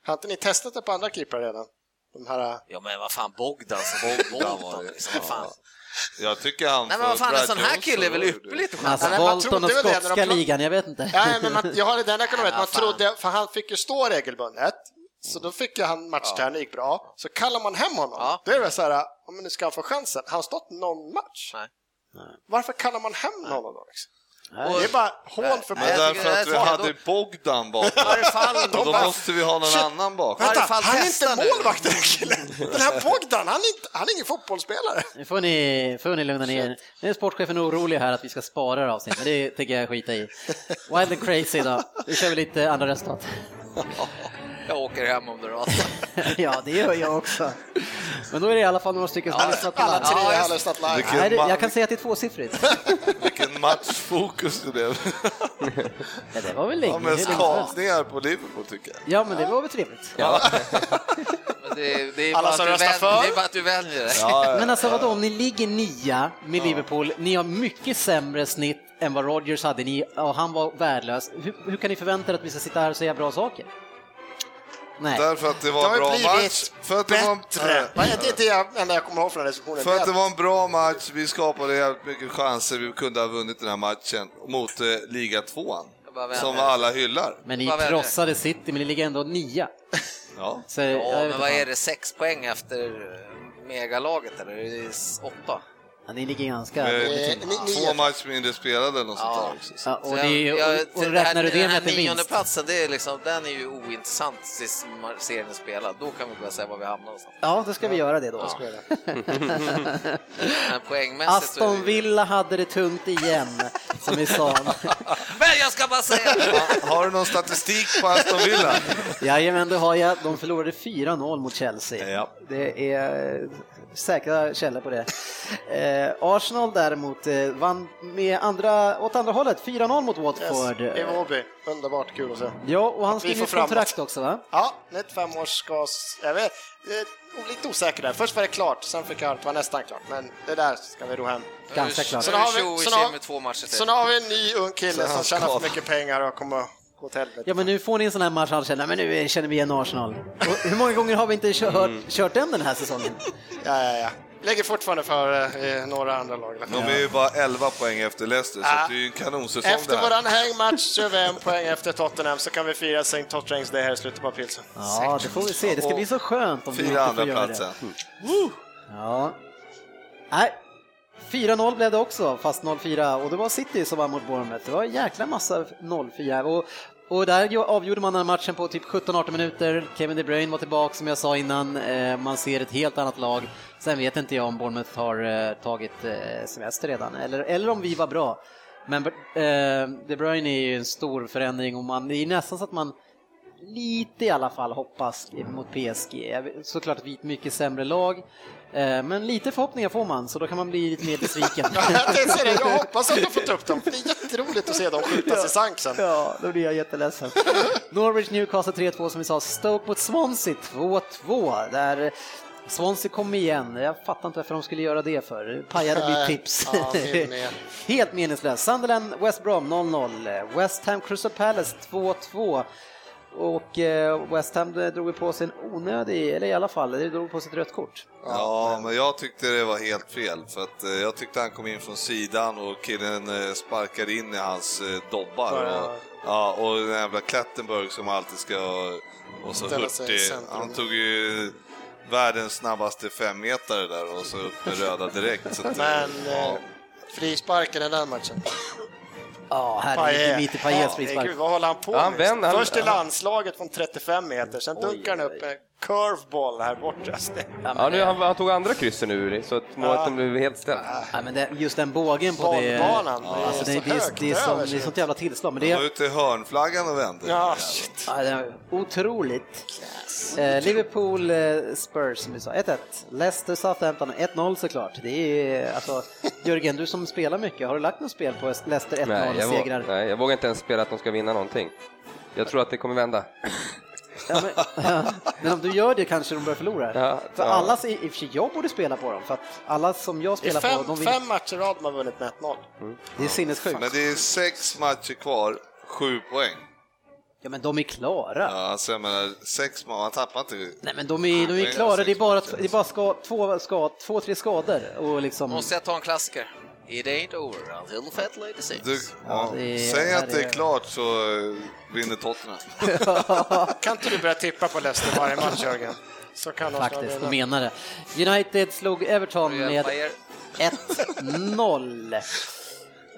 Speaker 5: Har inte ni testat det på andra keeprar redan? De här...
Speaker 4: Ja men vad fan, Bogdan, så Bogdan,
Speaker 6: var det.
Speaker 4: liksom, vad fan.
Speaker 6: Jag tycker han
Speaker 4: Nej men vad fan,
Speaker 6: Brad
Speaker 4: en sån här
Speaker 6: Jones
Speaker 4: kille är väl
Speaker 6: gjorde det.
Speaker 4: ypperligt
Speaker 2: Men Alltså
Speaker 5: men man
Speaker 2: Bolton och
Speaker 5: trodde väl det när de
Speaker 2: skotska
Speaker 5: plock-
Speaker 2: ligan, jag vet inte.
Speaker 5: Nej, men man, jag har den ekonomin. Man
Speaker 4: Ja, fan.
Speaker 5: trodde, för han fick ju stå regelbundet, så då fick ju han matchträning, det gick bra. Så kallar man hem honom,
Speaker 4: Ja.
Speaker 5: då är det så här, ja, men nu ska han få chansen. Har han stått någon match?
Speaker 4: Nej.
Speaker 5: Varför kallar man hem någon då? Liksom?
Speaker 4: Och-
Speaker 5: Det är bara hån för
Speaker 6: Men
Speaker 4: Nej, jag tycker
Speaker 6: därför
Speaker 4: det
Speaker 6: att
Speaker 4: är
Speaker 6: vi
Speaker 4: farligt.
Speaker 6: hade Bogdan bakom.
Speaker 4: Varje fall,
Speaker 6: Och
Speaker 4: de
Speaker 6: då
Speaker 5: bara-
Speaker 6: måste vi ha någon
Speaker 5: Shit.
Speaker 6: annan bakom.
Speaker 5: Vänta,
Speaker 4: varje fall
Speaker 5: han är inte
Speaker 4: testa nu.
Speaker 5: målvakt den här killen! Den här Bogdan, han är, inte, han är ingen fotbollsspelare.
Speaker 2: Nu får ni, får ni lugna ner er. Nu är sportchefen orolig här att vi ska spara det här avsnittet, men det tänker jag skita i. Wild and crazy då. Nu kör vi lite andra resultat.
Speaker 4: Jag åker hem om det rasar.
Speaker 2: ja, det gör jag också. Men då är det i alla fall några stycken som har lyssnat på
Speaker 5: Alla
Speaker 2: live.
Speaker 5: tre
Speaker 4: Ja, just-
Speaker 5: har lyssnat live.
Speaker 6: Vilken
Speaker 2: Nej, det-
Speaker 6: man-
Speaker 2: jag kan säga att det är tvåsiffrigt.
Speaker 6: Vilken matchfokus det blev.
Speaker 2: Ja, det var väl länge.
Speaker 6: Ja, men
Speaker 2: hur länge som helst.
Speaker 6: skakningar på Liverpool tycker jag.
Speaker 2: ja, men det var väl trevligt.
Speaker 4: Men Det, det, är
Speaker 5: Alla
Speaker 4: bara att
Speaker 5: som
Speaker 4: du
Speaker 5: röstar
Speaker 4: väl-
Speaker 5: för?
Speaker 4: det är bara att du väljer det.
Speaker 2: Men alltså vadå, om ni ligger nia med Liverpool, ni har mycket sämre snitt än vad Rodgers hade, ni, och han var värdelös. Hur, hur kan ni förvänta er att vi ska sitta här och säga bra saker? Nej.
Speaker 6: Därför att det var
Speaker 5: Det
Speaker 6: en
Speaker 5: har ju
Speaker 6: bra match.
Speaker 5: blivit
Speaker 6: För att det, var
Speaker 5: Bättre!
Speaker 6: en,
Speaker 5: Det är det jag- enda jag kommer ihåg från den här diskussionen.
Speaker 6: för att det var en bra match, vi skapade jävligt mycket chanser, vi kunde ha vunnit den här matchen mot eh, liga tvåan.
Speaker 4: Jag bara vänder.
Speaker 6: Som alla hyllar.
Speaker 2: Men ni
Speaker 4: Vad väl det?
Speaker 2: krossade City, men ni ligger ändå nia.
Speaker 6: Ja.
Speaker 2: Så, jag
Speaker 4: Ja,
Speaker 2: vet
Speaker 4: men vad
Speaker 2: inte.
Speaker 4: är det, sex poäng efter eh, megalaget eller? Det är s- åtta.
Speaker 2: Ja, ni ligger ganska...
Speaker 6: Eh,
Speaker 5: ni- ni-
Speaker 6: Två match mindre spelade eller något sånt
Speaker 4: Ja.
Speaker 6: där också.
Speaker 2: Ja, och,
Speaker 4: Så
Speaker 2: det är, ju-
Speaker 4: jag-
Speaker 2: och, och
Speaker 4: jag-
Speaker 2: räknar du det
Speaker 4: den
Speaker 2: med
Speaker 4: här
Speaker 2: att en vinst?
Speaker 4: niondeplatsen, det är liksom, den är ju ointressant tills ma- serien är spelad. Då kan vi börja säga var vi hamnar någonstans.
Speaker 2: Ja, då ska vi göra det då.
Speaker 4: Men poängmässigt så är Alltså, det
Speaker 2: Alltså, Aston
Speaker 4: ju-
Speaker 2: Villa hade det tungt igen, som vi sa.
Speaker 4: Men jag ska bara säga!
Speaker 6: Ha- Har du någon statistik på Aston Villa?
Speaker 2: Jajamän, det har jag. De förlorade 4-0 mot Chelsea.
Speaker 6: Ja.
Speaker 2: Det är eh, säkra källor på det. Eh, Arsenal däremot eh, vann med andra, åt andra hållet, 4-0 mot Watford.
Speaker 5: Yes, i Vårby. Underbart kul att se.
Speaker 2: Ja, och han
Speaker 5: Att vi
Speaker 2: skrev
Speaker 5: får
Speaker 2: ett kontrakt
Speaker 5: framåt.
Speaker 2: också va?
Speaker 5: Ja, nytt femårsgas. Jag vet, eh, lite osäker där. Först var det klart, sen fick jag höra att det var nästan klart. Men det där ska vi ro hem.
Speaker 2: Ganska klart.
Speaker 5: Så nu har vi-
Speaker 4: Tjo och
Speaker 5: så nu
Speaker 4: tjim
Speaker 5: har-
Speaker 4: med två matcher till.
Speaker 5: Så nu har vi en ny ung kille som
Speaker 6: han
Speaker 5: tjänar
Speaker 6: ska-
Speaker 5: för mycket pengar och kommer gå till helvete.
Speaker 2: Ja men nu får ni en sån här match han känner, men nu känner vi igen Arsenal. Och hur många gånger har vi inte kört, kört den den här säsongen?
Speaker 5: Ja, ja, ja. Lägger fortfarande för eh, några andra lag.
Speaker 6: De är ju bara 11 poäng efter Leicester, så
Speaker 5: Ja.
Speaker 6: det är ju en kanonsäsong
Speaker 5: Efter
Speaker 6: där.
Speaker 5: våran hängmatch så är vi en poäng efter Tottenham så kan vi fira St. Tottenhams Day här i slutet på april. sen.
Speaker 2: Ja, det får vi se. Det ska bli så skönt om vi
Speaker 6: Fyra
Speaker 2: inte
Speaker 6: andra
Speaker 2: får göra det.
Speaker 6: platsen.
Speaker 2: Ja. Nej. 4-0 blev det också, fast 0-4. Och det var City som vann mot Bournemouth. Det var en jäkla massa 0-4. Och, Och där ju- avgjorde man den här matchen på typ 17-18 minuter. Kevin De Bruyne var tillbaka som jag sa innan. Eh, Man ser ett helt annat lag. Sen vet inte jag om Bournemouth har eh, tagit eh, semester redan eller, eller om vi var bra. Men eh, De Bruyne är ju en stor förändring och man, det är nästan så att man lite i alla fall hoppas mot PSG. Jag vet- Såklart att vi är ett mycket sämre lag, eh, men lite förhoppningar får man så då kan man bli lite mer besviken.
Speaker 5: Jag tänkte det, jag hoppas att du fått upp dem, för det är jätteroligt att se dem skjutas i sank sen.
Speaker 2: Ja, då blir jag jätteledsen. Norwich Newcastle 3-2 som vi sa, Stoke mot Swansea 2-2. Där Swansea kom igen, jag fattar inte varför de skulle göra det för. Pajade mitt
Speaker 5: Nej,
Speaker 2: tips.
Speaker 5: ja, min med.
Speaker 2: Helt meningslöst. Sunderland West Brom 0-0, West Ham Crystal Palace 2-2. Och eh, West Ham drog ju på sig en onödig, eller i alla fall, det drog på sig ett rött kort.
Speaker 6: Ja, men jag tyckte det var helt fel. För att eh, jag tyckte han kom in från sidan och killen eh, sparkade in i hans eh, dobbar.
Speaker 5: Ja, ja.
Speaker 6: Och, ja, och den jävla Klattenberg som alltid ska vara så
Speaker 5: Ställa sig i
Speaker 6: hurtig.
Speaker 5: centrum.
Speaker 6: Han tog ju världens snabbaste femmetare där och så upp med röda direkt. Så att, eh,
Speaker 5: Men
Speaker 6: ja.
Speaker 5: eh, frisparken i den matchen.
Speaker 2: Ja, här är mitt i Pajets
Speaker 5: Ja,
Speaker 2: frispark.
Speaker 5: gud, vad håller han på
Speaker 3: Ja, han
Speaker 5: med?
Speaker 3: vänder, han-
Speaker 5: Först i landslaget från 35 meter, sen dunkar han
Speaker 2: oj.
Speaker 5: upp en curveball här borta. Så det-
Speaker 3: Ja, nu, han, han tog andra kryssen nu, så att målet blev helt ställt.
Speaker 2: Ja, men det, just den bågen på det...
Speaker 5: Bollbanan, det är
Speaker 2: alltså, det,
Speaker 5: så
Speaker 2: det, är-
Speaker 5: högt
Speaker 2: det, är som,
Speaker 5: över
Speaker 2: det är
Speaker 5: sig.
Speaker 2: sånt jävla tillslag. Men det
Speaker 6: Han var
Speaker 2: är,
Speaker 6: ute i hörnflaggan och vände.
Speaker 5: Ja, shit.
Speaker 2: ja, det är otroligt. Eh, Liverpool eh, Spurs som vi sa, 1-1. Leicester Southampton 1-0 såklart. Det är, alltså, Jörgen, du som spelar mycket, har du lagt något spel på Leicester
Speaker 3: Nej jag, vå-
Speaker 2: 1-0-segrar?
Speaker 3: nej, jag vågar inte ens spela att de ska vinna någonting. Jag tror att det kommer vända.
Speaker 2: Ja, men, ja, men om du gör det kanske de börjar förlora.
Speaker 3: Ja,
Speaker 2: för
Speaker 3: ja.
Speaker 2: alla, i i och för sig, jag borde spela på dem, för att alla som jag
Speaker 5: Det är
Speaker 2: spelar på,
Speaker 5: fem,
Speaker 2: de vill,
Speaker 5: fem matcher i rad man har vunnit med 1-0.
Speaker 2: det är sinnessjukt.
Speaker 6: Men det är sex matcher kvar, sju poäng.
Speaker 2: Ja, men de är klara.
Speaker 6: Ja, alltså jag menar, sex man, han tappar inte.
Speaker 2: Nej men de är, de är
Speaker 6: Nej,
Speaker 2: klara,
Speaker 6: sex
Speaker 2: det är bara,
Speaker 6: matcher. alltså.
Speaker 2: det är bara ska, två, ska, två, tre skador och liksom...
Speaker 4: Måste jag ta en klassiker? It ain't over until Fat Lady Sings.
Speaker 6: Du, ja,
Speaker 2: det är-
Speaker 6: säg att det
Speaker 2: här är-
Speaker 6: är klart så eh, vinner Tottenham.
Speaker 5: Kan inte du börja tippa på Leicester varje match, Jörgen? Så kan Arsenal
Speaker 2: Faktiskt,
Speaker 5: vinna.
Speaker 2: de menar det. United slog Everton med
Speaker 4: Hjälpa er.
Speaker 2: 1-0.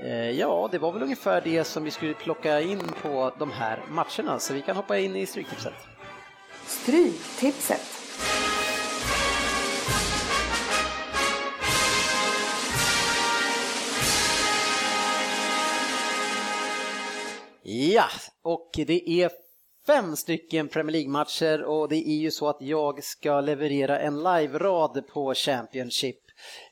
Speaker 2: Eh, Ja, det var väl ungefär det som vi skulle plocka in på de här matcherna, så vi kan hoppa in i stryktipset.
Speaker 1: Stryktipset.
Speaker 2: Ja, och det är fem stycken Premier League-matcher och det är ju så att jag ska leverera en live-rad på Championship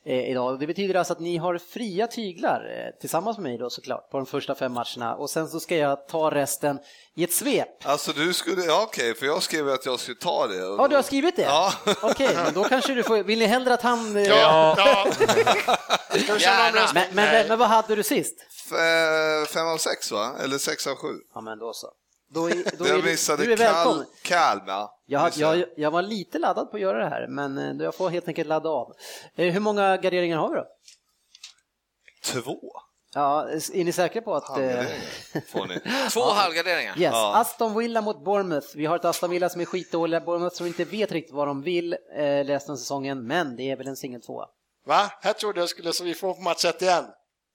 Speaker 2: eh, idag. Och Det betyder alltså att ni har fria tyglar eh, tillsammans med mig då såklart på de första fem matcherna och sen så ska jag ta resten i ett svep.
Speaker 6: Alltså du skulle, ja okej, för jag skrev ju att jag skulle ta det.
Speaker 2: Ja, du har skrivit det?
Speaker 6: Ja.
Speaker 2: Okej, men då kanske du får, vill ni hellre att han... eh,
Speaker 5: Ja, ja. Ska vi köra
Speaker 4: Gärna.
Speaker 5: omröstning?
Speaker 2: Men, men, men vad hade du sist?
Speaker 6: F- fem av sex va? Eller sex av sju?
Speaker 2: Ja, men då så. Då är, då är,
Speaker 6: Jag
Speaker 2: du-
Speaker 6: missade
Speaker 2: du är välkommen.
Speaker 6: Kal- Kalmar.
Speaker 2: Jag, har-
Speaker 6: Missade.
Speaker 2: jag, jag var lite laddad på att göra det här, men eh, jag får helt enkelt ladda av. Eh, Hur många garderingar har vi då?
Speaker 6: Två
Speaker 2: Ja, är ni säkra på att... Eh,
Speaker 6: halvgarderingar får ni.
Speaker 4: Två halvgarderingar.
Speaker 2: yes,
Speaker 6: Ja.
Speaker 2: Aston Villa mot Bournemouth. Vi har ett Aston Villa som är skitdåliga, Bournemouth som inte vet riktigt vad de vill eh, resten av säsongen, men det är väl en singel tvåa.
Speaker 5: Va? Här trodde jag skulle, så vi får på match 1 igen.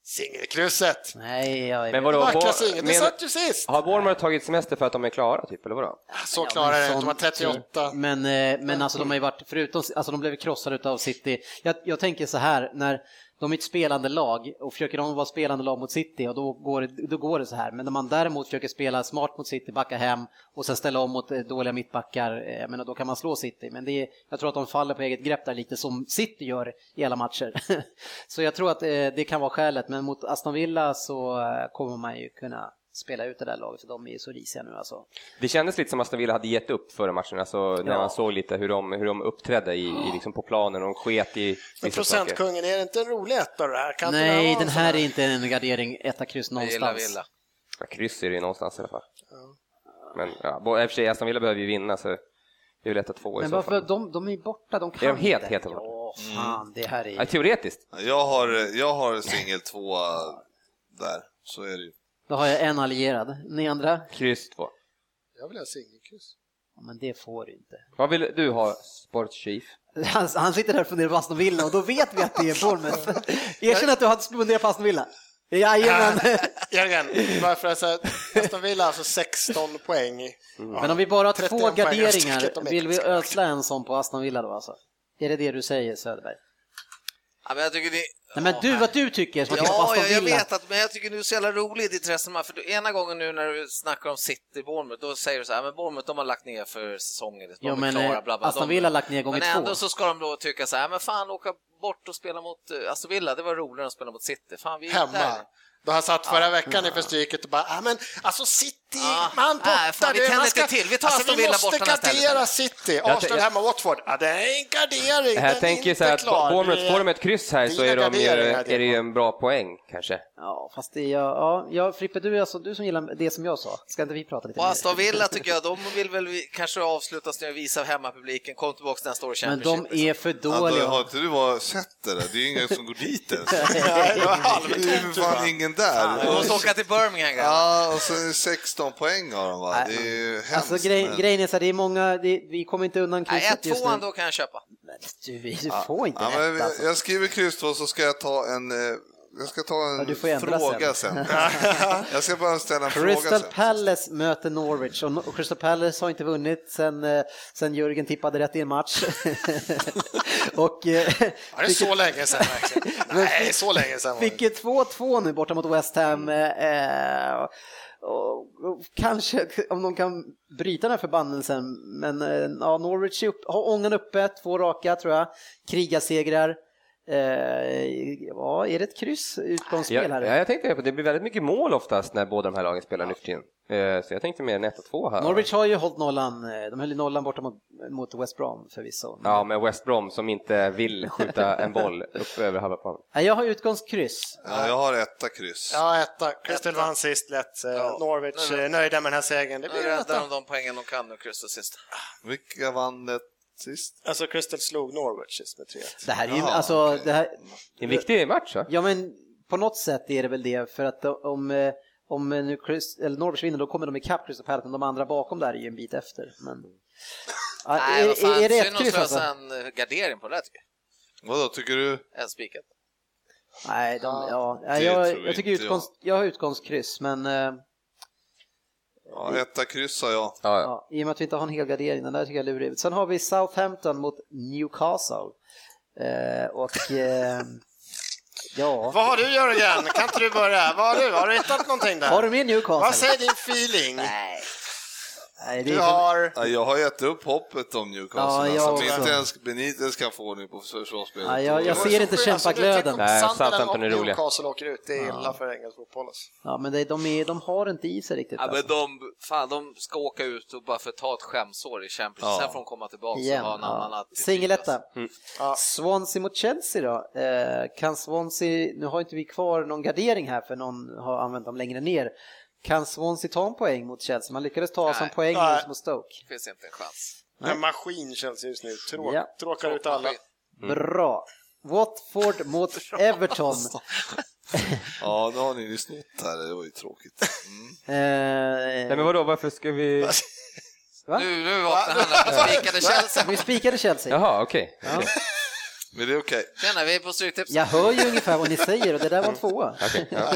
Speaker 5: Singelkrysset.
Speaker 2: Nej, jag
Speaker 3: Men vadå,
Speaker 5: Vackra
Speaker 3: Bo-
Speaker 5: singel, det
Speaker 3: men-
Speaker 5: satt ju sist.
Speaker 3: har Bournemouth tagit semester för att de är klara, typ, eller vadå?
Speaker 5: Så
Speaker 2: Ja,
Speaker 5: Alltså, klarar
Speaker 2: men
Speaker 5: det inte, de har
Speaker 2: sånt- typ.
Speaker 5: 38.
Speaker 2: Men, eh, men alltså de har ju varit, förutom, alltså de blev krossade av City. Jag, jag tänker så här, när de är ett spelande lag och försöker de vara spelande lag mot City och då går, det- då går det så här. Men när man däremot försöker spela smart mot City, backa hem och sen ställa om mot eh, dåliga mittbackar, eh, jag menar, då kan man slå City. Men det är, jag tror att de faller på eget grepp där lite som City gör i alla matcher. så jag tror att eh, det kan vara skälet, men mot Aston Villa så eh, kommer man ju kunna spela ut det där laget för de är ju så risiga nu alltså.
Speaker 3: Det kändes lite som att Aston Villa hade gett upp före matchen, alltså när
Speaker 2: Ja.
Speaker 3: man såg lite hur de, hur de uppträdde i, i, liksom på planen, och de sket i
Speaker 5: Men
Speaker 3: vissa saker.
Speaker 5: procentkungen, är det inte en rolig etta det här? Kan inte det
Speaker 2: Nej,
Speaker 5: vara
Speaker 2: den
Speaker 5: en
Speaker 2: här är inte en gardering etta kryss
Speaker 4: Jag gillar
Speaker 2: någonstans.
Speaker 4: Villa.
Speaker 3: Ja, Kryss är det ju någonstans i alla fall. Men ja, Bo- i och för sig, Aston Villa behöver ju vinna, så det är väl ett att två i
Speaker 2: Men
Speaker 3: så
Speaker 2: varför,
Speaker 3: fall.
Speaker 2: de, de är borta, de kan
Speaker 3: Är de helt-
Speaker 2: inte.
Speaker 3: helt borta?
Speaker 2: Ja, fan, det här
Speaker 3: Ja,
Speaker 2: är
Speaker 3: teoretiskt.
Speaker 6: Jag har, jag har singel två där, så är det ju.
Speaker 2: Då har jag en allierad. Ni andra?
Speaker 3: Kryss två.
Speaker 5: Jag vill ha singelkryss.
Speaker 2: Ja, men det får du inte.
Speaker 3: Vad vill du ha, sportchef?
Speaker 2: Han, han sitter där och funderar på Aston Villa och då vet vi att det är Bournemouth. Erkänn att du hade funderat på Aston Villa. Jajamän!
Speaker 5: Jörgen, varför alltså, Aston Villa har alltså 16 poäng.
Speaker 4: Mm.
Speaker 2: Men om vi bara har
Speaker 5: 31
Speaker 2: två
Speaker 5: poäng i stycket
Speaker 2: garderingar,
Speaker 5: om
Speaker 2: vill vi
Speaker 5: engelska.
Speaker 2: ödsla en sån på Aston Villa då alltså? Är det det du säger Söderberg?
Speaker 4: Ja, men jag tycker det...
Speaker 2: Nej men du, vad du tycker som har tittat på
Speaker 4: Ja,
Speaker 2: Aston
Speaker 4: jag, jag
Speaker 2: Villa.
Speaker 4: vet att, men jag tycker det är så jävla roligt i ditt resonemang, för du, ena gången nu när du snackar om City, Bournemouth, då säger du så här, men Bournemouth de har lagt ner för säsongen, de
Speaker 2: Jo,
Speaker 4: är
Speaker 2: men,
Speaker 4: klara,
Speaker 2: eh,
Speaker 4: bla, bla, bla.
Speaker 2: Aston
Speaker 4: De-
Speaker 2: Villa har lagt ner gånger
Speaker 4: Men ändå
Speaker 2: två.
Speaker 4: så ska de då tycka så här, men fan åka bort och spela mot eh, Aston Villa, det var roligare än att spela mot City, fan vi är
Speaker 5: hemma.
Speaker 4: där.
Speaker 5: Då han satt förra veckan inför stryket och bara, ah, men alltså City,
Speaker 4: Ah,
Speaker 5: man borta.
Speaker 4: nej, fan, vi
Speaker 5: du,
Speaker 4: tänder
Speaker 5: man Alltså,
Speaker 4: inte till. Vi tar Aston
Speaker 5: vi
Speaker 4: Villa
Speaker 5: måste
Speaker 4: borta nästa helg
Speaker 5: gardera
Speaker 4: istället.
Speaker 5: City.
Speaker 3: Jag-
Speaker 5: Arsenal
Speaker 3: jag-
Speaker 5: hemma Watford, ah, det är en gardering. den
Speaker 3: Jag
Speaker 5: är
Speaker 3: tänker
Speaker 5: inte
Speaker 3: så här att
Speaker 5: klar.
Speaker 3: Bournemouth,
Speaker 5: Det är-
Speaker 3: får de ett kryss här så
Speaker 5: Dina
Speaker 3: är, de ju,
Speaker 5: garderingar,
Speaker 3: är det ju
Speaker 5: Diego.
Speaker 3: en bra poäng kanske.
Speaker 2: Ja, fast det är, ja, ja, Frippe, du, är alltså, du som gillar det som jag sa, ska inte vi prata lite
Speaker 4: Och
Speaker 2: mer?
Speaker 4: Aston Villa tycker jag, de vill väl vi- kanske avslutas nu och visa hemmapubliken, kom tillbaka nästa år i
Speaker 2: Men
Speaker 4: Championship.
Speaker 2: de är för
Speaker 6: Alltså, har
Speaker 2: dåliga.
Speaker 6: inte du bara sett det där? Det är ju ingen som går dit ens.
Speaker 5: Nej, det var
Speaker 6: Det är ju
Speaker 5: halvtomt.
Speaker 6: fan ingen där.
Speaker 4: Du liksom. måste åka till Birmingham grabbar.
Speaker 6: Ja, och så är det 16 poäng har de va? Det är ju hemskt.
Speaker 2: Alltså grej,
Speaker 6: men-
Speaker 2: grejen är så här, det är många, det, vi kommer inte undan
Speaker 4: Nej,
Speaker 2: krysset just nu.
Speaker 4: 1-2 då kan jag köpa.
Speaker 2: Men Du, vi- du får inte
Speaker 6: Ja, men
Speaker 2: rätt alltså.
Speaker 6: jag skriver kryss två så ska jag ta en, eh, jag ska ta en
Speaker 2: Ja, du får ändra
Speaker 6: fråga sen. jag ska bara ställa en fråga
Speaker 2: Crystal
Speaker 6: sen.
Speaker 2: Palace möter Norwich och och Crystal Palace har inte vunnit sen, eh, sen Jörgen tippade rätt i en match. och eh,
Speaker 5: Ja, det är så länge sedan verkligen. Nej, så länge sedan. var det
Speaker 2: fick
Speaker 5: inte.
Speaker 2: ju 2-2 nu borta mot West Ham. Eh, och, och kanske om de kan bryta den här förbannelsen. Men eh, ja, Norwich är upp, har ångan uppe, två raka tror jag, krigasegrar. Eh, ja, är det ett kryss utgångsspel här?
Speaker 3: Jag, ja, jag tänkte på det, det blir väldigt mycket mål oftast när båda de här lagen spelar nu för tiden. Eh, Så jag tänkte mer netta två här.
Speaker 2: Norwich har ju hållit nollan, eh, de höll ju nollan borta mot, mot West Brom förvisso.
Speaker 3: Ja, med West Brom som inte vill skjuta en boll upp över halva planen.
Speaker 2: Nej, Jag har utgångskryss.
Speaker 6: Ja, jag har etta kryss.
Speaker 5: Ja, etta. Crystal vann sist lätt. eh, Norwich eh, nöjda med den här segern. Det
Speaker 4: Nu
Speaker 5: blir en
Speaker 4: räddar
Speaker 5: etta.
Speaker 4: de de poängen de kan nu, Crystal sist.
Speaker 6: Vilka vann det sist?
Speaker 5: Alltså Crystal slog Norwich sist med 3-1.
Speaker 2: Det här är ju,
Speaker 6: Jaha,
Speaker 2: alltså,
Speaker 6: okej.
Speaker 2: det här,
Speaker 3: Det är en viktig match va?
Speaker 2: ja men på något sätt är det väl det, för att om, eh, om nu Chris, eller Norwich vinner då kommer de ikapp Crystal Palace, men de andra bakom där är ju en bit efter. Men... Ja,
Speaker 4: Nej, vad fan,
Speaker 2: är, är det
Speaker 4: synd
Speaker 2: ett
Speaker 4: att
Speaker 2: kryss alltså?
Speaker 4: slösa en eh, gardering på det där tycker
Speaker 6: Vadå, tycker du?
Speaker 4: jag. En spikat.
Speaker 2: Nej, de, ja,
Speaker 6: det
Speaker 2: jag,
Speaker 6: tror
Speaker 2: jag tycker
Speaker 6: inte
Speaker 2: utgångs, jag har utgångskryss, men eh,
Speaker 6: Ja, etta kryss har jag.
Speaker 3: Ja, ja.
Speaker 2: Ja, I och med att vi inte har en hel gardering, den där tycker jag är lurig. Sen har vi Southampton mot Newcastle. Eh, och eh, ja,
Speaker 5: Vad har du Jörgen? Kan inte du börja? Vad har du? Har du hittat någonting där?
Speaker 2: har du med Newcastle?
Speaker 5: Vad säger din feeling?
Speaker 2: Nej, det är
Speaker 5: Du
Speaker 2: för-
Speaker 5: har...
Speaker 6: Ja, jag har gett upp hoppet om Newcastle.
Speaker 2: Ja, jag
Speaker 6: alltså, om
Speaker 2: också.
Speaker 6: inte ens Benitez kan få ordning på försvarsspelet.
Speaker 2: Ja, jag- jag
Speaker 5: Det
Speaker 2: ser
Speaker 5: var ju
Speaker 2: inte
Speaker 5: så sjukt. Alltså,
Speaker 2: kämpaglöden.
Speaker 5: du, tänk om
Speaker 3: Nej,
Speaker 5: Sunderland
Speaker 3: Southampton är
Speaker 5: och
Speaker 3: roliga.
Speaker 5: Newcastle åker ut, det är illa för engelsk fotboll. Alltså.
Speaker 2: Ja, men det, de, är, de har inte i sig riktigt.
Speaker 4: Ja, men
Speaker 2: alltså.
Speaker 4: de, fan, de ska åka ut och bara för att ta ett skämsår i Championship,
Speaker 6: Ja.
Speaker 4: sen får de komma tillbaka
Speaker 2: Igen.
Speaker 4: och ha en annan
Speaker 2: Ja.
Speaker 4: attityd. Alltså, Mm.
Speaker 2: Singeletta.
Speaker 5: Ja.
Speaker 2: Swansea mot Chelsea då. Eh, kan Swansea, nu har inte vi kvar någon gardering här för någon har använt dem längre ner. Kan Swansea ta en poäng mot Chelsea? Man lyckades ta som
Speaker 4: Nej.
Speaker 2: poäng
Speaker 5: Nej.
Speaker 2: nyss mot Stoke.
Speaker 4: Det finns inte en chans.
Speaker 2: Nej.
Speaker 5: En maskin känns just nu. Tråk,
Speaker 2: Ja.
Speaker 5: Tråkar ut alla.
Speaker 4: Mm.
Speaker 2: Bra. Watford mot Everton.
Speaker 6: Ja, nu har ni ju snott här. Det var ju tråkigt. Mm.
Speaker 2: Eh,
Speaker 3: Nej men vadå, varför ska vi...
Speaker 2: Va?
Speaker 4: Nu, nu vaknade han upp och spikade Chelsea.
Speaker 2: Vi spikade Chelsea.
Speaker 3: Jaha, okej. Okej.
Speaker 6: Men det är okej.
Speaker 4: Tjena, vi är på Stryktips.
Speaker 2: Jag hör ju ungefär vad ni säger och det där var
Speaker 4: Mm.
Speaker 2: tvåa.
Speaker 3: Okej, ja.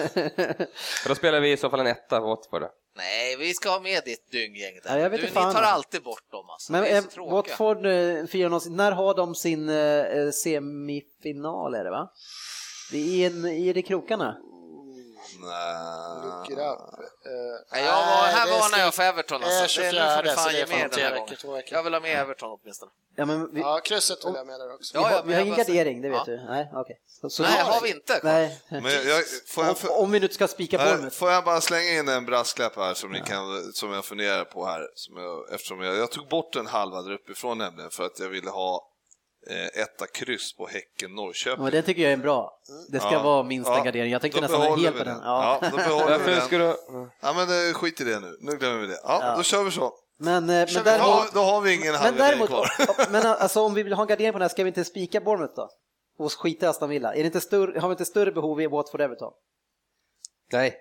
Speaker 3: Och Då spelar vi i så fall en etta Watford. då.
Speaker 4: Nej, vi ska ha med ditt dynggäng där.
Speaker 2: Ja, jag vet
Speaker 4: du,
Speaker 2: inte fan.
Speaker 4: Ni tar alltid bort dem alltså.
Speaker 2: Men
Speaker 4: det är så
Speaker 2: eh,
Speaker 4: tråkiga.
Speaker 2: Watford eh, firar någonsin, när har de sin eh, semifinal är det va? Det är en, i det krokarna.
Speaker 6: Nej.
Speaker 5: Look it up. Eh,
Speaker 4: Nej, jag var, här
Speaker 5: det är
Speaker 4: var när
Speaker 5: skri-
Speaker 4: jag för Everton
Speaker 5: Eh,
Speaker 4: alltså. Det är nu får
Speaker 5: 24,
Speaker 4: du
Speaker 5: så
Speaker 4: fan
Speaker 5: det är
Speaker 4: ge
Speaker 5: fan
Speaker 4: med den
Speaker 5: tre
Speaker 4: här
Speaker 5: veckor,
Speaker 4: gången.
Speaker 5: två veckor.
Speaker 4: Jag vill ha med Everton åtminstone.
Speaker 2: Ja, men vi,
Speaker 5: Ja, krysset vill jag med där också.
Speaker 2: vi,
Speaker 4: ja,
Speaker 2: har,
Speaker 4: men
Speaker 2: vi har
Speaker 4: jag
Speaker 2: ingen
Speaker 4: bara säger-
Speaker 2: gardering, det vet
Speaker 4: Ja.
Speaker 2: du. Nej, okej. Så- så-
Speaker 4: Nej, har vi inte.
Speaker 2: Nej.
Speaker 6: Men jag, jag, får jag,
Speaker 2: Om, om vi nu inte ska spika
Speaker 6: Nej,
Speaker 2: Bournemouth.
Speaker 6: Får jag bara slänga in en brasklapp här som, ni kan, som jag funderar på här. Som jag, eftersom jag, jag tog bort en halva där uppifrån nämligen för att jag ville ha eh, etta kryss på Häcken-Norrköping.
Speaker 2: Ja, den tycker jag är en bra. Det ska
Speaker 6: Ja.
Speaker 2: vara minsta
Speaker 6: Ja.
Speaker 2: gardering. Jag tänkte
Speaker 6: Då
Speaker 2: nästan vara
Speaker 6: behåller
Speaker 2: helt
Speaker 6: vi
Speaker 2: på den.
Speaker 6: Ja. då behåller vi
Speaker 3: Varför
Speaker 6: den.
Speaker 3: ska du...
Speaker 6: Ja, men eh, skit i det nu. Nu glömmer vi det. Ja,
Speaker 2: Ja.
Speaker 6: Då kör vi så.
Speaker 2: Men, eh, men
Speaker 5: vi
Speaker 6: Då har,
Speaker 2: däremot,
Speaker 6: då har vi ingen
Speaker 2: men,
Speaker 6: halvgardering
Speaker 2: däremot
Speaker 6: kvar.
Speaker 2: men alltså, om vi vill ha en gardering på den här, ska vi inte spika Bournemouth då? Och skita i Aston Villa? Är det inte större, har vi inte större behov i Watford Everton?
Speaker 3: Nej.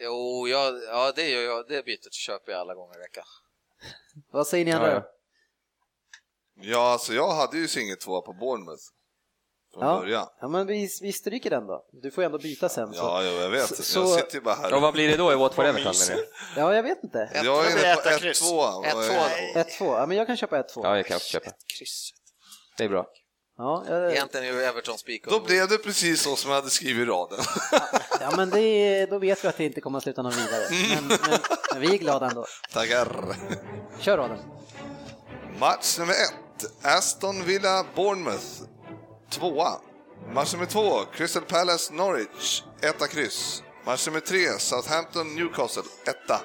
Speaker 4: Jo, jag, ja, det gör jag. Det bytet köper jag alla gånger i veckan.
Speaker 2: Vad säger ni andra?
Speaker 3: Ja,
Speaker 2: då?
Speaker 3: ja.
Speaker 6: Ja, alltså jag hade ju singel tvåa på Bournemouth. från början.
Speaker 2: ja, men vi, vi stryker den då. Du får ju ändå byta sen. Så.
Speaker 6: Ja, ja, jag vet.
Speaker 2: Så-
Speaker 6: jag
Speaker 2: så-
Speaker 6: sitter ju bara här.
Speaker 3: Och vad blir det då i Watford Everton?
Speaker 5: Vad
Speaker 3: menar ni?
Speaker 2: Ja, jag vet inte.
Speaker 6: Jag är
Speaker 5: Jag vill
Speaker 6: inne på
Speaker 5: äta kryss.
Speaker 6: 1-2.
Speaker 4: Ett, två.
Speaker 6: Eh,
Speaker 2: 1-2, ja, men jag kan köpa 1-2.
Speaker 3: Ja, jag kan också köpa.
Speaker 4: Kryss.
Speaker 3: Det är bra.
Speaker 2: Ja, jag,
Speaker 4: Egentligen är ju Everton spik.
Speaker 6: Då blev det precis så som jag hade skrivit i raden.
Speaker 2: ja, men det, är- då vet vi att det inte kommer att sluta någon vidare. Men, men, men vi är glada ändå.
Speaker 6: Tackar.
Speaker 2: Kör raden.
Speaker 6: Match nummer ett, Aston Villa Bournemouth. Tvåa. Match nummer två, Crystal Palace Norwich. Etta kryss. Match nummer tre, Southampton Newcastle. Etta.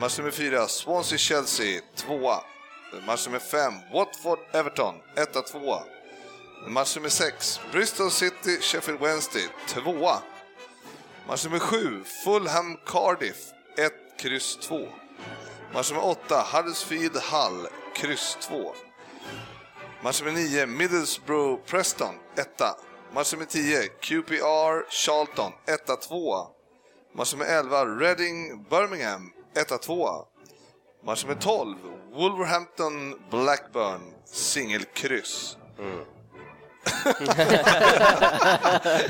Speaker 6: Match nummer fyra, Swansea Chelsea. Tvåa. Match nummer fem, Watford Everton. Etta, tvåa. Match nummer sex, Bristol City Sheffield Wednesday. Tvåa. Match nummer sju, Fulham Cardiff. Ett, kryss två. Match nummer 8, Huddersfield Hull, kryss 2. Match nummer 9, Middlesbrough Preston, 1. Match nummer 10, QPR Charlton, 1, 2. Match nummer 11, Reading Birmingham, 1, 2. Match nummer 12, Wolverhampton Blackburn, singelkryss.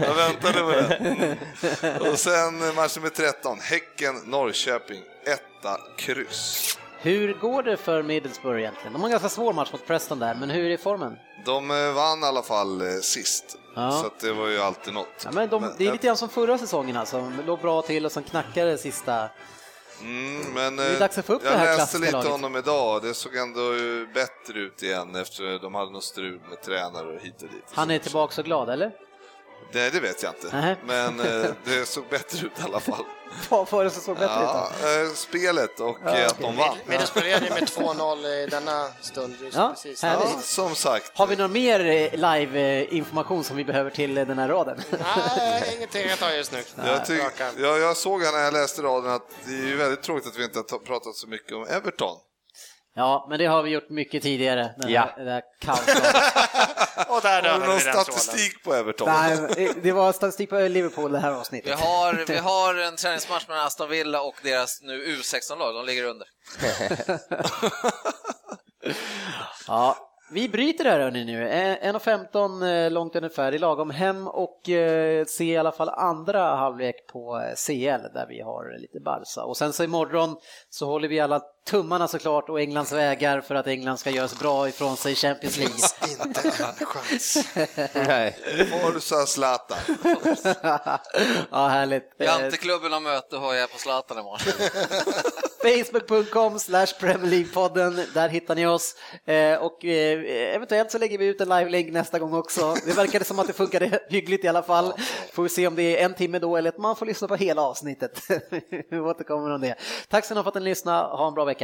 Speaker 6: Jag väntade på det. Och sen match nummer 13, Häcken Norrköping, 1, kryss.
Speaker 2: Hur går det för Middlesbrough egentligen? De har en ganska svår match mot Preston där, men hur är formen?
Speaker 6: De eh, vann i alla fall eh, sist,
Speaker 2: Ja.
Speaker 6: så att det var ju alltid något.
Speaker 2: Ja, men de, det är
Speaker 6: eh,
Speaker 2: lite grann som förra säsongen alltså, de låg bra till och sen knackade det sista.
Speaker 6: mm, men,
Speaker 2: är
Speaker 6: eh,
Speaker 2: dags att få upp
Speaker 6: jag
Speaker 2: det här
Speaker 6: läste
Speaker 2: klassiska
Speaker 6: lite
Speaker 2: laget.
Speaker 6: om dem idag och det såg ändå eh, bättre ut igen efter de hade något strul med tränare och hit och dit.
Speaker 2: Han är tillbaka så glad, eller?
Speaker 6: Nej, det vet jag inte,
Speaker 2: Nej.
Speaker 6: men eh, det såg bättre ut i alla fall.
Speaker 2: Vad var det som såg bättre ut
Speaker 6: ja,
Speaker 2: då?
Speaker 6: eh, spelet och eh, att de vann.
Speaker 5: Men det spelade ju med 2-0 i denna stund just
Speaker 2: Ja,
Speaker 5: precis.
Speaker 2: härligt.
Speaker 6: Ja, som sagt,
Speaker 2: Har vi någon mer eh, live-information som vi behöver till eh, den här raden?
Speaker 5: Nej, ingenting jag tar just nu.
Speaker 6: jag, tyck,
Speaker 5: Raka.
Speaker 6: jag, jag såg här när jag läste raden att det är ju väldigt tråkigt att vi inte har ta- pratat så mycket om Everton.
Speaker 2: Ja, men det har vi gjort mycket tidigare. Den
Speaker 3: Ja.
Speaker 2: här, det här kaoset.
Speaker 5: Och där
Speaker 6: Har du
Speaker 5: dödade
Speaker 6: någon
Speaker 5: vi den tråden.
Speaker 6: statistik på Everton?
Speaker 2: Nej, men eh, det var statistik på Liverpool det här
Speaker 4: Vi
Speaker 2: avsnittet.
Speaker 4: har, vi har en träningsmatch mellan Aston Villa och deras nu U16-lag, de ligger under.
Speaker 2: Ja, vi bryter det här hörni nu. Eh, 1.15 eh, långt ungefär, det är lagom hem och eh, se i alla fall andra halvlek på eh, CL där vi har lite Barca. Och sen så imorgon så håller vi alla tummarna såklart och Englands vägar för att England ska göra sig bra ifrån sig i Champions League.
Speaker 5: Inte en chans.
Speaker 3: Nej.
Speaker 6: Forza Zlatan.
Speaker 2: ja, härligt. Eh,
Speaker 4: Janteklubben har möte har jag på Zlatan imorgon.
Speaker 2: Facebook.com slash Premier League-podden, där hittar ni oss. Eh, och eh, eventuellt så lägger vi ut en live-länk nästa gång också. Det verkade som att det funkade hyggligt i alla fall. Får vi se om det är en timme då eller att man får lyssna på hela avsnittet. vi återkommer om det. Tack så mycket för att ni lyssnade, ha en bra vecka.